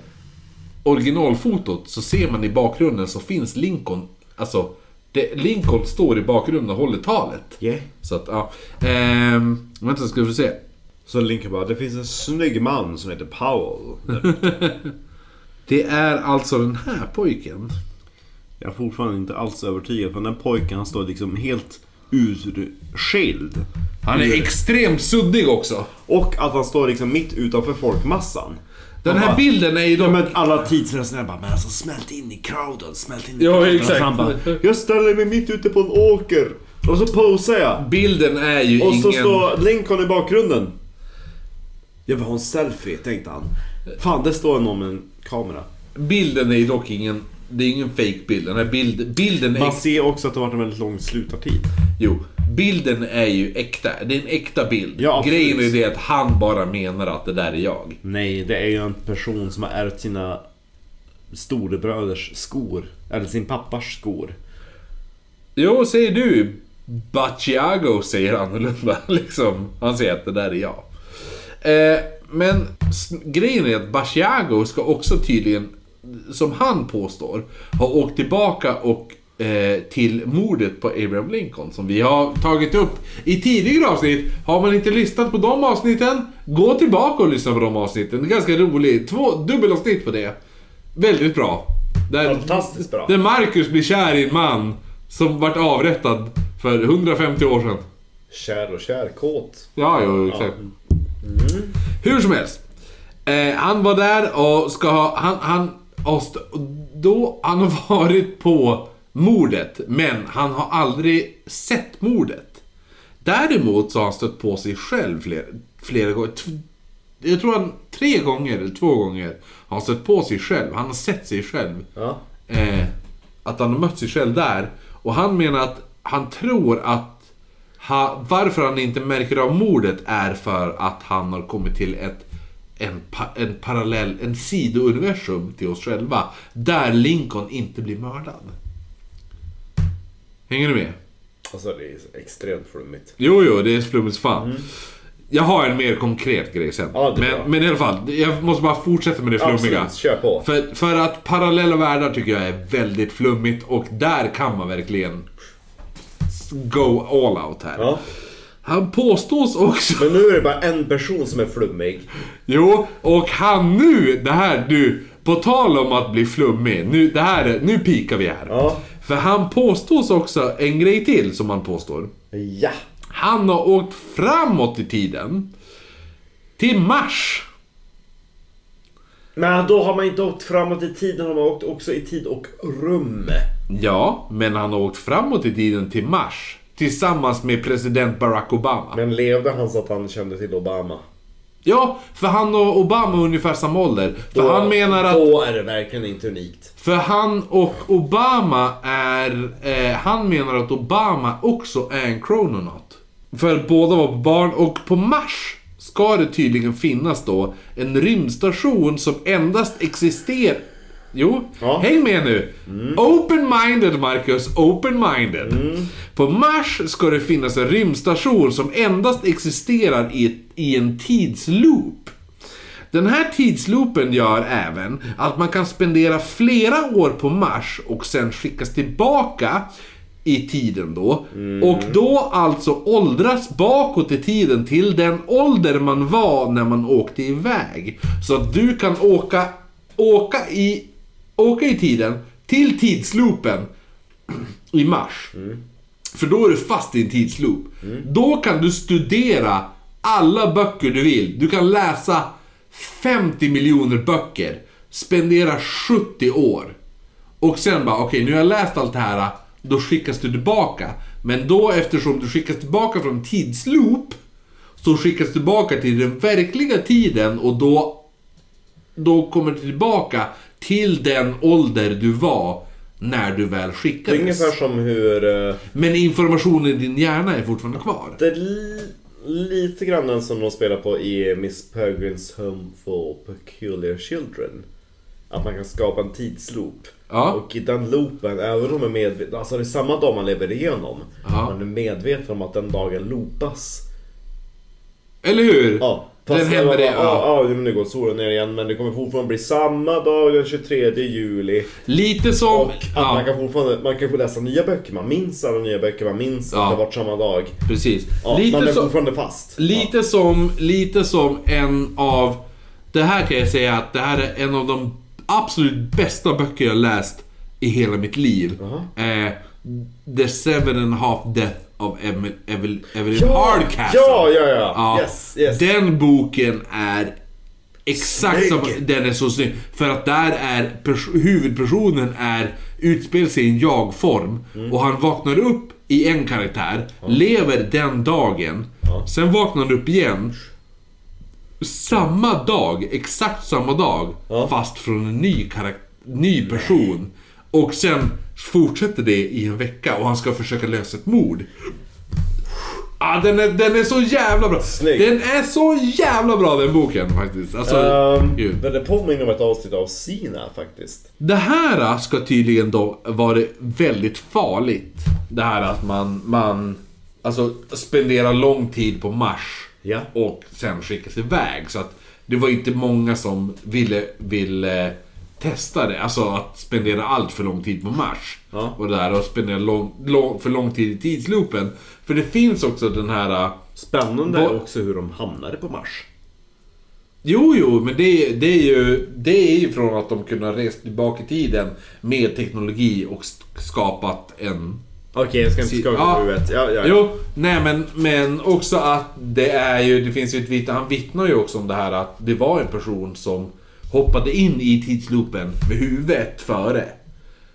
[SPEAKER 3] originalfotot så ser man i bakgrunden så finns Lincoln, alltså det, Lincoln står i bakgrunden och håller talet.
[SPEAKER 1] Yeah.
[SPEAKER 3] Så att, ja. Ehm, vänta ska vi se.
[SPEAKER 1] Så Lincoln bara, det finns en snygg man som heter Powell.
[SPEAKER 3] Det är alltså den här pojken.
[SPEAKER 1] Jag är fortfarande inte alls övertygad för den där pojken han står liksom helt urskild.
[SPEAKER 3] Han är extremt suddig också.
[SPEAKER 1] Och att han står liksom mitt utanför folkmassan.
[SPEAKER 3] Den
[SPEAKER 1] Man
[SPEAKER 3] här
[SPEAKER 1] bara,
[SPEAKER 3] bilden är ju
[SPEAKER 1] Ja,
[SPEAKER 3] då...
[SPEAKER 1] men alla tidsresenärer bara, men alltså smält in i crowden, smält in i
[SPEAKER 3] Ja,
[SPEAKER 1] crowden.
[SPEAKER 3] exakt.
[SPEAKER 1] Och han bara, jag ställer mig mitt ute på en åker. Och så posar jag.
[SPEAKER 3] Bilden är ju
[SPEAKER 1] Och
[SPEAKER 3] ingen...
[SPEAKER 1] så står Lincoln i bakgrunden. Jag vill ha en selfie, tänkte han. Fan, det står någon med en kamera.
[SPEAKER 3] Bilden är ju dock ingen... Det är ingen fake bild. Den här bild... bilden är...
[SPEAKER 1] Man ser också att det har varit en väldigt lång slutartid.
[SPEAKER 3] Jo. Bilden är ju äkta. Det är en äkta bild.
[SPEAKER 1] Ja, absolut.
[SPEAKER 3] Grejen är ju det att han bara menar att det där är jag.
[SPEAKER 1] Nej, det är ju en person som har ärvt sina storebröders skor. Eller sin pappas skor.
[SPEAKER 3] Jo, säger du. Bacciago säger annorlunda. Liksom. Han säger att det där är jag. Eh, men s- grejen är att Bacciago ska också tydligen, som han påstår, ha åkt tillbaka och eh, till mordet på Abraham Lincoln som vi har tagit upp i tidigare avsnitt. Har man inte lyssnat på de avsnitten, gå tillbaka och lyssna på de avsnitten. Det är ganska roligt. Två dubbelavsnitt på det. Väldigt bra. Där,
[SPEAKER 1] Fantastiskt bra.
[SPEAKER 3] där Marcus blir kär i en man som vart avrättad för 150 år sedan.
[SPEAKER 1] Kär och kär, kåt.
[SPEAKER 3] Ja, jo, exakt. Hur som helst. Eh, han var där och ska ha... Han, han, och st- och då, han har varit på mordet, men han har aldrig sett mordet. Däremot så har han stött på sig själv flera, flera gånger. Tv- Jag tror han tre gånger eller två gånger har han stött på sig själv. Han har sett sig själv
[SPEAKER 1] Ja.
[SPEAKER 3] eh, att han har mött sig själv där. Och han menar att han tror att ha, varför han inte märker av mordet är för att han har kommit till ett en, pa, en parallell, en sidouniversum till oss själva. Där Lincoln inte blir mördad. Hänger du med?
[SPEAKER 1] Alltså det är extremt flummigt.
[SPEAKER 3] Jo, jo, det är flummigt fan. Jag har en mer konkret grej sen.
[SPEAKER 1] Mm. Ja, det är bra.
[SPEAKER 3] men, men i alla fall, jag måste bara fortsätta med det flummiga.
[SPEAKER 1] kör på.
[SPEAKER 3] För, för att parallella världar tycker jag är väldigt flummigt och där kan man verkligen go all out här.
[SPEAKER 1] Ja.
[SPEAKER 3] Han påstås också...
[SPEAKER 1] Men nu är det bara en person som är flummig.
[SPEAKER 3] Jo, och han nu, det här du, på tal om att bli flummig, nu, det här, är- nu pikar vi här.
[SPEAKER 1] Ja.
[SPEAKER 3] För han påstås också en grej till som han påstår.
[SPEAKER 1] Ja.
[SPEAKER 3] Han har åkt framåt i tiden. Till Mars.
[SPEAKER 1] Men då har man inte åkt framåt i tiden, har man åkt också i tid och rum.
[SPEAKER 3] Ja, men han har åkt framåt i tiden till Mars. Tillsammans med president Barack Obama.
[SPEAKER 1] Men levde han så att han kände till Obama?
[SPEAKER 3] Ja, för han och Obama är ungefär samma ålder. För han menar att...
[SPEAKER 1] Då är det verkligen inte unikt.
[SPEAKER 3] För han och Obama är... Eh, han menar att Obama också är en krononaut. För båda var på barn och på Mars ska det tydligen finnas då en rymdstation som endast existerar... Jo,
[SPEAKER 1] Ja.
[SPEAKER 3] häng med nu! Open-minded Marcus, open-minded. På Mars ska det finnas en rymdstation som endast existerar i, ett, i en tidsloop. Den här tidsloopen gör även att man kan spendera flera år på Mars och sen skickas tillbaka i tiden då. Och då alltså åldras bakåt i tiden till den ålder man var när man åkte iväg. Så att du kan åka, åka, i, åka i tiden till tidsloopen i mars. För då är du fast i en tidsloop. Då kan du studera alla böcker du vill. Du kan läsa 50 miljoner böcker. Spendera 70 år. Och sen bara, okej nu har jag läst allt det här. Då skickas du tillbaka. Men då eftersom du skickas tillbaka från tidsloop. Så skickas du tillbaka till den verkliga tiden och då då kommer du tillbaka till den ålder du var när du väl
[SPEAKER 1] Det är
[SPEAKER 3] skickades.
[SPEAKER 1] ungefär som hur... eh,
[SPEAKER 3] Men informationen i din hjärna är fortfarande kvar.
[SPEAKER 1] Det är li, lite grann den som de spelar på i Miss Peregrines Home for Peculiar Children. Att man kan skapa en tidsloop.
[SPEAKER 3] Ja.
[SPEAKER 1] Och i den loopen, även om man är medveten, alltså det är samma dag man lever igenom.
[SPEAKER 3] Ja.
[SPEAKER 1] Man är medveten om att den dagen loopas.
[SPEAKER 3] Eller hur?
[SPEAKER 1] Ja.
[SPEAKER 3] Den
[SPEAKER 1] fast-
[SPEAKER 3] händer det,
[SPEAKER 1] ja.
[SPEAKER 3] ja.
[SPEAKER 1] Ja, ja, men nu går solen ner igen. Men det kommer fortfarande bli samma dag den 23 juli.
[SPEAKER 3] Lite som...
[SPEAKER 1] Och att
[SPEAKER 3] ja,
[SPEAKER 1] man kan fortfarande, man kan få läsa nya böcker. Man minns alla nya böcker, man minns
[SPEAKER 3] Ja.
[SPEAKER 1] att det har varit samma dag.
[SPEAKER 3] precis.
[SPEAKER 1] Ja, man
[SPEAKER 3] lite,
[SPEAKER 1] är
[SPEAKER 3] som,
[SPEAKER 1] fortfarande fast.
[SPEAKER 3] lite, som, lite som en av... Det här kan jag säga att det här är en av de absolut bästa böcker jag läst i hela mitt liv. Eh, The Seven and a Half Death of Evelyn Evel, Evelyn Hardcastle.
[SPEAKER 1] Ja, ja, ja.
[SPEAKER 3] Ja,
[SPEAKER 1] Yes, yes.
[SPEAKER 3] Den boken är exakt som...
[SPEAKER 1] Snygg.
[SPEAKER 3] Den är så snygg. För att där är pers- huvudpersonen är utspelar sig i en jag-form.
[SPEAKER 1] Mm.
[SPEAKER 3] Och han vaknar upp i en karaktär, lever den dagen. Sen vaknar han upp igen. Samma dag, exakt samma dag.
[SPEAKER 1] Ja.
[SPEAKER 3] Fast från en ny, karak- ny person. Och sen fortsätter det i en vecka och han ska försöka lösa ett mord. Ah, den, är, den är så jävla bra!
[SPEAKER 1] Snygg.
[SPEAKER 3] Den är så jävla bra den boken faktiskt. Alltså,
[SPEAKER 1] Ehm,
[SPEAKER 3] gud.
[SPEAKER 1] men det påminner om ett avsnitt av Sina faktiskt.
[SPEAKER 3] Det här ska tydligen då vara väldigt farligt. Det här att man, man alltså, spenderar lång tid på Mars
[SPEAKER 1] Ja.
[SPEAKER 3] och sen skickas iväg. Så att det var inte många som ville, ville eh, testa det. Alltså att spendera allt för lång tid på Mars.
[SPEAKER 1] Ja.
[SPEAKER 3] Och, det där, och spendera lång, lång, för lång tid i tidsloopen. För det finns också den här... eh,
[SPEAKER 1] Spännande
[SPEAKER 3] Vad-
[SPEAKER 1] är också hur de hamnade på Mars.
[SPEAKER 3] Jo, jo, men det, det, är ju, det är ju från att de kunde ha rest tillbaka i tiden med teknologi och st- skapat en...
[SPEAKER 1] Okej, jag ska inte
[SPEAKER 3] Si-
[SPEAKER 1] skaka
[SPEAKER 3] ja.
[SPEAKER 1] på huvudet. Ja, ja.
[SPEAKER 3] Jo, nej men, men också att det är ju, det finns ju ett vittne, han vittnar ju också om det här att det var en person som hoppade in i tidsloopen med huvudet före.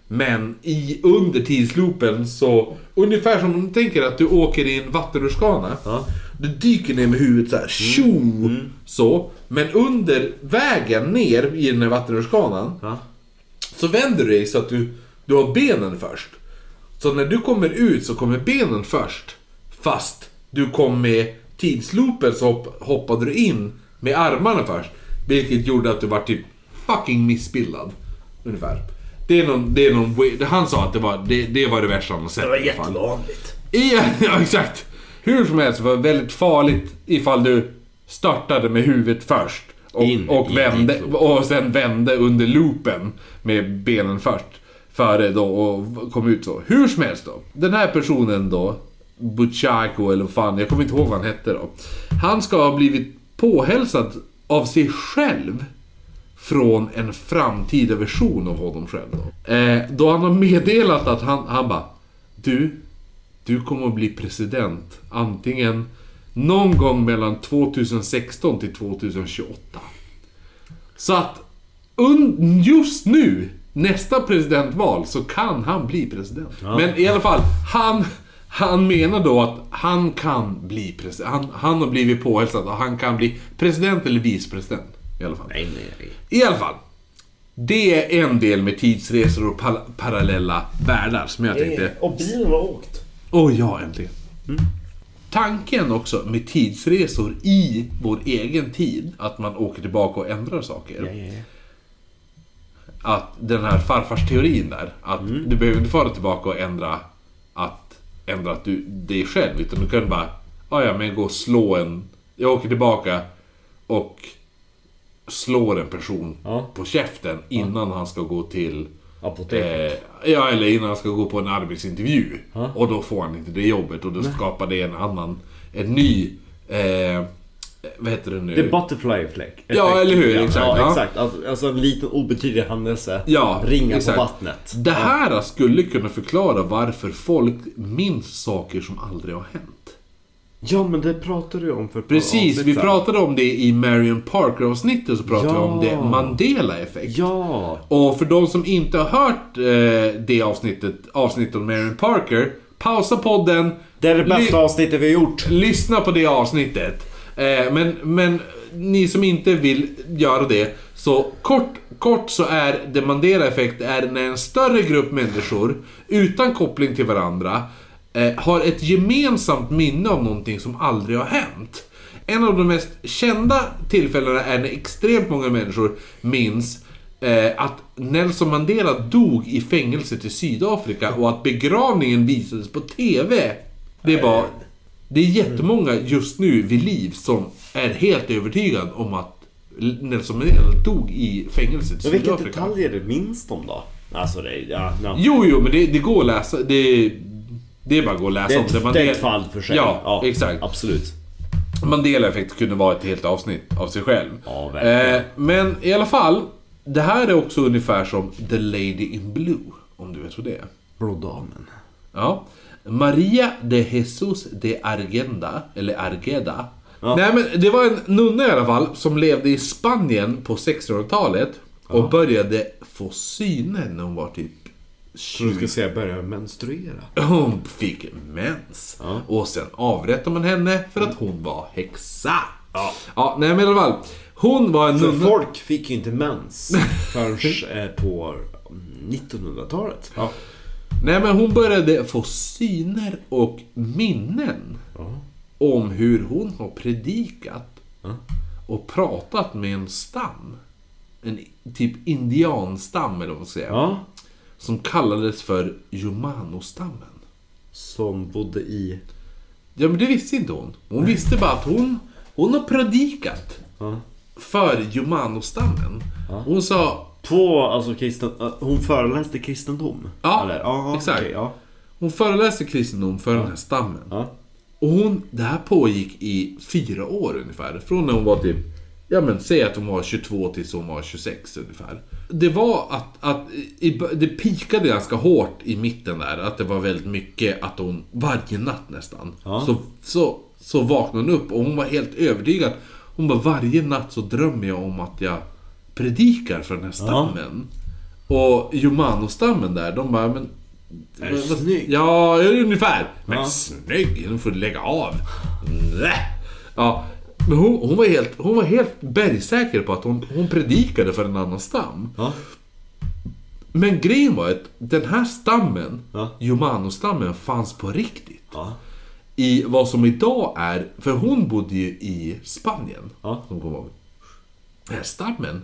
[SPEAKER 3] Men i, under tidsloopen så, ungefär som om du tänker att du åker i en vattenrutschkana.
[SPEAKER 1] Ja. Mm.
[SPEAKER 3] Du dyker ner med huvudet så här, tjo! Så. Men under vägen ner i den här vattenrutschkanan
[SPEAKER 1] Ja.
[SPEAKER 3] så vänder du dig så att du, du har benen först. Så när du kommer ut så kommer benen först. Fast du kom med tidsloopen så hopp, hoppade du in med armarna först. Vilket gjorde att du var typ fucking missbildad. Ungefär. Det är någon, det är någon, we- han sa att det var det, det, var det värsta han har sett.
[SPEAKER 1] Det var
[SPEAKER 3] i alla fall.
[SPEAKER 1] jättevanligt.
[SPEAKER 3] I, ja, exakt. Hur som helst var det väldigt farligt ifall du startade med huvudet först. Och,
[SPEAKER 1] In i
[SPEAKER 3] och, vände,
[SPEAKER 1] ditt
[SPEAKER 3] och sen vände under loopen med benen först. Före då och kom ut så. Hur som helst då. Den här personen då. Butchako eller vad fan, jag kommer inte ihåg vad han hette då. Han ska ha blivit påhälsad av sig själv från en framtida version av honom själv. Då, eh, då han har meddelat att han, han bara Du, du kommer att bli president antingen någon gång mellan 2016 till 2028. Så att un, just nu, nästa presidentval, så kan han bli president. Men i alla fall, han, han menar då att han kan bli president. Han, han har blivit påhälsad och han kan bli president eller vicepresident. I alla fall.
[SPEAKER 1] Nej, nej, nej.
[SPEAKER 3] I alla fall. Det är en del med tidsresor och pal- parallella världar som jag tänkte...
[SPEAKER 1] Och bilen har åkt.
[SPEAKER 3] Åh ja, äntligen. Mm. Tanken också med tidsresor i vår egen tid, att man åker tillbaka och ändrar saker. Att den här farfarsteorin där, att du behöver inte fara tillbaka och ändra att, ändra att du, dig själv, utan du kan bara, "Ah, ja men gå och slå en, jag åker tillbaka och slår en person
[SPEAKER 1] Ja.
[SPEAKER 3] på käften innan han ska gå till...
[SPEAKER 1] Apotek.
[SPEAKER 3] Eh, ja, eller innan han ska gå på en arbetsintervju. Och då får han inte det jobbet och då skapar det en annan... En ny... Eh, vad heter det nu?
[SPEAKER 1] Det är butterfly effect.
[SPEAKER 3] Ja, eller hur? Exakt,
[SPEAKER 1] Ja,
[SPEAKER 3] ja.
[SPEAKER 1] exakt. Alltså- Alltså en liten obetydlig händelse.
[SPEAKER 3] Ja,
[SPEAKER 1] Ringa
[SPEAKER 3] exakt.
[SPEAKER 1] på vattnet.
[SPEAKER 3] Det här skulle kunna förklara varför folk minns saker som aldrig har hänt.
[SPEAKER 1] Ja, men det pratade du om för ett par
[SPEAKER 3] Precis,
[SPEAKER 1] avsnitt
[SPEAKER 3] vi
[SPEAKER 1] sedan.
[SPEAKER 3] pratade om det i Marion Parker-avsnittet så pratade
[SPEAKER 1] Ja.
[SPEAKER 3] vi om det Mandela-effekt.
[SPEAKER 1] Ja!
[SPEAKER 3] Och för de som inte har hört eh, det avsnittet, avsnittet om Marion Parker, pausa podden.
[SPEAKER 1] Det är det bästa
[SPEAKER 3] Ly-
[SPEAKER 1] avsnittet vi har gjort.
[SPEAKER 3] lyssna på det avsnittet. Eh, men, men ni som inte vill göra det, så kort, kort så är det Mandela-effekt är när en större grupp människor utan koppling till varandra eh, har ett gemensamt minne av någonting som aldrig har hänt. En av de mest kända tillfällena är när extremt många människor minns eh, att Nelson Mandela dog i fängelset i Sydafrika och att begravningen visades på TV. Det var... Det är jättemånga just nu vid liv som är helt övertygad om att Nelson Mandela dog i fängelset i
[SPEAKER 1] Men vilka
[SPEAKER 3] Sydafrika.
[SPEAKER 1] detaljer det minns de då? Alltså det är... Ja, ja.
[SPEAKER 3] Jo, jo, men det, det går att läsa. Det, det är bara att gå och läsa
[SPEAKER 1] Det är
[SPEAKER 3] om det.
[SPEAKER 1] ett, det är ett fall för sig.
[SPEAKER 3] Ja, exakt.
[SPEAKER 1] Absolut.
[SPEAKER 3] Mandela-effekt kunde vara ett helt avsnitt av sig själv.
[SPEAKER 1] Ja, verkligen.
[SPEAKER 3] Eh, men i alla fall, det här är också ungefär som The Lady in Blue, om du vet vad det är.
[SPEAKER 1] Blå damen.
[SPEAKER 3] Ja. Maria de Jesus de Argenda, eller Argeda. Nej men det var en nunna i alla fall som levde i Spanien på 1600-talet och började få syner när hon var typ
[SPEAKER 1] Tror du ska säga börja menstruera?
[SPEAKER 3] hon fick mens. Och sen avrättade man henne för att hon var häxa. Ja. nej men i alla fall. Hon var en
[SPEAKER 1] För
[SPEAKER 3] nunna.
[SPEAKER 1] folk fick ju inte mens förrän eh, på 1900-talet. Ja.
[SPEAKER 3] Nej men hon började få syner och minnen. Om hur hon har predikat. Och pratat med en stam. En typ indianstam eller vad man ska säga. Som kallades för Yumano-stammen.
[SPEAKER 1] Som bodde i...
[SPEAKER 3] Ja men det visste inte hon. Hon visste bara att hon, hon har predikat. För Yumano-stammen. Hon sa,
[SPEAKER 1] På, alltså kristen... eh, Hon föreläste kristendom?
[SPEAKER 3] Ja,
[SPEAKER 1] Eller? Ja,
[SPEAKER 3] exakt.
[SPEAKER 1] okej, ja.
[SPEAKER 3] hon föreläste kristendom för den här stammen.
[SPEAKER 1] Ja.
[SPEAKER 3] Och hon, det här pågick i fyra år ungefär. Från när hon var typ, ja men säg att hon var 22 tills hon var 26 ungefär. Det var att, att i, det pikade ganska hårt i mitten där. Att det var väldigt mycket att hon, varje natt nästan, så, så, så vaknade hon upp och hon var helt övertygad. Hon bara, varje natt så drömmer jag om att jag predikar för den här stammen. Och Yumano-stammen där, de bara, men...
[SPEAKER 1] Är du snygg?
[SPEAKER 3] Ja, ungefär. Men
[SPEAKER 1] Ja.
[SPEAKER 3] snygg, nu får du lägga av. Nä. Ja, men hon, hon, var helt, hon var helt bergsäker på att hon, hon predikade för en annan stam.
[SPEAKER 1] Ja.
[SPEAKER 3] Men grejen var att den här stammen,
[SPEAKER 1] Ja.
[SPEAKER 3] Yumano-stammen, fanns på riktigt.
[SPEAKER 1] Ja.
[SPEAKER 3] I vad som idag är, för hon bodde ju i Spanien.
[SPEAKER 1] Ja.
[SPEAKER 3] Som kom ihåg. Den här stammen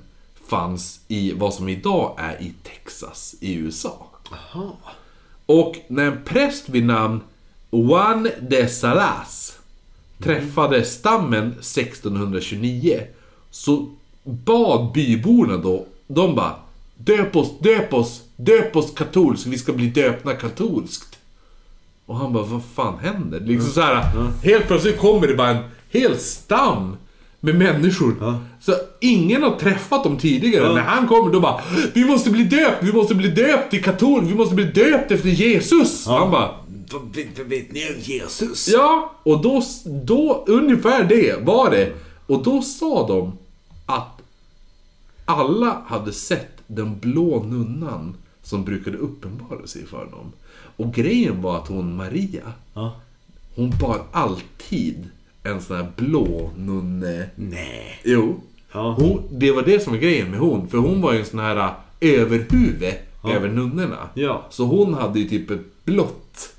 [SPEAKER 3] fanns i vad som idag är i Texas i USA. Och när en präst vid namn Juan de Salas träffade stammen 1629 så bad byborna då, de bara Döp oss, döp oss, döp oss katolskt, vi ska bli döpna katolskt. Och han bara, vad fan händer? Liksom så här, helt plötsligt kommer det bara en hel stam med människor. Så ingen har träffat dem tidigare. När han kommer då bara, vi måste bli döpt, vi måste bli döpt till katol, vi måste bli döpt efter Jesus. Han bara,
[SPEAKER 1] Vet, vet ni om Jesus?
[SPEAKER 3] ja. Och då, då, ungefär det var det. Och då sa de att alla hade sett den blå nunnan som brukade uppenbara sig för dem. Och grejen var att hon Maria,
[SPEAKER 1] Ja.
[SPEAKER 3] hon bar alltid en sån här blå nunne...
[SPEAKER 1] Nej.
[SPEAKER 3] Jo.
[SPEAKER 1] Ja.
[SPEAKER 3] Hon, det var det som var grejen med hon. För hon var ju en sån här äh, överhuvud över nunnorna.
[SPEAKER 1] Ja.
[SPEAKER 3] Så hon hade ju typ ett blått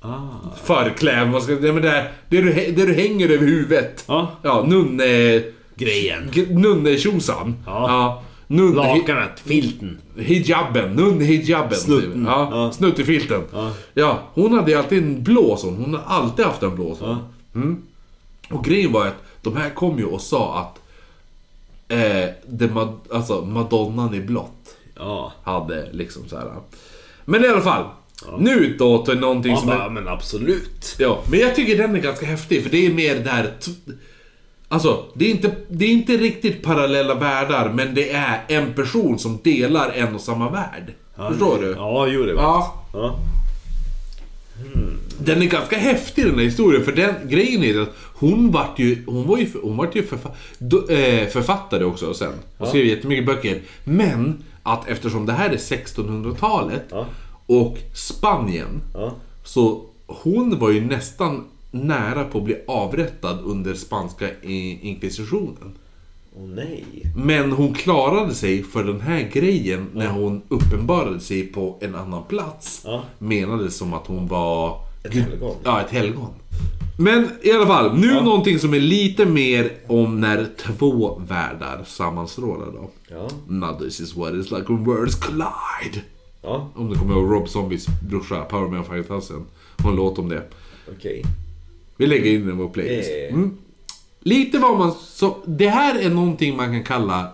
[SPEAKER 1] Ah.
[SPEAKER 3] förkläde. vad ska- nej, men Det, här- det, du, hä- det du hänger över huvudet.
[SPEAKER 1] Ja.
[SPEAKER 3] ja nunne...
[SPEAKER 1] Grejen.
[SPEAKER 3] g- Nunne-tjosan.
[SPEAKER 1] Ja.
[SPEAKER 3] Nunne,
[SPEAKER 1] Lakanet, filten.
[SPEAKER 3] Hijaben, nunn-hijaben.
[SPEAKER 1] Snutten.
[SPEAKER 3] Ja,
[SPEAKER 1] Ja.
[SPEAKER 3] Snuttefilten. Ja. hon hade ju alltid en blå sån. Hon har alltid haft en blå sån. Mm. Och grejen var att de här kom ju och sa att eh, det ma- alltså madonnan i blått
[SPEAKER 1] Ja.
[SPEAKER 3] hade liksom så här. Men i alla fall. Nu då till någonting
[SPEAKER 1] Man
[SPEAKER 3] som...
[SPEAKER 1] bara,
[SPEAKER 3] Är,
[SPEAKER 1] men absolut.
[SPEAKER 3] ja, men jag tycker den är ganska häftig för det är mer där... T- alltså, det är, inte, det är inte riktigt parallella världar men det är en person som delar en och samma värld. Förstår du?
[SPEAKER 1] Ja, jo det var
[SPEAKER 3] Ja.
[SPEAKER 1] ja.
[SPEAKER 3] Den är ganska häftig den här historien för den grejen är att hon vart ju, hon var ju, hon vart ju förfa, do, eh, författare också sen. Och skrev jättemycket böcker. Men att eftersom det här är 1600-talet
[SPEAKER 1] Ja.
[SPEAKER 3] och Spanien.
[SPEAKER 1] Ja.
[SPEAKER 3] Så hon var ju nästan nära på att bli avrättad under spanska i- inkvisitionen.
[SPEAKER 1] Åh nej.
[SPEAKER 3] Men hon klarade sig för den här grejen när hon uppenbarade sig på en annan plats.
[SPEAKER 1] Ja.
[SPEAKER 3] Menades som att hon var...
[SPEAKER 1] Ett helgon.
[SPEAKER 3] Ja, ett helgon. Men i alla fall, nu någonting som är lite mer om när två världar sammanstrålar då.
[SPEAKER 1] Ja.
[SPEAKER 3] Now this is what it's like when worlds collide.
[SPEAKER 1] Ja,
[SPEAKER 3] Om du kommer ihåg Rob Zombies brorsa, Power Man 5000. Har en låt om det.
[SPEAKER 1] okej.
[SPEAKER 3] Vi lägger in den i vår playlist.
[SPEAKER 1] Ja, ja, ja.
[SPEAKER 3] Mm. Lite vad man... Så, det här är någonting man kan kalla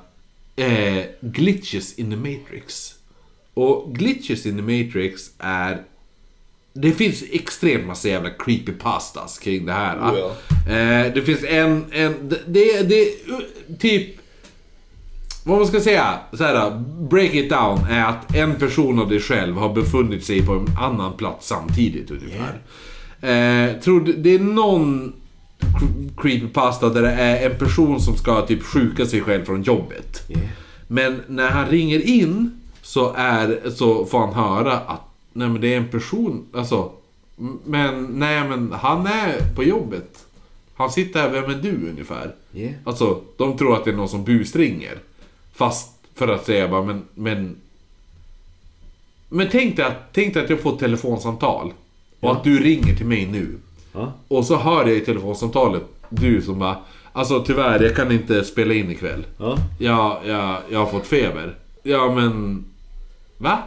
[SPEAKER 3] eh, glitches in the matrix. Och glitches in the matrix är... Det finns extremt massa jävla creepypastas kring det här. va?
[SPEAKER 1] Oh,
[SPEAKER 3] eh, det finns en... en det, det, det uh, typ... Vad man ska säga, så här, break it down, är att en person av dig själv har befunnit sig på en annan plats samtidigt ungefär. Eh, tror du, det är någon cre- creepypasta där det är en person som ska typ sjuka sig själv från jobbet. Men när han ringer in så, är, så får han höra att nej men det är en person, alltså. m- Men nej men han är på jobbet. Han sitter här, vem är du ungefär?
[SPEAKER 1] Yeah.
[SPEAKER 3] Alltså, de tror att det är någon som busringer. Fast för att säga bara, men... Men, men tänk, dig att, tänk dig att jag får ett telefonsamtal. Och att du ringer till mig nu.
[SPEAKER 1] Ja.
[SPEAKER 3] Och så hör jag i telefonsamtalet, du som bara... Alltså tyvärr, jag kan inte spela in ikväll.
[SPEAKER 1] Ja.
[SPEAKER 3] Ja, ja, jag har fått feber. Ja, men... Va?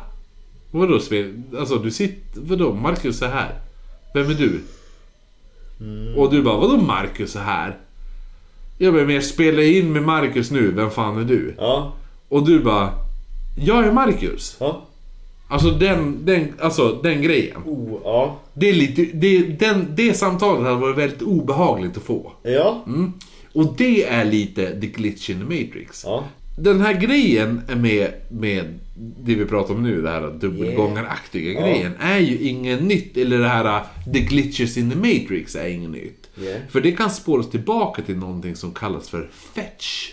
[SPEAKER 3] Vadå spel? Alltså du sitter... Vadå? Marcus är här. Vem är du? Och du bara, vadå Marcus är här? Ja, men jag spelar in med Marcus nu. Vem fan är du?
[SPEAKER 1] Ja.
[SPEAKER 3] Och du bara, jag är Marcus.
[SPEAKER 1] Ja.
[SPEAKER 3] Alltså den, den, alltså den grejen.
[SPEAKER 1] Oh, ja.
[SPEAKER 3] Det är lite... Det, den, det samtalet hade varit väldigt obehagligt att få.
[SPEAKER 1] Ja.
[SPEAKER 3] Mm. Och det är lite the glitch in the matrix.
[SPEAKER 1] Ja.
[SPEAKER 3] Den här grejen med, med det vi pratar om nu, det här dubbelgångaraktiga
[SPEAKER 1] Yeah.
[SPEAKER 3] grejen, är ju inget nytt. Eller det här uh, the glitches in the matrix är inget nytt.
[SPEAKER 1] Yeah.
[SPEAKER 3] För det kan spåras tillbaka till någonting som kallas för fetch.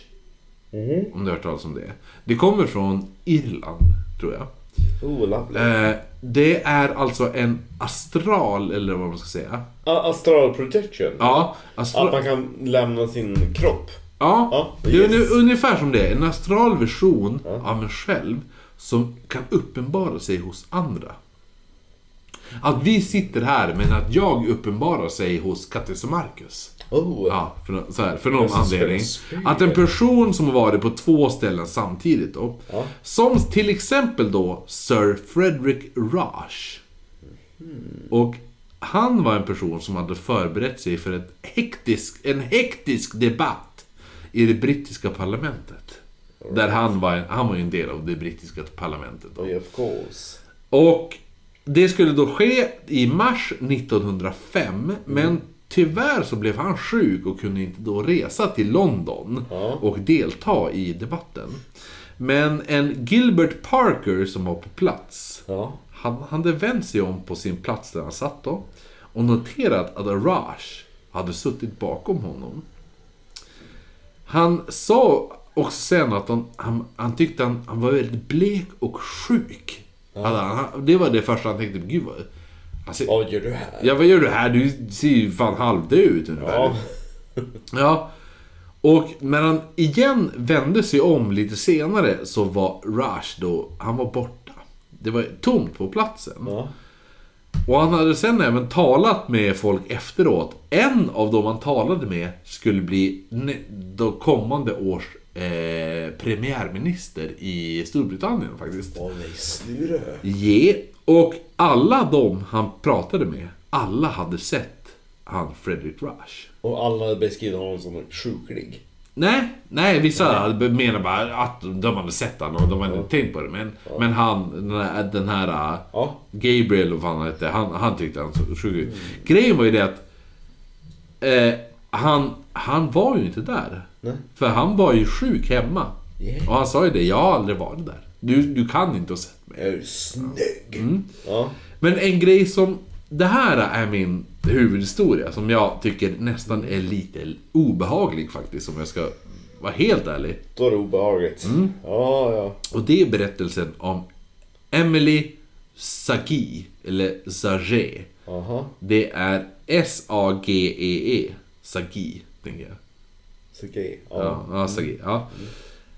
[SPEAKER 1] Mm-hmm.
[SPEAKER 3] Om du har hört talas om det. Det kommer från Irland, tror jag.
[SPEAKER 1] Oh, lovely.
[SPEAKER 3] Eh, det är alltså en astral, eller vad man ska säga.
[SPEAKER 1] A- astral projection.
[SPEAKER 3] Ja, astra-
[SPEAKER 1] Att man kan lämna sin kropp.
[SPEAKER 3] Ja,
[SPEAKER 1] Ja,
[SPEAKER 3] det är
[SPEAKER 1] yes.
[SPEAKER 3] uni- ungefär som det. En astral version av en själv som kan uppenbara sig hos andra. Att vi sitter här men att jag uppenbarar sig hos Kattis och Marcus.
[SPEAKER 1] Oh.
[SPEAKER 3] Ja, för, nå- så här, för någon
[SPEAKER 1] Det är så
[SPEAKER 3] anledning.
[SPEAKER 1] spel-
[SPEAKER 3] Att en person som har varit på två ställen samtidigt då.
[SPEAKER 1] Ja.
[SPEAKER 3] Som till exempel då Sir Frederick Rush. Och han var en person som hade förberett sig för ett hektisk, en hektisk debatt i det brittiska parlamentet. Där han var, han var ju en del av det brittiska parlamentet. Då.
[SPEAKER 1] Oh, Of course.
[SPEAKER 3] Och det skulle då ske i mars 1905, men tyvärr så blev han sjuk och kunde inte då resa till London
[SPEAKER 1] Ja.
[SPEAKER 3] och delta i debatten. Men en Gilbert Parker som var på plats,
[SPEAKER 1] Ja.
[SPEAKER 3] han hade vänt sig om på sin plats där han satt då och noterat att Arash hade suttit bakom honom. Han sa också sen att han, han, han tyckte han, han var väldigt blek och sjuk. Hade han, han- det var det första han tänkte, gud vad... Han ser,
[SPEAKER 1] Vad gör du här?
[SPEAKER 3] Ja, vad gör du här? Du ser ju fan halvdöd ut ungefär.
[SPEAKER 1] Ja.
[SPEAKER 3] Ja. Och när han igen vände sig om lite senare så var Rush då, han var borta. Det var tomt på platsen.
[SPEAKER 1] Ja.
[SPEAKER 3] Och han hade sen även talat med folk efteråt. En av dem han talade med skulle bli nä- då kommande års eh, premiärminister i Storbritannien faktiskt.
[SPEAKER 1] Åh nej, snurre.
[SPEAKER 3] Yeah. Och alla de han pratade med, alla hade sett han Fredrik Rush.
[SPEAKER 1] Och alla beskriver honom som sjuklig.
[SPEAKER 3] Nej, nej vissa menar bara att de hade sett honom och de hade inte tänkt på det. Men, men han, den här, den här
[SPEAKER 1] Ja. Mm.
[SPEAKER 3] Gabriel och vad han hette, han, han tyckte han såg sjuk ut. Grejen var ju det att eh, han, han var ju inte där. För han var ju sjuk hemma.
[SPEAKER 1] Yeah.
[SPEAKER 3] Och han sa ju det, jag har aldrig varit där. Du, du kan inte ha sett mig.
[SPEAKER 1] Är du snygg? Ja.
[SPEAKER 3] Men en grej som... Det här är min huvudhistoria som jag tycker nästan är lite obehaglig faktiskt om jag ska vara helt ärlig.
[SPEAKER 1] Då är det obehagligt. Ja, ja.
[SPEAKER 3] Och det är berättelsen om Emily Sagi, eller Sage.
[SPEAKER 1] Aha.
[SPEAKER 3] Det är S-A-G-E-E. Sagi, E tänker jag.
[SPEAKER 1] Så gay. Ja.
[SPEAKER 3] Ja, ja, Sagi, ja.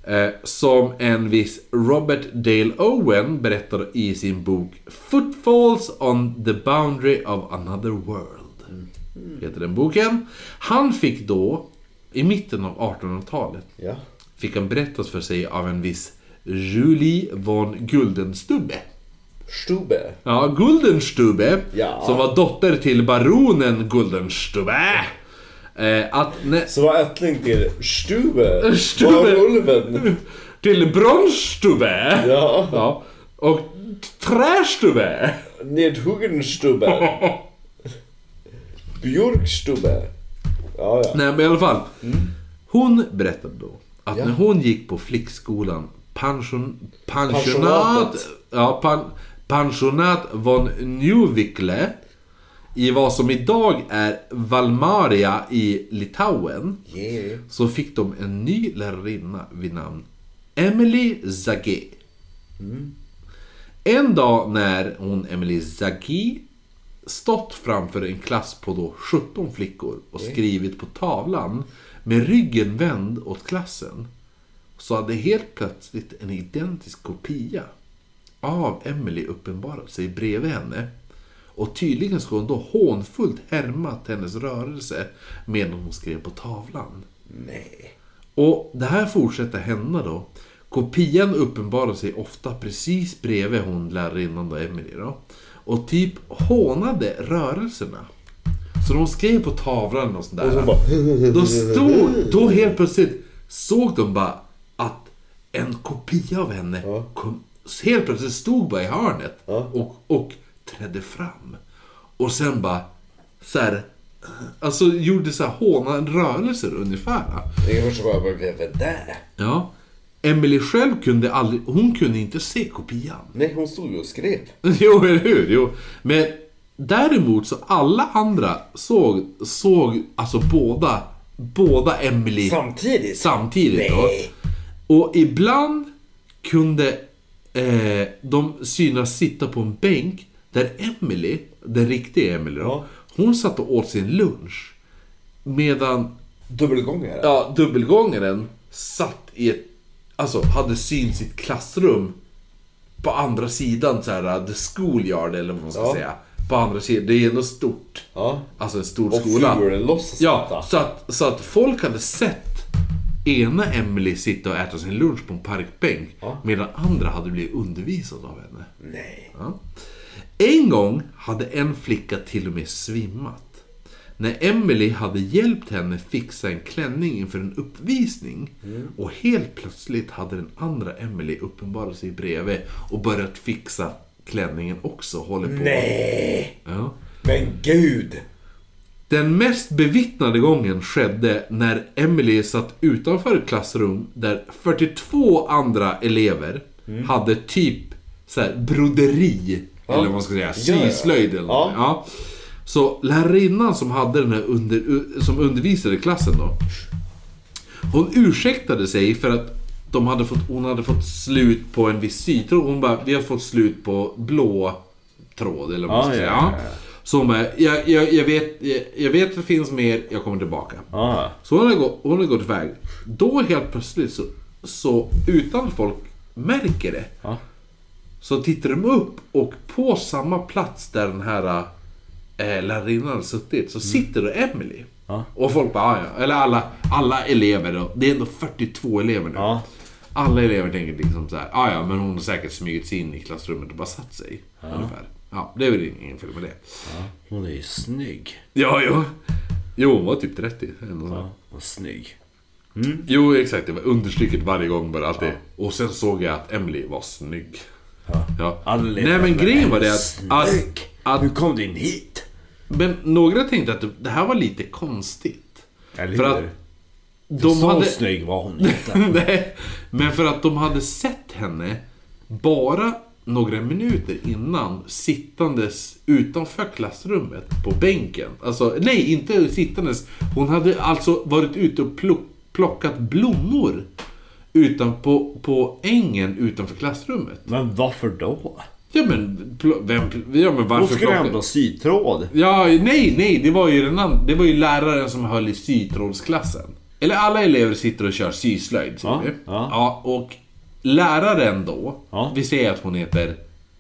[SPEAKER 3] Eh, Som en viss Robert Dale Owen berättar i sin bok Footfalls on the Boundary of Another World. Heter den boken. Han fick då, i mitten av 1800-talet,
[SPEAKER 1] Ja.
[SPEAKER 3] fick han berättas för sig av en viss Julie von Guldenstubbe.
[SPEAKER 1] Stube.
[SPEAKER 3] Ja, Guldenstubbe,
[SPEAKER 1] Ja.
[SPEAKER 3] som var dotter till baronen Guldenstubbe. Eh, att nä-
[SPEAKER 1] Så var ättling till Stube.
[SPEAKER 3] Stube.
[SPEAKER 1] Var ulven.
[SPEAKER 3] till bronsstubbe.
[SPEAKER 1] Ja.
[SPEAKER 3] Ja. Och trästubbe.
[SPEAKER 1] Nedhuggen Stube. Björkstube. Ja, ja. Mm.
[SPEAKER 3] Nej men i alla fall. Hon berättade då att
[SPEAKER 1] Ja.
[SPEAKER 3] när hon gick på flickskolan pension, pensionat,
[SPEAKER 1] Pensionatet.
[SPEAKER 3] ja, pan, pensionat von Neuwickle i vad som idag är Valmaria i Litauen.
[SPEAKER 1] Yeah.
[SPEAKER 3] så fick de en ny lärarinna vid namn Emily Zagé. En dag när hon, Emily Zagé, stått framför en klass på då 17 flickor och skrivit på tavlan med ryggen vänd åt klassen så hade helt plötsligt en identisk kopia av Emily uppenbarat sig bredvid henne. Och tydligen ska hon då hånfullt härmat hennes rörelse medan hon skrev på tavlan.
[SPEAKER 1] Nej.
[SPEAKER 3] Och det här fortsätter hända då. Kopian uppenbarar sig ofta precis bredvid hon lärarinnan då, Emily då. Och typ hånade rörelserna. Så de skrev på tavlan och sådär.
[SPEAKER 1] Och så bara-
[SPEAKER 3] Då stod, då helt plötsligt såg de bara att en kopia av henne kom, helt plötsligt stod bara i hörnet och, och trädde fram. Och sen bara så här, alltså gjorde så här hånande rörelser ungefär.
[SPEAKER 1] Det är första gången jag bara, vem är det?
[SPEAKER 3] Ja. Emily själv kunde aldrig, hon kunde inte se kopian.
[SPEAKER 1] Nej, hon stod ju och skrev.
[SPEAKER 3] Jo, eller hur? Jo. Men däremot så alla andra såg, såg alltså båda, båda Emily
[SPEAKER 1] Samtidigt?
[SPEAKER 3] samtidigt. Då.
[SPEAKER 1] Nej.
[SPEAKER 3] Och ibland kunde eh, de synas sitta på en bänk där Emily, den riktiga Emily då,
[SPEAKER 1] Ja.
[SPEAKER 3] hon satt och åt sin lunch. Medan
[SPEAKER 1] Dubbelgångare?
[SPEAKER 3] ja, dubbelgångaren satt i ett... Alltså hade syns i ett klassrum på andra sidan så här, uh, the schoolyard eller vad man ska
[SPEAKER 1] Ja.
[SPEAKER 3] säga. På andra sidan, det är ändå stort.
[SPEAKER 1] Ja.
[SPEAKER 3] Alltså en stor
[SPEAKER 1] Och
[SPEAKER 3] skola.
[SPEAKER 1] figuren låtsas
[SPEAKER 3] Ja,
[SPEAKER 1] detta.
[SPEAKER 3] så att, så att folk hade sett ena Emily sitta och äta sin lunch på en parkbänk medan andra hade blivit undervisade av henne.
[SPEAKER 1] Nej.
[SPEAKER 3] Ja. En gång hade en flicka till och med svimmat. När Emily hade hjälpt henne fixa en klänning inför en uppvisning och helt plötsligt hade den andra Emily uppenbarat sig bredvid och börjat fixa klänningen också. Håller på.
[SPEAKER 1] Nej.
[SPEAKER 3] Ja.
[SPEAKER 1] Men gud.
[SPEAKER 3] Den mest bevittnade gången skedde när Emily satt utanför ett klassrum där 42 andra elever hade typ så här, broderi, eller vad man ska säga,
[SPEAKER 1] Mm. Ja, ja, ja.
[SPEAKER 3] syslöjd eller
[SPEAKER 1] Ja.
[SPEAKER 3] ja. Ja. Så lärarinnan som, hade den här under, som undervisade klassen då, hon ursäktade sig för att de hade fått, hon hade fått slut på en viss sytråd. Hon bara, vi har fått slut på blå tråd eller vad man ska
[SPEAKER 4] Ah,
[SPEAKER 3] säga.
[SPEAKER 4] ja, ja,
[SPEAKER 3] Ja. Så hon bara, jag, jag, jag, vet, jag, jag vet att det finns mer, jag kommer tillbaka.
[SPEAKER 4] Ah.
[SPEAKER 3] Så hon har, gått, hon har gått iväg. Då helt plötsligt så, så utan att folk märker det.
[SPEAKER 4] Ja.
[SPEAKER 3] Så tittar de upp och på samma plats där den här äh, lärarinnan hade suttit så sitter då Emily.
[SPEAKER 4] Mm. Ja.
[SPEAKER 3] Och folk bara, "Ah, ja. Eller alla, alla elever då. Det är ändå 42 elever nu.
[SPEAKER 4] Ja.
[SPEAKER 3] Alla elever tänker liksom så här, "Ah, ja men hon har säkert smugit sig in i klassrummet och bara satt sig. Ungefär. Ja, det är väl ingen fel med det.
[SPEAKER 4] Hon är ju snygg.
[SPEAKER 3] Ja, jo. Jo, hon var typ 30. Eller något sånt.
[SPEAKER 4] Vad snygg.
[SPEAKER 3] Jo, exakt. Det var understryket varje gång bara alltid. Och sen såg jag att Emily var snygg. Ja.
[SPEAKER 1] Alla
[SPEAKER 3] Nej men
[SPEAKER 1] jävla
[SPEAKER 3] grejen var det att...
[SPEAKER 1] snygg.
[SPEAKER 3] att, att
[SPEAKER 1] Hur kom du in hit?
[SPEAKER 3] men några tänkte att det här var lite konstigt.
[SPEAKER 1] Eller
[SPEAKER 3] För att
[SPEAKER 1] hur?
[SPEAKER 3] de
[SPEAKER 1] Så
[SPEAKER 3] hade...
[SPEAKER 1] snygg var hon inte.
[SPEAKER 3] Mm, Nej, men för att de hade sett henne bara några minuter innan sittandes utanför klassrummet på bänken. Alltså, nej, inte sittandes. Hon hade alltså varit ute och plock, plockat blommor utan på, på ängen utanför klassrummet.
[SPEAKER 1] Men varför då?
[SPEAKER 3] Ja, men, pl- vem, pl- ja, men varför
[SPEAKER 1] Hon skulle
[SPEAKER 3] plockar-
[SPEAKER 1] ändå sytråd.
[SPEAKER 3] Ja, nej, nej, det var ju den and- Det var ju läraren som höll i sytrådsklassen. Eller alla elever sitter och kör syslöjd, säger
[SPEAKER 1] Ja,
[SPEAKER 3] vi.
[SPEAKER 1] ja.
[SPEAKER 3] och läraren då,
[SPEAKER 1] Ja.
[SPEAKER 3] vi säger att hon heter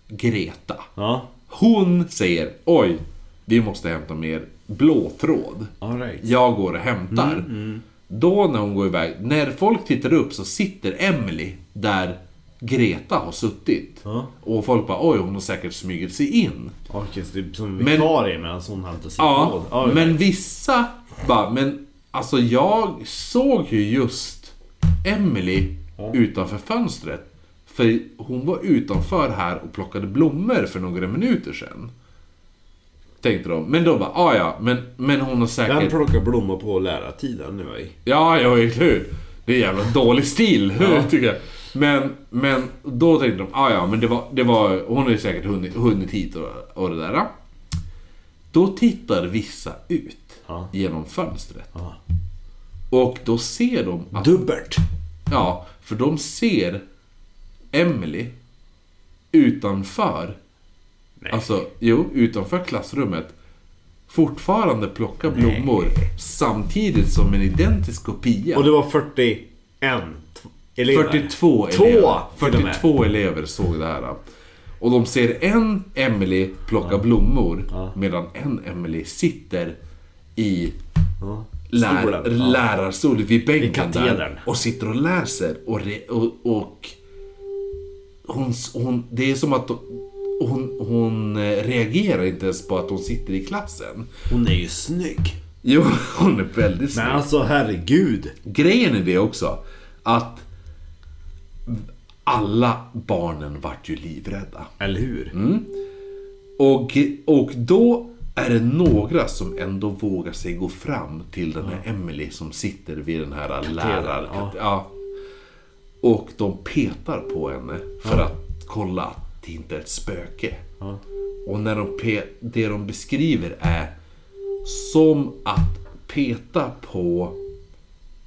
[SPEAKER 3] Greta.
[SPEAKER 1] Ja,
[SPEAKER 3] Hon säger, oj, vi måste hämta mer blåtråd.
[SPEAKER 1] alright.
[SPEAKER 3] Jag går och hämtar.
[SPEAKER 1] Mm,
[SPEAKER 3] Då när hon går iväg, när folk tittar upp så sitter Emily där Greta har suttit.
[SPEAKER 1] Ja.
[SPEAKER 3] Och folk bara, oj, hon har säkert smugit sig in.
[SPEAKER 1] Okej, så typ som
[SPEAKER 3] Men-
[SPEAKER 1] vikarie medan hon hämtar
[SPEAKER 3] Ja,
[SPEAKER 1] sytråd. Alright.
[SPEAKER 3] men vissa bara, men alltså jag såg ju just Emily utanför fönstret. För hon var utanför här och plockade blommor för några minuter sedan. Tänkte de. Men de bara, "Ah, ja, men, men hon har
[SPEAKER 1] Vem
[SPEAKER 3] säkert...
[SPEAKER 1] plockar blommor på lärartiden nu ej?
[SPEAKER 3] Ja, ja, eller hur? Det är jävla dålig stil, tycker jag. Men, men då tänkte de, ah, ja, men det var, det var, hon har ju säkert hunnit, hunnit hit och, och det där. Då tittar vissa ut
[SPEAKER 1] Ja.
[SPEAKER 3] genom fönstret.
[SPEAKER 1] Ja.
[SPEAKER 3] Och då ser de att,
[SPEAKER 1] Dubbert.
[SPEAKER 3] ja, för de ser Emily utanför, alltså, jo, utanför klassrummet. Fortfarande plocka blommor samtidigt som en identisk kopia.
[SPEAKER 1] Och det var 41 t- elever.
[SPEAKER 3] 42
[SPEAKER 1] Två
[SPEAKER 3] elever.
[SPEAKER 1] till och med.
[SPEAKER 3] 42 elever såg det här. Och de ser en Emily plocka blommor medan en Emily sitter i lär,
[SPEAKER 1] Stolen, ja.
[SPEAKER 3] lärarstol vid bänken
[SPEAKER 1] katedern.
[SPEAKER 3] där och sitter och läser. Och, re, och, och hon, hon, det är som att hon, hon eh, reagerar inte ens på att hon sitter i klassen.
[SPEAKER 1] Hon är ju snygg.
[SPEAKER 3] Jo, hon är väldigt snygg.
[SPEAKER 1] Men alltså herregud.
[SPEAKER 3] Grejen är det också att alla barnen vart ju livrädda.
[SPEAKER 1] Eller hur?
[SPEAKER 3] Och, och då är det några som ändå vågar sig gå fram till den här Emily som sitter vid den här läraren.
[SPEAKER 1] ja.
[SPEAKER 3] Ja. Och de petar på henne för att kolla att det inte är ett spöke. Och när de pe- det de beskriver är som att peta på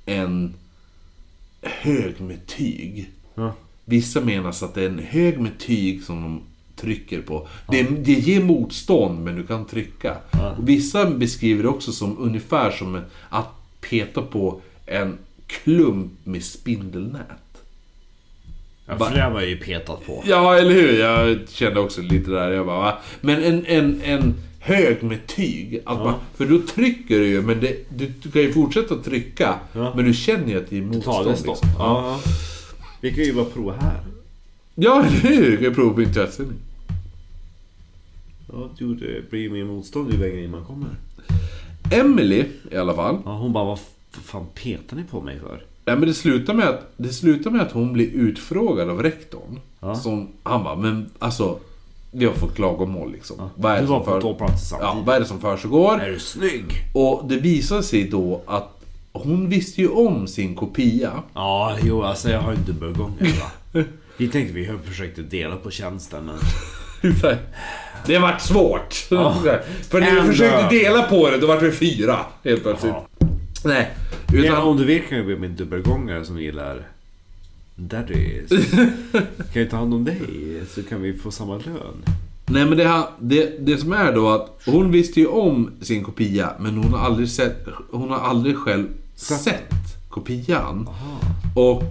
[SPEAKER 3] en hög med tyg. Vissa menas att det är en hög med tyg som de trycker på. Det, det ger motstånd men du kan trycka. Och vissa beskriver det också som ungefär som att peta på en klump med spindelnät.
[SPEAKER 1] Ja, för det har man ju petat på.
[SPEAKER 3] Ja, eller hur? Jag kände också lite där. Jag bara, va? Men en, en, en hög med tyg. Att man, för då trycker du ju, men det, du, du kan ju fortsätta trycka. Men du känner ju att det är motstånd.
[SPEAKER 1] Taget stopp.
[SPEAKER 3] liksom. Ja.
[SPEAKER 1] Ja. Vi kan ju bara prova här.
[SPEAKER 3] ja, eller hur? Du kan ju prova på intresset.
[SPEAKER 1] Ja, du, det blir ju mer motstånd ju längre in man kommer.
[SPEAKER 3] Emily i alla fall.
[SPEAKER 1] Ja, hon bara, vad f- fan petar ni på mig för?
[SPEAKER 3] Nej, men det slutar med att, det slutar med att hon blir utfrågad av rektorn. Som, han bara, men alltså. Vi har fått klagomål liksom. Vad, är
[SPEAKER 1] Du
[SPEAKER 3] det
[SPEAKER 1] var
[SPEAKER 3] som
[SPEAKER 1] på
[SPEAKER 3] för,
[SPEAKER 1] två platser
[SPEAKER 3] ja,
[SPEAKER 1] samtidigt.
[SPEAKER 3] vad är det som försiggår?
[SPEAKER 1] Är du snygg?
[SPEAKER 3] Och det visar sig då att hon visste ju om sin kopia.
[SPEAKER 1] Ja, jo alltså jag har ju dubbelgångare va. Vi tänkte vi försökte dela på tjänsten men...
[SPEAKER 3] Det vart svårt. För när
[SPEAKER 1] Ändå.
[SPEAKER 3] vi försökte dela på det, då vart vi fyra helt plötsligt. Nej,
[SPEAKER 1] Utan
[SPEAKER 3] utan...
[SPEAKER 1] om du vill kan jag bli min dubbelgångare som gillar daddies. kan jag ta hand om dig så kan vi få samma lön.
[SPEAKER 3] Nej men det, här, det, det som är då att hon visste ju om sin kopia men hon har aldrig, sett, hon har aldrig själv sett kopian. Och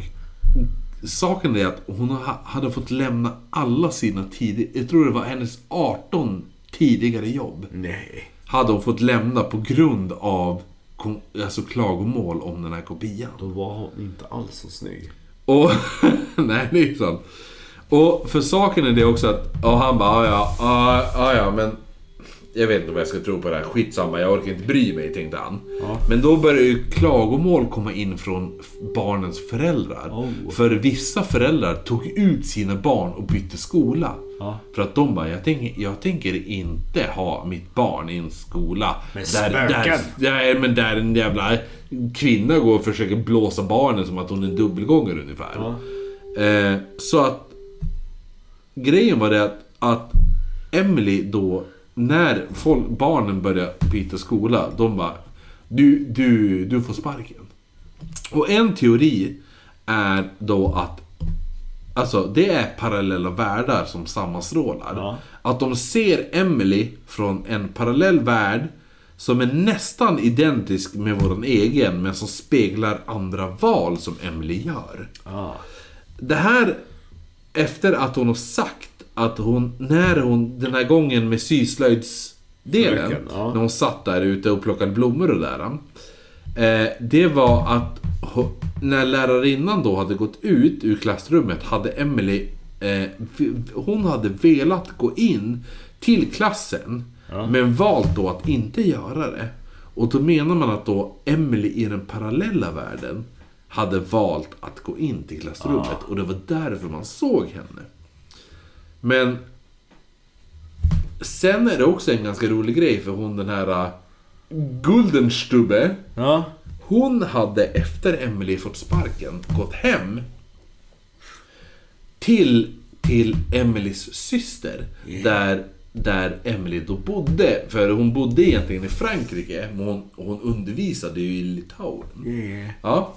[SPEAKER 3] saken är att hon ha, hade fått lämna alla sina tidigare, jag tror det var hennes 18 tidigare jobb.
[SPEAKER 1] Nej.
[SPEAKER 3] Hade hon fått lämna på grund av kon- alltså, klagomål om den här kopian.
[SPEAKER 1] Då var hon inte alls så snygg.
[SPEAKER 3] Och, nej, det är ju sant. Och för saken är det också att, och han bara, "Ah, ja, ah, ah, ja, men jag vet inte vad jag ska tro på det här, skitsamma, jag orkar inte bry mig, tänkte han. Men då börjar ju klagomål komma in från f- barnens föräldrar.
[SPEAKER 1] Oh.
[SPEAKER 3] För vissa föräldrar tog ut sina barn och bytte skola.
[SPEAKER 1] Ja.
[SPEAKER 3] För att de bara, jag tänker, jag tänker inte ha mitt barn i en skola
[SPEAKER 1] Med
[SPEAKER 3] där,
[SPEAKER 1] spöken.
[SPEAKER 3] nej, men där en jävla kvinna går och försöker blåsa barnen som att hon är dubbelgångare ungefär. Eh, så att grejen var det att, att Emily då, när folk, barnen började byta skola, de bara du, du, du får sparken. Och en teori är då att Alltså det är parallella världar som sammanstrålar.
[SPEAKER 1] Ja.
[SPEAKER 3] Att de ser Emily från en parallell värld som är nästan identisk med våran egen men som speglar andra val som Emily gör.
[SPEAKER 1] Ah.
[SPEAKER 3] Det här efter att hon har sagt att hon, när hon, den här gången med syslöjdsdelen,
[SPEAKER 1] Fröken, ja.
[SPEAKER 3] när hon satt där ute och plockade blommor och där. Eh, det var att ho- när lärarinnan då hade gått ut ur klassrummet hade Emily eh, v- hon hade velat gå in till klassen men valt då att inte göra det. Och då menar man att då Emily i den parallella världen hade valt att gå in till klassrummet och det var därför man såg henne. Men sen är det också en ganska rolig grej för hon den här äh, Guldenstubbe
[SPEAKER 1] Ja.
[SPEAKER 3] hon hade efter Emily fått sparken gått hem till, till Emilys syster. Där, där Emily då bodde. För hon bodde egentligen i Frankrike men hon, hon undervisade ju i Litauen. Ja.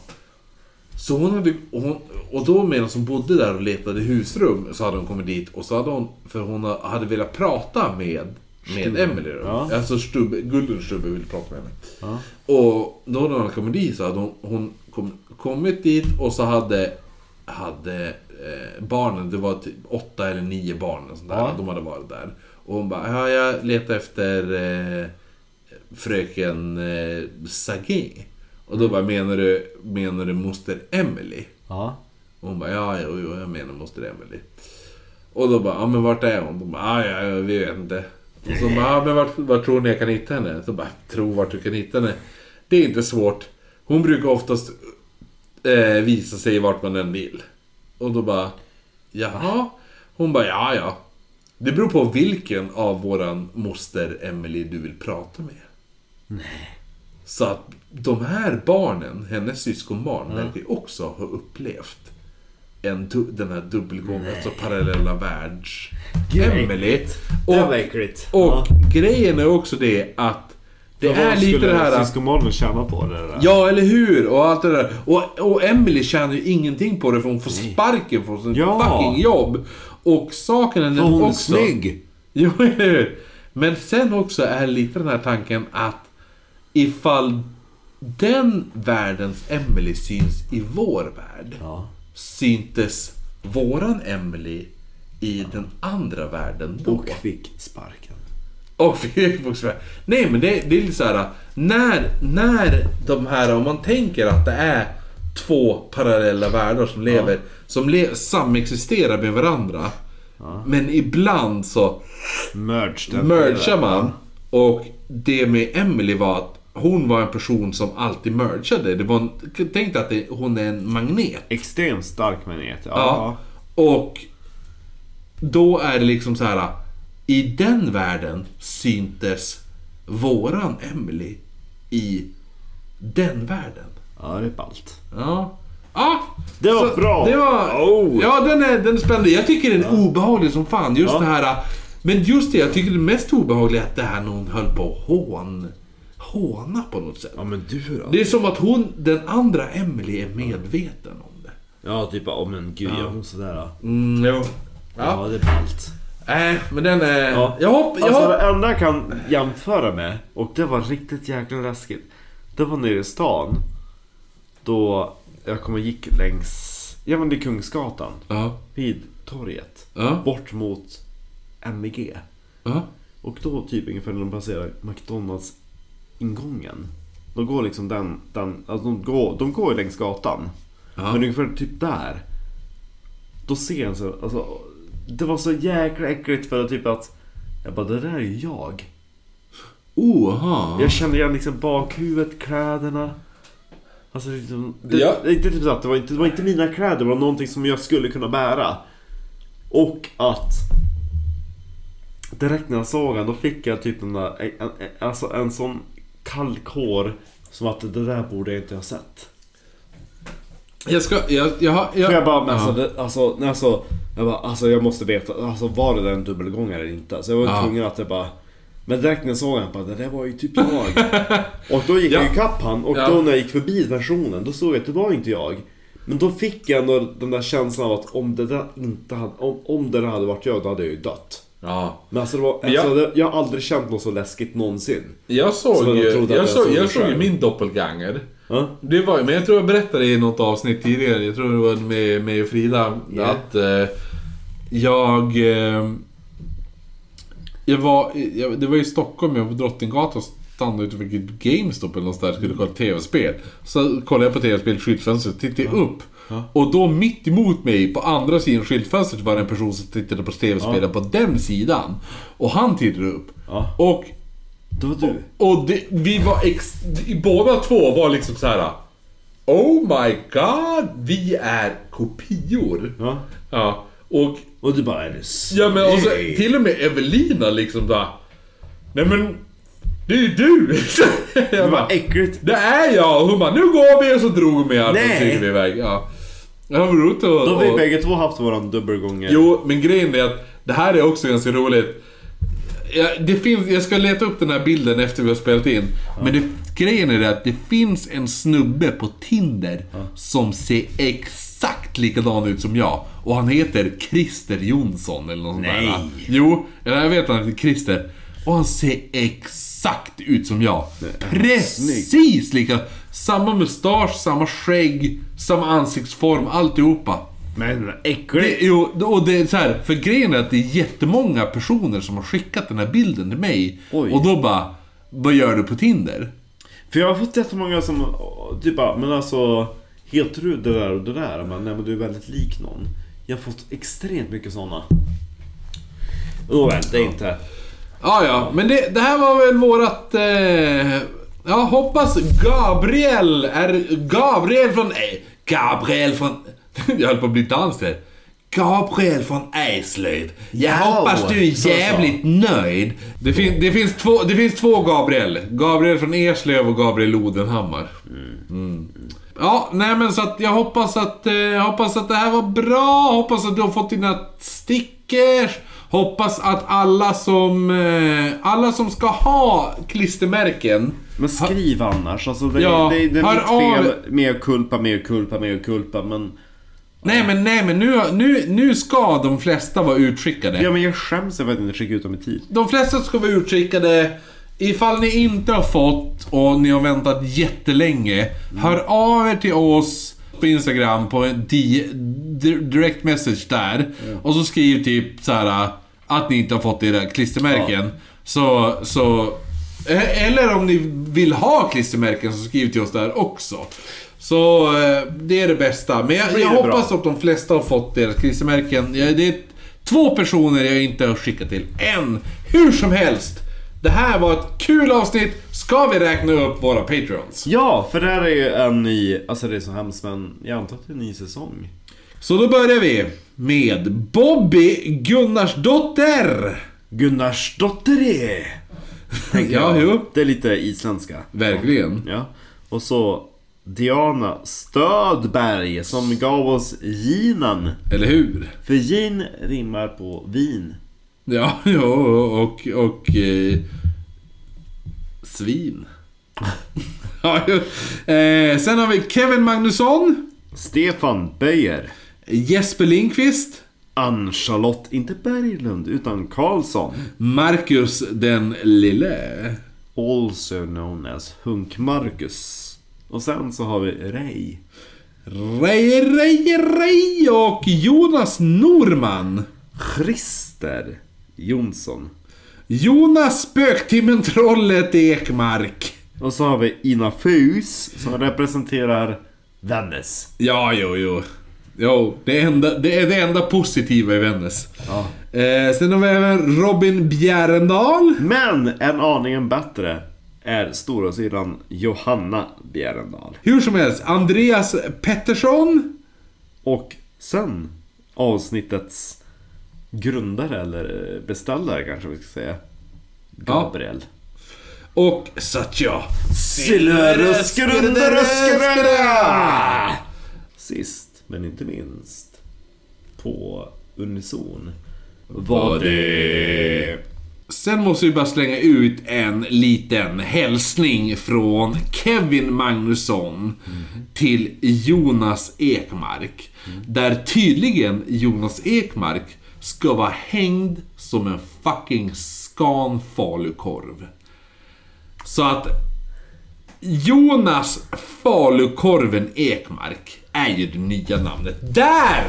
[SPEAKER 3] Så hon hade, och, hon, och då medan hon bodde där och letade husrum så hade hon kommit dit och så hade hon, för hon hade velat prata med, med Emily då.
[SPEAKER 1] Ja.
[SPEAKER 3] Alltså Stubbe, Guldenstubbe ville prata med henne.
[SPEAKER 1] Ja.
[SPEAKER 3] Och då när hon hade kommit dit så hade hon, hon kom, kommit dit och så hade, hade eh, barnen, det var typ åtta eller nio barn och sånt där,
[SPEAKER 1] Ja.
[SPEAKER 3] de hade varit där. Och hon bara, ja jag letar efter eh, fröken eh, Sagé. Och då bara, menar du, menar du moster Emily?
[SPEAKER 1] Ja.
[SPEAKER 3] Och hon bara, ja jo, jo jag menar moster Emily. Och då bara, ja men vart är hon? De bara, "Ah, ja, ja ja, vi vet inte. Och så bara, ja men vart, vart tror ni jag kan hitta henne? Så bara, tro vart du kan hitta henne. Det är inte svårt. Hon brukar oftast eh, visa sig vart man än vill. Och då bara, jaha? Hon bara, ja ja. Det beror på vilken av våran moster Emily du vill prata med. Så att de här barnen, hennes syskonbarn, verkar ju också ha upplevt en, du- den här dubbelgången, alltså parallella världs...
[SPEAKER 1] Grej.
[SPEAKER 3] Emily.
[SPEAKER 1] Det var
[SPEAKER 3] Och,
[SPEAKER 1] äckligt.
[SPEAKER 3] och grejen är också det att det
[SPEAKER 1] Vad
[SPEAKER 3] är lite
[SPEAKER 1] skulle
[SPEAKER 3] det här...
[SPEAKER 1] Syskonbarnen tjäna på det där?
[SPEAKER 3] Ja, eller hur? Och allt det där. Och, och Emily tjänar ju ingenting på det för hon får sparken från sin
[SPEAKER 1] Ja.
[SPEAKER 3] fucking jobb. Och saken är
[SPEAKER 1] Var
[SPEAKER 3] den
[SPEAKER 1] hon är
[SPEAKER 3] också...
[SPEAKER 1] snygg?
[SPEAKER 3] Jo, eller hur? Men sen också är lite den här tanken att ifall den världens Emily syns i vår värld
[SPEAKER 1] Ja.
[SPEAKER 3] syntes våran Emily i den andra världen då.
[SPEAKER 1] Och fick sparken.
[SPEAKER 3] Och Facebooksfär. Nej men det, det är lite såhär. När, när de här, om man tänker att det är två parallella världar som lever, som le, samexisterar med varandra. Men ibland så
[SPEAKER 1] Merged.
[SPEAKER 3] mergar man. Och det med Emily var att hon var en person som alltid mergade. Det var en, tänk dig att det, hon är en magnet.
[SPEAKER 1] Extremt stark magnet.
[SPEAKER 3] Ja.
[SPEAKER 1] Ja.
[SPEAKER 3] Och då är det liksom så här. I den världen syntes våran Emily i den världen.
[SPEAKER 1] Ja, det är ballt.
[SPEAKER 3] Ja. Ah,
[SPEAKER 1] Det var bra.
[SPEAKER 3] Det var,
[SPEAKER 1] Oh.
[SPEAKER 3] Ja, den är, den är spännande. Jag tycker den är obehaglig som fan. Just
[SPEAKER 1] Ja.
[SPEAKER 3] det här. Men just det, jag tycker det mest obehagliga är att det här när hon höll på att hån, håna på något sätt.
[SPEAKER 1] Ja, men du då?
[SPEAKER 3] Det är som att hon, den andra Emily är medveten om det.
[SPEAKER 1] Ja, typ ja men gud, gör hon sådär då?
[SPEAKER 3] Mm, jo. Ja.
[SPEAKER 1] Ja, det är ballt.
[SPEAKER 3] Nej, men den är...
[SPEAKER 1] Ja.
[SPEAKER 3] Jag hopp... Jag
[SPEAKER 1] Alltså
[SPEAKER 3] hopp...
[SPEAKER 1] det enda jag kan jämföra med, och det var riktigt jäkla läskigt. Det var nere i stan. Då jag kom och gick längs, ja men det är Kungsgatan.
[SPEAKER 3] Ja,
[SPEAKER 1] Vid torget.
[SPEAKER 3] Ja.
[SPEAKER 1] Bort mot MVG.
[SPEAKER 3] ja,
[SPEAKER 1] Och då typ ungefär när de passerar McDonalds ingången. De går liksom den, den alltså de går, de går ju längs gatan.
[SPEAKER 3] Ja.
[SPEAKER 1] Men ungefär typ där. Då ser jag en så, alltså. Det var så jäkla äckligt för att typ att. Jag bara, det där är ju jag.
[SPEAKER 2] Oha.
[SPEAKER 1] Jag kände igen liksom bakhuvudet, kläderna. Alltså, liksom, det,
[SPEAKER 3] Ja.
[SPEAKER 1] det, är inte typ så att det, var inte, det var inte mina kläder, det var någonting som jag skulle kunna bära. Och att direkt när jag såg den, då fick jag typ den där, en, en, en- alltså en sån kalkhår som att det där borde jag inte ha sett.
[SPEAKER 3] Jag ska... Jag, jag, har- jag,
[SPEAKER 1] För jag bara, men
[SPEAKER 3] Ja.
[SPEAKER 1] alltså, det, alltså, när jag så, jag bara, alltså jag måste veta, alltså var det där en dubbelgångare eller inte? Så jag var
[SPEAKER 3] Ja.
[SPEAKER 1] tvungen att jag bara, men direkt när jag såg den, bara, det där var ju typ jag. och då gick jag
[SPEAKER 3] Ja.
[SPEAKER 1] ikapp han och
[SPEAKER 3] Ja.
[SPEAKER 1] då när jag gick förbi versionen, då såg jag att det var inte jag. Men då fick jag ändå den där känslan av att om det där inte hade, om, om det där hade varit jag, då hade jag ju dött.
[SPEAKER 3] ja.
[SPEAKER 1] Men alltså, det var,
[SPEAKER 3] Men jag-
[SPEAKER 1] alltså det, jag har aldrig känt något så läskigt någonsin.
[SPEAKER 3] Jag såg
[SPEAKER 1] Så de
[SPEAKER 3] ju,
[SPEAKER 1] trodde att
[SPEAKER 3] jag
[SPEAKER 1] jag
[SPEAKER 3] såg,
[SPEAKER 1] såg det
[SPEAKER 3] jag såg ju
[SPEAKER 1] själv.
[SPEAKER 3] min doppelganger.
[SPEAKER 1] Ja?
[SPEAKER 3] Det var, men jag tror jag berättade i något avsnitt tidigare, jag tror det var med, med Frida,
[SPEAKER 1] Ja.
[SPEAKER 3] att eh, jag... Eh, jag var, jag, det var i Stockholm, jag var på Drottninggatan och stannade utanför GameStop eller någonstans där och skulle kolla tv-spel. Så kollade jag på tv-spel i skyltfönstret, tittade jag upp. Och då mitt emot mig, på andra sidan skyltfönstret, var det en person som tittade på tv-spelen på den sidan. Och han tittade upp.
[SPEAKER 1] Ja.
[SPEAKER 3] Och
[SPEAKER 1] Det var du.
[SPEAKER 3] och det, vi var ex... Båda två var liksom så här. Oh my god, vi är kopior.
[SPEAKER 1] Ja.
[SPEAKER 3] Ja. Och,
[SPEAKER 1] Och du bara, är det så?
[SPEAKER 3] ja, men, och så,
[SPEAKER 1] Nej.
[SPEAKER 3] till och med Evelina liksom bara... Nej men, det är ju du! jag bara,
[SPEAKER 1] Vad äckligt.
[SPEAKER 3] det är jag! Och hon bara, nu går vi! Och så drog hon med armen och
[SPEAKER 1] Nej.
[SPEAKER 3] så gick vi iväg. Ja. Det var roligt att...
[SPEAKER 1] Då har vi
[SPEAKER 3] att-
[SPEAKER 1] bägge två haft våran dubbelgångare.
[SPEAKER 3] Jo, men grejen är att det här är också ganska roligt. Jag, det finns, jag ska leta upp den här bilden efter vi har spelat in. Men det, grejen är det att det finns en snubbe på Tinder som ser exakt likadan ut som jag. Och han heter Christer Jonsson eller något sånt
[SPEAKER 1] Nej.
[SPEAKER 3] där. Jo, eller jag vet att han heter Christer. Och han ser exakt ut som jag. Precis lika. Samma mustasch, samma skägg, samma ansiktsform, alltihopa.
[SPEAKER 1] Men
[SPEAKER 3] Det,
[SPEAKER 1] äckligt.
[SPEAKER 3] jo, och det är så här, för grejen är att det är jättemånga personer som har skickat den här bilden till mig.
[SPEAKER 1] Oj.
[SPEAKER 3] Och då bara, vad gör du på Tinder?
[SPEAKER 1] För jag har fått jättemånga som åh, typ bara, men alltså Heter du det där och det där? Men, nej men du är väldigt lik någon. Jag har fått extremt mycket sådana. Nåväl, det är inte.
[SPEAKER 3] Ja, ja, men det, det här var väl vårat... Eh, jag hoppas Gabriel är... Gabriel från... eh, Gabriel från... Jag höll på att bli dans där. Gabriel från Eslöv. Jag
[SPEAKER 1] Ja,
[SPEAKER 3] hoppas du
[SPEAKER 1] så sa.
[SPEAKER 3] är jävligt nöjd. Det, fin, det, finns två, det finns två Gabriel. Gabriel från Eslöv och Gabriel Odenhammar. Ja, nej men så att jag hoppas att, eh, jag hoppas att det här var bra. Hoppas att du har fått dina stickers. Hoppas att alla som, eh, alla som ska ha klistermärken.
[SPEAKER 1] Men skriv annars. Alltså det,
[SPEAKER 3] Ja,
[SPEAKER 1] det, det, är
[SPEAKER 3] hör
[SPEAKER 1] mitt
[SPEAKER 3] av-
[SPEAKER 1] fel. Mer kulpa, mer kulpa, mer kulpa. Men,
[SPEAKER 3] Nej men nej men nu, nu, nu ska de flesta vara utskickade.
[SPEAKER 1] ja, men jag skäms över att inte skicka ut dem i tid.
[SPEAKER 3] De flesta ska vara utskickade. Ifall ni inte har fått och ni har väntat jättelänge.
[SPEAKER 1] Mm.
[SPEAKER 3] Hör av er till oss på Instagram på en di- di- direct message där. Och så skriv typ så här att ni inte har fått era klistermärken. Så, så... eh, Eller om ni vill ha klistermärken så skriv till oss där också. Så eh, det är det bästa. Men jag,
[SPEAKER 1] Blir
[SPEAKER 3] jag
[SPEAKER 1] det bra.
[SPEAKER 3] hoppas att de flesta har fått deras klistermärken. Ja, Det är två personer jag inte har skickat till än. Hur som helst. Det här var ett kul avsnitt. Ska vi räkna upp våra Patreons?
[SPEAKER 1] Ja, för det här är ju en ny, alltså det är så hemskt men jag antar att det är en ny säsong.
[SPEAKER 3] Så då börjar vi med Bobby Gunnarsdotter.
[SPEAKER 1] Gunnarsdotteri! Tänker
[SPEAKER 3] Ja,
[SPEAKER 1] jag.
[SPEAKER 3] jo.
[SPEAKER 1] Det är lite isländska.
[SPEAKER 3] Verkligen.
[SPEAKER 1] Ja. Och så Diana Stödberg som gav oss ginen.
[SPEAKER 3] Eller hur?
[SPEAKER 1] För gin rimmar på vin.
[SPEAKER 3] Ja, ja och, och eh, svin. ja, ju. eh, sen har vi Kevin Magnusson,
[SPEAKER 1] Stefan Böjer.
[SPEAKER 3] Jesper Lindqvist,
[SPEAKER 1] Ann-Charlotte, inte Berglund, utan Karlsson.
[SPEAKER 3] Marcus den lille.
[SPEAKER 1] Also known as Hunk Marcus. Och sen så har vi Ray.
[SPEAKER 3] Rej, rej, rej och Jonas Norman.
[SPEAKER 1] Christer Jonsson.
[SPEAKER 3] Jonas Spöktimmen-trollet Ekmark.
[SPEAKER 1] Och så har vi Ina Fus som representerar Vännäs.
[SPEAKER 3] Ja, jo, jo. Jo, det, enda, det är det enda positiva i Vännäs.
[SPEAKER 1] Ja.
[SPEAKER 3] Eh, sen har vi även Robin Bjerendal.
[SPEAKER 1] Men en aningen bättre är storasyrran Johanna Bjerendal.
[SPEAKER 3] Hur som helst, Andreas Pettersson.
[SPEAKER 1] Och sen avsnittets grundare eller beställare kanske vi ska säga. Gabriel.
[SPEAKER 3] Och Satya.
[SPEAKER 1] Silveröskrundaröskröra! Sist men inte minst på Unison var det...
[SPEAKER 3] Sen måste vi bara slänga ut en liten hälsning från Kevin Magnusson till Jonas Ekmark. Där tydligen Jonas Ekmark ska vara hängd som en fucking skan falukorv. Så att Jonas Falukorven Ekmark är ju det nya namnet. Där!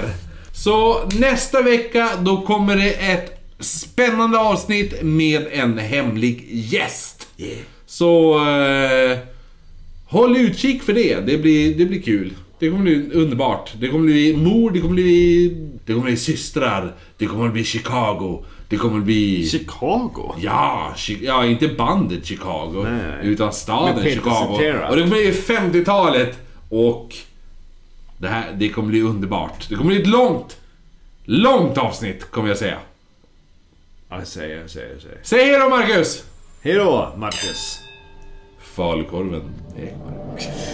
[SPEAKER 3] Så nästa vecka då kommer det ett spännande avsnitt med en hemlig gäst. Så eh, håll utkik för det. Det blir, det blir kul. Det kommer bli underbart. Det kommer bli mord, det kommer bli... Det kommer bli systrar. Det kommer bli Chicago. Det kommer bli...
[SPEAKER 1] Chicago?
[SPEAKER 3] Ja, Chi- ja, inte bandet Chicago.
[SPEAKER 1] Nej.
[SPEAKER 3] Utan
[SPEAKER 1] Med
[SPEAKER 3] staden
[SPEAKER 1] Peter
[SPEAKER 3] Chicago.
[SPEAKER 1] Cetera.
[SPEAKER 3] Och det kommer bli 50-talet. Och det här, det kommer bli underbart. Det kommer bli ett långt, långt avsnitt kommer jag säga.
[SPEAKER 1] Jag säger, jag säger, jag säger.
[SPEAKER 3] Säg hej då Marcus!
[SPEAKER 1] Hej då, Marcus!
[SPEAKER 3] Falukorven Ekmark.